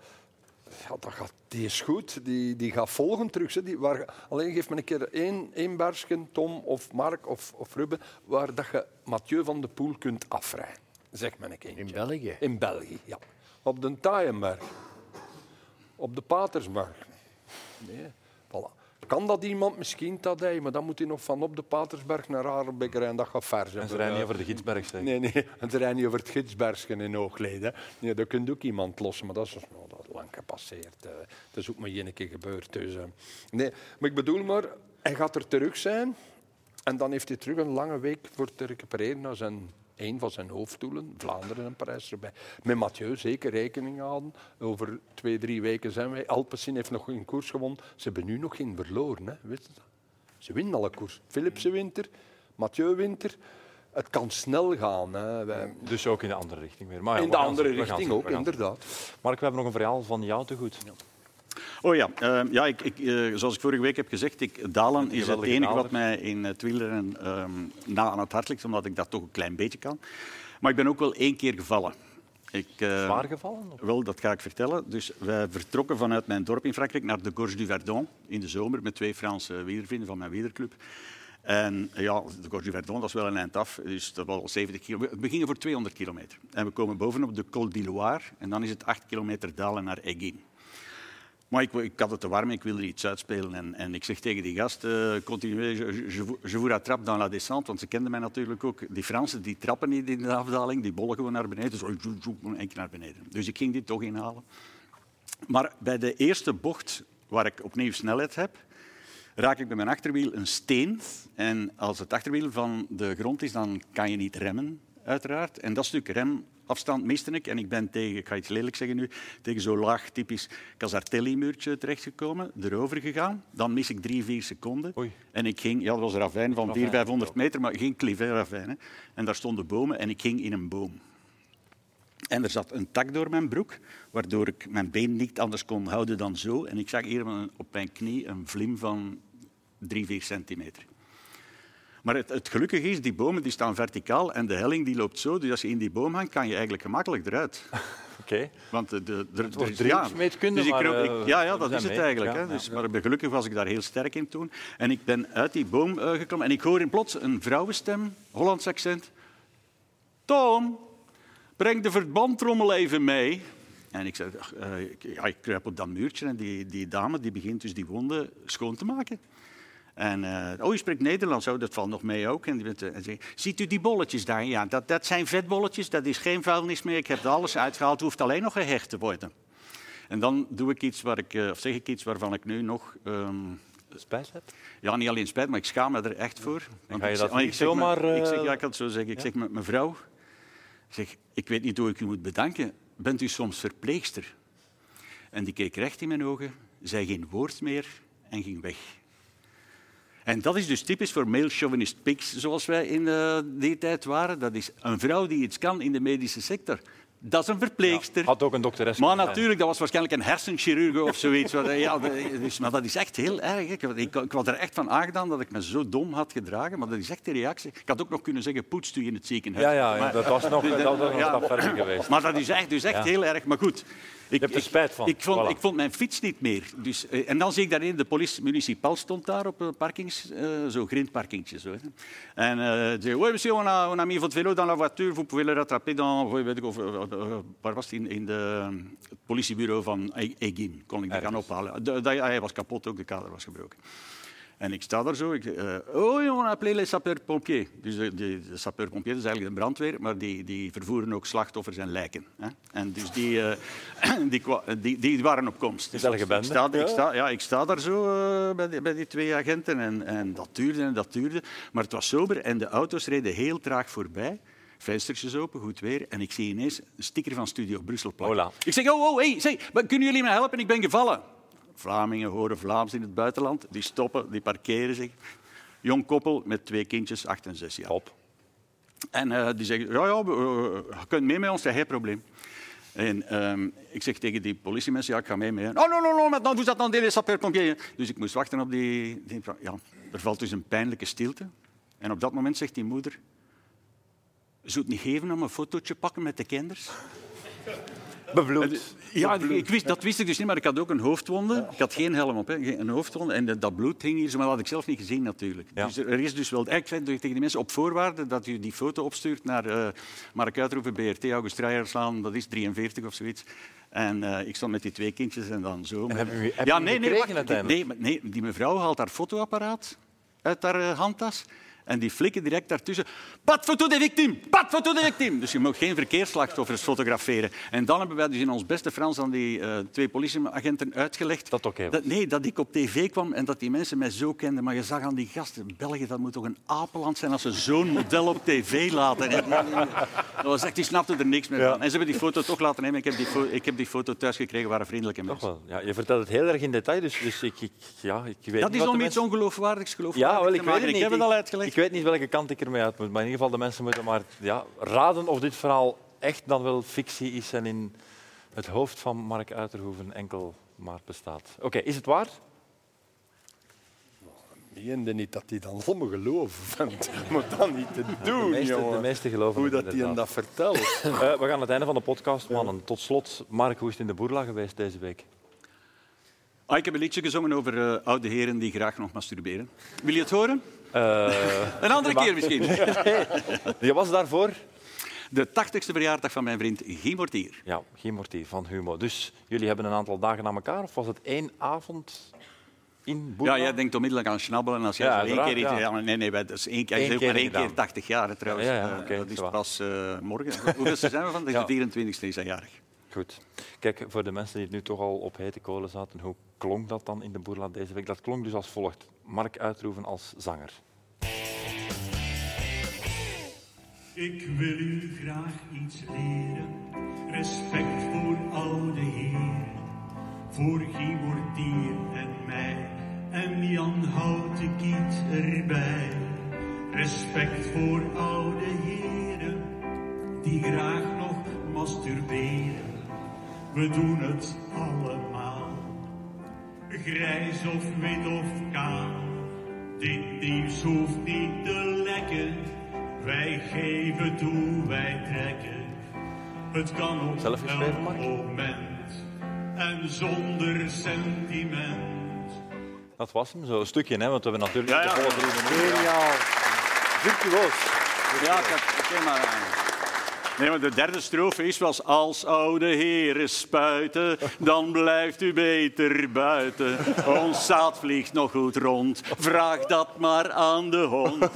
[SPEAKER 4] ja, dat gaat, die is goed. Die, die gaat volgen terug. Hè. Die, waar, alleen geef me een keer één, één barsken, Tom of Mark of, of Ruben, waar dat je Mathieu van de Poel kunt afrijden. Zeg me een keer.
[SPEAKER 2] In België.
[SPEAKER 4] In België, ja. Op de Taaienberg. Op de Patersberg. Nee, voilà. Kan dat iemand misschien, dat hij, maar dan moet hij nog van op de Patersberg naar Arenbeek rijden. Dat gaat ver zijn.
[SPEAKER 1] En ze rijden niet over de Gidsberg, zeg.
[SPEAKER 4] Nee, nee, het rijdt niet over het gidsbergen in Hoogleden. Nee, dat kunt ook iemand lossen, maar dat is nou, dat is lang gepasseerd. eh. Dat is ook maar één keer gebeurd. Dus, eh. nee, maar ik bedoel maar, hij gaat er terug zijn en dan heeft hij terug een lange week voor te recupereren naar zijn, een van zijn hoofddoelen, Vlaanderen en Parijs erbij. Met Mathieu zeker rekening houden. Over twee, drie weken zijn wij. Alpecin heeft nog een koers gewonnen. Ze hebben nu nog geen verloren, hè. wist je dat? Ze winnen alle koers. Philipsen winter, Mathieu winter. Het kan snel gaan. Hè. Wij-
[SPEAKER 1] Dus ook in de andere richting weer. Maar ja,
[SPEAKER 4] in
[SPEAKER 1] we
[SPEAKER 4] de
[SPEAKER 1] gaan
[SPEAKER 4] andere
[SPEAKER 1] zien, we gaan
[SPEAKER 4] richting
[SPEAKER 1] zien,
[SPEAKER 4] ook,
[SPEAKER 1] we gaan zien.
[SPEAKER 4] inderdaad.
[SPEAKER 1] Mark, we hebben nog een verhaal van jou te goed.
[SPEAKER 3] Oh ja, eh, ja ik, ik, eh, zoals ik vorige week heb gezegd, ik, dalen is het
[SPEAKER 1] geweldige
[SPEAKER 3] enige
[SPEAKER 1] daler.
[SPEAKER 3] wat mij in het wielrennen ehm, na aan het hart ligt, omdat ik dat toch een klein beetje kan. Maar ik ben ook wel één keer gevallen. Ik, eh,
[SPEAKER 1] Zwaar gevallen? Of?
[SPEAKER 3] Wel, dat ga ik vertellen. Dus wij vertrokken vanuit mijn dorp in Frankrijk naar de Gorge du Verdon in de zomer met twee Franse wielervrienden van mijn wielerclub. En eh, ja, de Gorge du Verdon, dat is wel een eind af. Dus dat was al 70 kilometer. We gingen voor 200 kilometer. En we komen bovenop de Col d'Iloire en dan is het 8 kilometer dalen naar Egin. Maar ik, ik had het te warm, ik wilde iets uitspelen. En, en ik zeg tegen die gast, eh continuez, je, je, je vous- je vous rattrape dans la descente. Want ze kenden mij natuurlijk ook. Die Fransen die trappen niet in de afdaling, die bollen gewoon naar beneden. Zo, zo, zo, en ik naar beneden. Dus ik ging dit toch inhalen. Maar bij de eerste bocht, waar ik opnieuw snelheid heb, raak ik met mijn achterwiel een steen. En als het achterwiel van de grond is, dan kan je niet remmen, uiteraard. En dat stuk remafstand miste ik. En ik ben tegen, ik ga iets lelijk zeggen nu, tegen zo'n laag typisch Casartelli-muurtje terechtgekomen, erover gegaan. Dan mis ik drie, vier seconden.
[SPEAKER 1] Oei.
[SPEAKER 3] En ik ging, ja, dat was een ravijn van
[SPEAKER 1] Ravijn,
[SPEAKER 3] 400, 500 meter, maar geen clivé-ravijn. hè. En daar stonden bomen en ik ging in een boom. En er zat een tak door mijn broek, waardoor ik mijn been niet anders kon houden dan zo. En ik zag hier een- op mijn knie een vlim van drie, vier centimeter. Maar het, het gelukkige is, die bomen die staan verticaal en de helling die loopt zo. Dus als je in die boom hangt, kan je eigenlijk gemakkelijk eruit.
[SPEAKER 1] Oké.
[SPEAKER 3] Want eh, de, de, de,
[SPEAKER 1] wordt
[SPEAKER 3] de- ja.
[SPEAKER 1] driehoeksmeetkunde,
[SPEAKER 3] Dus ik
[SPEAKER 1] maar,
[SPEAKER 3] kroop-
[SPEAKER 1] eh,
[SPEAKER 3] ik- ja, ja,
[SPEAKER 1] we
[SPEAKER 3] dat
[SPEAKER 1] zijn
[SPEAKER 3] is het
[SPEAKER 1] mee.
[SPEAKER 3] eigenlijk.
[SPEAKER 1] Ja,
[SPEAKER 3] hè.
[SPEAKER 1] ja,
[SPEAKER 3] Dus,
[SPEAKER 1] ja.
[SPEAKER 3] Maar gelukkig was ik daar heel sterk in toen. En ik ben uit die boom eh, geklommen en ik hoor in plots een vrouwenstem, Hollands accent. Tom, breng de verbandtrommel even mee. En ik zei, ach, eh, ik- ja, ik kruip op dat muurtje en die, die dame die begint dus die wonden schoon te maken. En, eh, oh, je spreekt Nederlands, oh, dat valt nog mee ook. En die bent, eh, en zei, ziet u die bolletjes daar? Ja, dat, dat zijn vetbolletjes, dat is geen vuilnis meer. Ik heb er alles uitgehaald, het hoeft alleen nog gehecht te worden. En dan doe ik iets waar ik, eh, of zeg ik iets waarvan ik nu nog... ehm,
[SPEAKER 1] Spijt hebt?
[SPEAKER 3] ja, niet alleen spijt, maar ik schaam me er echt voor. Want
[SPEAKER 1] ga je dat
[SPEAKER 3] ik zeg- want
[SPEAKER 1] niet
[SPEAKER 3] ik zeg
[SPEAKER 1] zomaar,
[SPEAKER 3] me- Ik
[SPEAKER 1] eh,
[SPEAKER 3] zeg, ja, ik kan het zo zeggen. Ik zeg met mevrouw, ik zeg, ik weet niet hoe ik u moet bedanken. Bent u soms verpleegster? En die keek recht in mijn ogen, zei geen woord meer en ging weg. En dat is dus typisch voor male chauvinist pigs, zoals wij in eh, die tijd waren. Dat is een vrouw die iets kan in de medische sector. Dat is een verpleegster.
[SPEAKER 1] Had ook een dokteres
[SPEAKER 3] Maar
[SPEAKER 1] kunnen zijn.
[SPEAKER 3] natuurlijk, dat was waarschijnlijk een hersenchirurg of zoiets. Wat, eh, ja, de- dus, maar dat is echt heel erg. hè. Ik, ik, ik was er echt van aangedaan dat ik me zo dom had gedragen. Maar dat is echt de reactie. Ik had ook nog kunnen zeggen, poetst u in het ziekenhuis.
[SPEAKER 1] Ja, ja,
[SPEAKER 3] Maar-
[SPEAKER 1] dat was nog dat was nog een
[SPEAKER 3] Ja.
[SPEAKER 1] stap verder geweest.
[SPEAKER 3] maar dat is echt, dus echt heel erg. Maar goed, Ik,
[SPEAKER 1] hebt er
[SPEAKER 3] ik-
[SPEAKER 1] spijt van.
[SPEAKER 3] Ik vond,
[SPEAKER 1] Voilà.
[SPEAKER 3] ik vond mijn fiets niet meer. Dus, eh, en dan zie ik daarin, de politie municipal stond daar op een parkings, eh zo'n grindparkingtje. Zo, hè. En eh die zei, oui, monsieur, on a, on a mis votre vélo dans la voiture, vous pouvez le rattraper dans, oui, weet ik of, eh, eh, waar was het, in, in de, het politiebureau van E- Egin. Kon ik dat gaan ophalen. De- dat- hij was kapot, ook de kader was gebroken. En ik sta daar zo. Ik, eh oh, on appelait les sapeurs-pompiers. Dus de, de, de sapeurs-pompiers dat is eigenlijk de brandweer, maar die, die vervoeren ook slachtoffers en lijken. Hè? En dus die, eh, die, kwa- die, die waren op komst. Dus
[SPEAKER 1] Gezellige
[SPEAKER 3] ik-
[SPEAKER 1] bende.
[SPEAKER 3] Ik sta, ik, sta, ja, ik sta daar zo eh, bij, die, bij die twee agenten en, en dat duurde en dat duurde. Maar het was sober en de auto's reden heel traag voorbij. Venstertjes open, goed weer. En ik zie ineens een sticker van Studio Brussel plakken.
[SPEAKER 1] Voilà.
[SPEAKER 3] Ik zeg, oh, oh, hey, zeg, maar kunnen jullie me helpen? Ik ben gevallen. Vlamingen horen Vlaams in het buitenland. Die stoppen, die parkeren zich. Jong koppel met twee kindjes, acht en zes jaar.
[SPEAKER 1] Top.
[SPEAKER 3] En eh, die zeggen, ja, ja, we, eh, je kunt mee met ons, dat is geen probleem. En ehm, ik zeg tegen die politiemensen, ja, ik ga mee met hen. Oh, no, no, no, maintenant vous attendez les sapeurs-pompiers. Dus ik moest wachten op die, die... Ja, er valt dus een pijnlijke stilte. En op dat moment zegt die moeder... Zou het niet geven om een fotootje pakken met de kinders?
[SPEAKER 1] Bebloed.
[SPEAKER 3] Ja, ik wist, dat wist ik dus niet, maar ik had ook een hoofdwonde. Ik had geen helm op, hè. Geen- een hoofdwonde. En eh, dat bloed hing hier, zo, maar dat had ik zelf niet gezien natuurlijk.
[SPEAKER 1] Ja.
[SPEAKER 3] Dus er er is dus wel... Ik zei tegen die mensen, op voorwaarde dat u die foto opstuurt naar eh Mark Uitroeven, BRT, August Rijerslaan, dat is 43 of zoiets. En eh, ik stond met die twee kindjes en dan zo.
[SPEAKER 1] hebben jullie- hebben
[SPEAKER 3] ja,
[SPEAKER 1] jullie
[SPEAKER 3] nee, nee,
[SPEAKER 1] gekregen
[SPEAKER 3] wacht, die, nee,
[SPEAKER 1] uiteindelijk?
[SPEAKER 3] maar- nee, die mevrouw haalt haar fotoapparaat uit haar eh, handtas. En die flikken direct daartussen. Pat foto de victim! Pat foto de victim! Dus je mag geen verkeersslachtoffers fotograferen. En dan hebben wij dus in ons beste Frans aan die eh, twee politieagenten uitgelegd...
[SPEAKER 1] Dat het oké was.
[SPEAKER 3] Nee, dat ik op tv kwam en dat die mensen mij zo kenden. Maar je zag aan die gasten, België, dat moet toch een apenland zijn als ze zo'n model op tv laten. hè. Dat was echt, die snapten er niks meer van. En ze hebben die foto toch laten nemen. Ik heb die, fo- ik heb die foto thuis gekregen, waren vriendelijke
[SPEAKER 1] Toch
[SPEAKER 3] mensen.
[SPEAKER 1] wel. Ja, je vertelt het heel erg in detail, dus, dus ik, ik, ja, ik weet
[SPEAKER 3] Dat
[SPEAKER 1] niet wat de
[SPEAKER 3] is om iets
[SPEAKER 1] mensen-
[SPEAKER 3] ongeloofwaardigs geloofwaardig
[SPEAKER 1] Ja, wel, ik
[SPEAKER 3] te
[SPEAKER 1] weet
[SPEAKER 3] maken.
[SPEAKER 1] het niet.
[SPEAKER 3] Ik heb het
[SPEAKER 1] Ik-
[SPEAKER 3] al uitgelegd.
[SPEAKER 1] Ik weet niet welke kant ik ermee uit moet, maar in ieder geval de mensen moeten maar ja, raden of dit verhaal echt dan wel fictie is en in het hoofd van Mark Uiterhoeven enkel maar bestaat. Oké, is het waar?
[SPEAKER 4] meende niet dat hij dan allemaal geloven vindt. Moet dat niet te doen,
[SPEAKER 1] De meeste, de
[SPEAKER 4] jongen.
[SPEAKER 1] meeste geloven
[SPEAKER 4] Hoe
[SPEAKER 1] het
[SPEAKER 4] dat hij hem
[SPEAKER 1] inderdaad.
[SPEAKER 4] dat vertelt.
[SPEAKER 1] Eh, we gaan aan het einde van de podcast, mannen. Tot slot, Mark, hoe is het in de Boerla geweest deze week?
[SPEAKER 3] Ah, ik heb een liedje gezongen over eh, oude heren die graag nog masturberen. Wil je het horen? een andere keer misschien.
[SPEAKER 1] Je was daarvoor?
[SPEAKER 3] De 80ste verjaardag van mijn vriend Guy Mortier.
[SPEAKER 1] Ja, geen mortier van Humo. Dus jullie hebben een aantal dagen aan elkaar, of was het één avond in Boerla?
[SPEAKER 3] Ja, jij denkt onmiddellijk aan schnabbelen als jij
[SPEAKER 1] Ja,
[SPEAKER 3] zo één keer iets...
[SPEAKER 1] uiteraard, ja.
[SPEAKER 3] Ja, maar nee, nee, wij- dat is één keer,
[SPEAKER 1] Eén
[SPEAKER 3] hij is ook
[SPEAKER 1] keer
[SPEAKER 3] maar één
[SPEAKER 1] gedaan.
[SPEAKER 3] keer 80 jaar hè, trouwens.
[SPEAKER 1] Ja, ja,
[SPEAKER 3] Eh,
[SPEAKER 1] oké,
[SPEAKER 3] dat is
[SPEAKER 1] ça va.
[SPEAKER 3] pas eh, morgen. Hoeveel zijn we van? Dat is
[SPEAKER 1] Ja.
[SPEAKER 3] de 24ste is hij jarig.
[SPEAKER 1] Goed. Kijk, voor de mensen die het nu toch al op hete kolen zaten, hoe klonk dat dan in de Boerla deze week? Dat klonk dus als volgt. Mark Uitroeven als zanger.
[SPEAKER 10] Ik wil u graag iets leren. Respect voor oude heren. Voor Guy Mortier en mij. En Jan Houtekiet erbij. Respect voor oude heren. Die graag nog masturberen. We doen het allemaal. Grijs of wit of kaal. Dit nieuws hoeft niet te lekken. Wij geven toe, wij trekken. Het kan op
[SPEAKER 1] Zelf geschreven,
[SPEAKER 10] elk
[SPEAKER 1] Mark?
[SPEAKER 10] moment. En zonder sentiment.
[SPEAKER 1] Dat was hem, zo'n stukje, hè, want we hebben natuurlijk
[SPEAKER 3] Ja,
[SPEAKER 1] de
[SPEAKER 3] ja.
[SPEAKER 1] volle drie minuten. Geniaal. Virtuoos.
[SPEAKER 3] Ja, ik had- oké, maar... eh, Nee, maar de derde strofe is was als oude heren spuiten, dan blijft u beter buiten. Ons zaad vliegt nog goed rond, vraag dat maar aan de hond.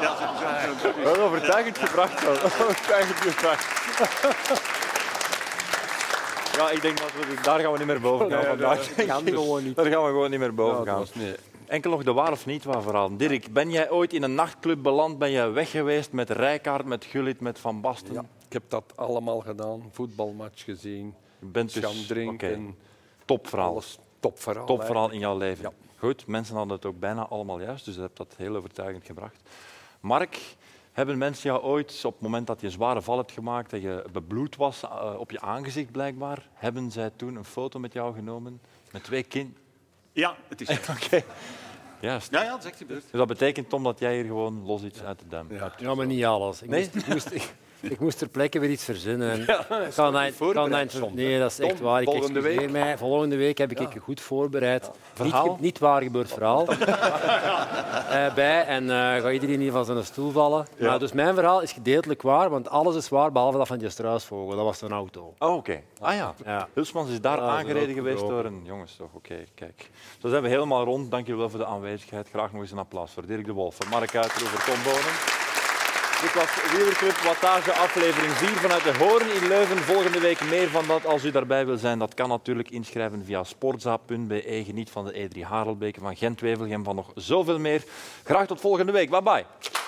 [SPEAKER 3] Ja, zo- zo- zo-
[SPEAKER 1] Wel overtuigend gebracht. wel. Overtuigend gebracht. Ja, ik denk dat we daar gaan we niet meer boven gaan vandaag.
[SPEAKER 2] Kan gewoon niet.
[SPEAKER 1] Daar gaan we gewoon niet meer boven gaan.
[SPEAKER 4] nee.
[SPEAKER 1] Enkel nog de waar of niet waar verhalen. Dirk, ben jij ooit in een nachtclub beland? Ben jij weg geweest met Rijkaard, met Gullit, met Van Basten?
[SPEAKER 4] Ja, ik heb dat allemaal gedaan. Voetbalmatch gezien.
[SPEAKER 1] Je bent dus...
[SPEAKER 4] Gaan drinken.
[SPEAKER 1] oké. Topverhaal.
[SPEAKER 4] Alles topverhaal.
[SPEAKER 1] Topverhaal in jouw leven.
[SPEAKER 4] Ja.
[SPEAKER 1] Goed, mensen hadden het ook bijna allemaal juist, dus je hebt dat heel overtuigend gebracht. Mark, hebben mensen jou ooit, op het moment dat je een zware val hebt gemaakt, dat je bebloed was eh, op je aangezicht blijkbaar, hebben zij toen een foto met jou genomen? Met twee kind.
[SPEAKER 3] Ja, het is...
[SPEAKER 1] Oké. Juist.
[SPEAKER 3] Ja, ja, het is echt gebeurd.
[SPEAKER 1] Dus dat betekent, Tom, dat jij hier gewoon los iets uit de duim
[SPEAKER 2] Ja, maar niet alles. Ik
[SPEAKER 1] Nee?
[SPEAKER 2] moest, ik moest, Ik moest ter plekke weer iets verzinnen. Ja, kan hij, kan hij, nee, dat is echt
[SPEAKER 4] Tom,
[SPEAKER 2] waar. Ik
[SPEAKER 4] volgende
[SPEAKER 2] excuseer
[SPEAKER 4] week.
[SPEAKER 2] mij. Volgende week heb ik een goed voorbereid.
[SPEAKER 1] Verhaal?
[SPEAKER 2] Niet, niet waar gebeurd verhaal. Eh, bij en eh, ga iedereen hier van zijn stoel vallen. Maar dus mijn verhaal is gedeeltelijk waar, want alles is waar behalve dat van die struisvogel. Dat was een auto.
[SPEAKER 1] Oh, oké. Ah ja.
[SPEAKER 2] Ja.
[SPEAKER 1] Hulsmans is daar
[SPEAKER 2] Ah, dat is
[SPEAKER 1] aangereden
[SPEAKER 2] ook
[SPEAKER 1] geweest
[SPEAKER 2] goed.
[SPEAKER 1] door een... Jongens, toch. Oké, kijk. Zo zijn we helemaal rond. Dank jullie wel voor de aanwezigheid. Graag nog eens een applaus voor Dirk de Wolf, voor Mark Uitroe, voor Tom Bonen. Dit was Wielerclub Wattage, aflevering 4 vanuit de Hoorn in Leuven. Volgende week meer van dat. Als u daarbij wil zijn, dat kan natuurlijk inschrijven via sportza.be. Geniet van de E3 Harelbeke, van Gent-Wevelgem, van nog zoveel meer. Graag tot volgende week. Bye-bye.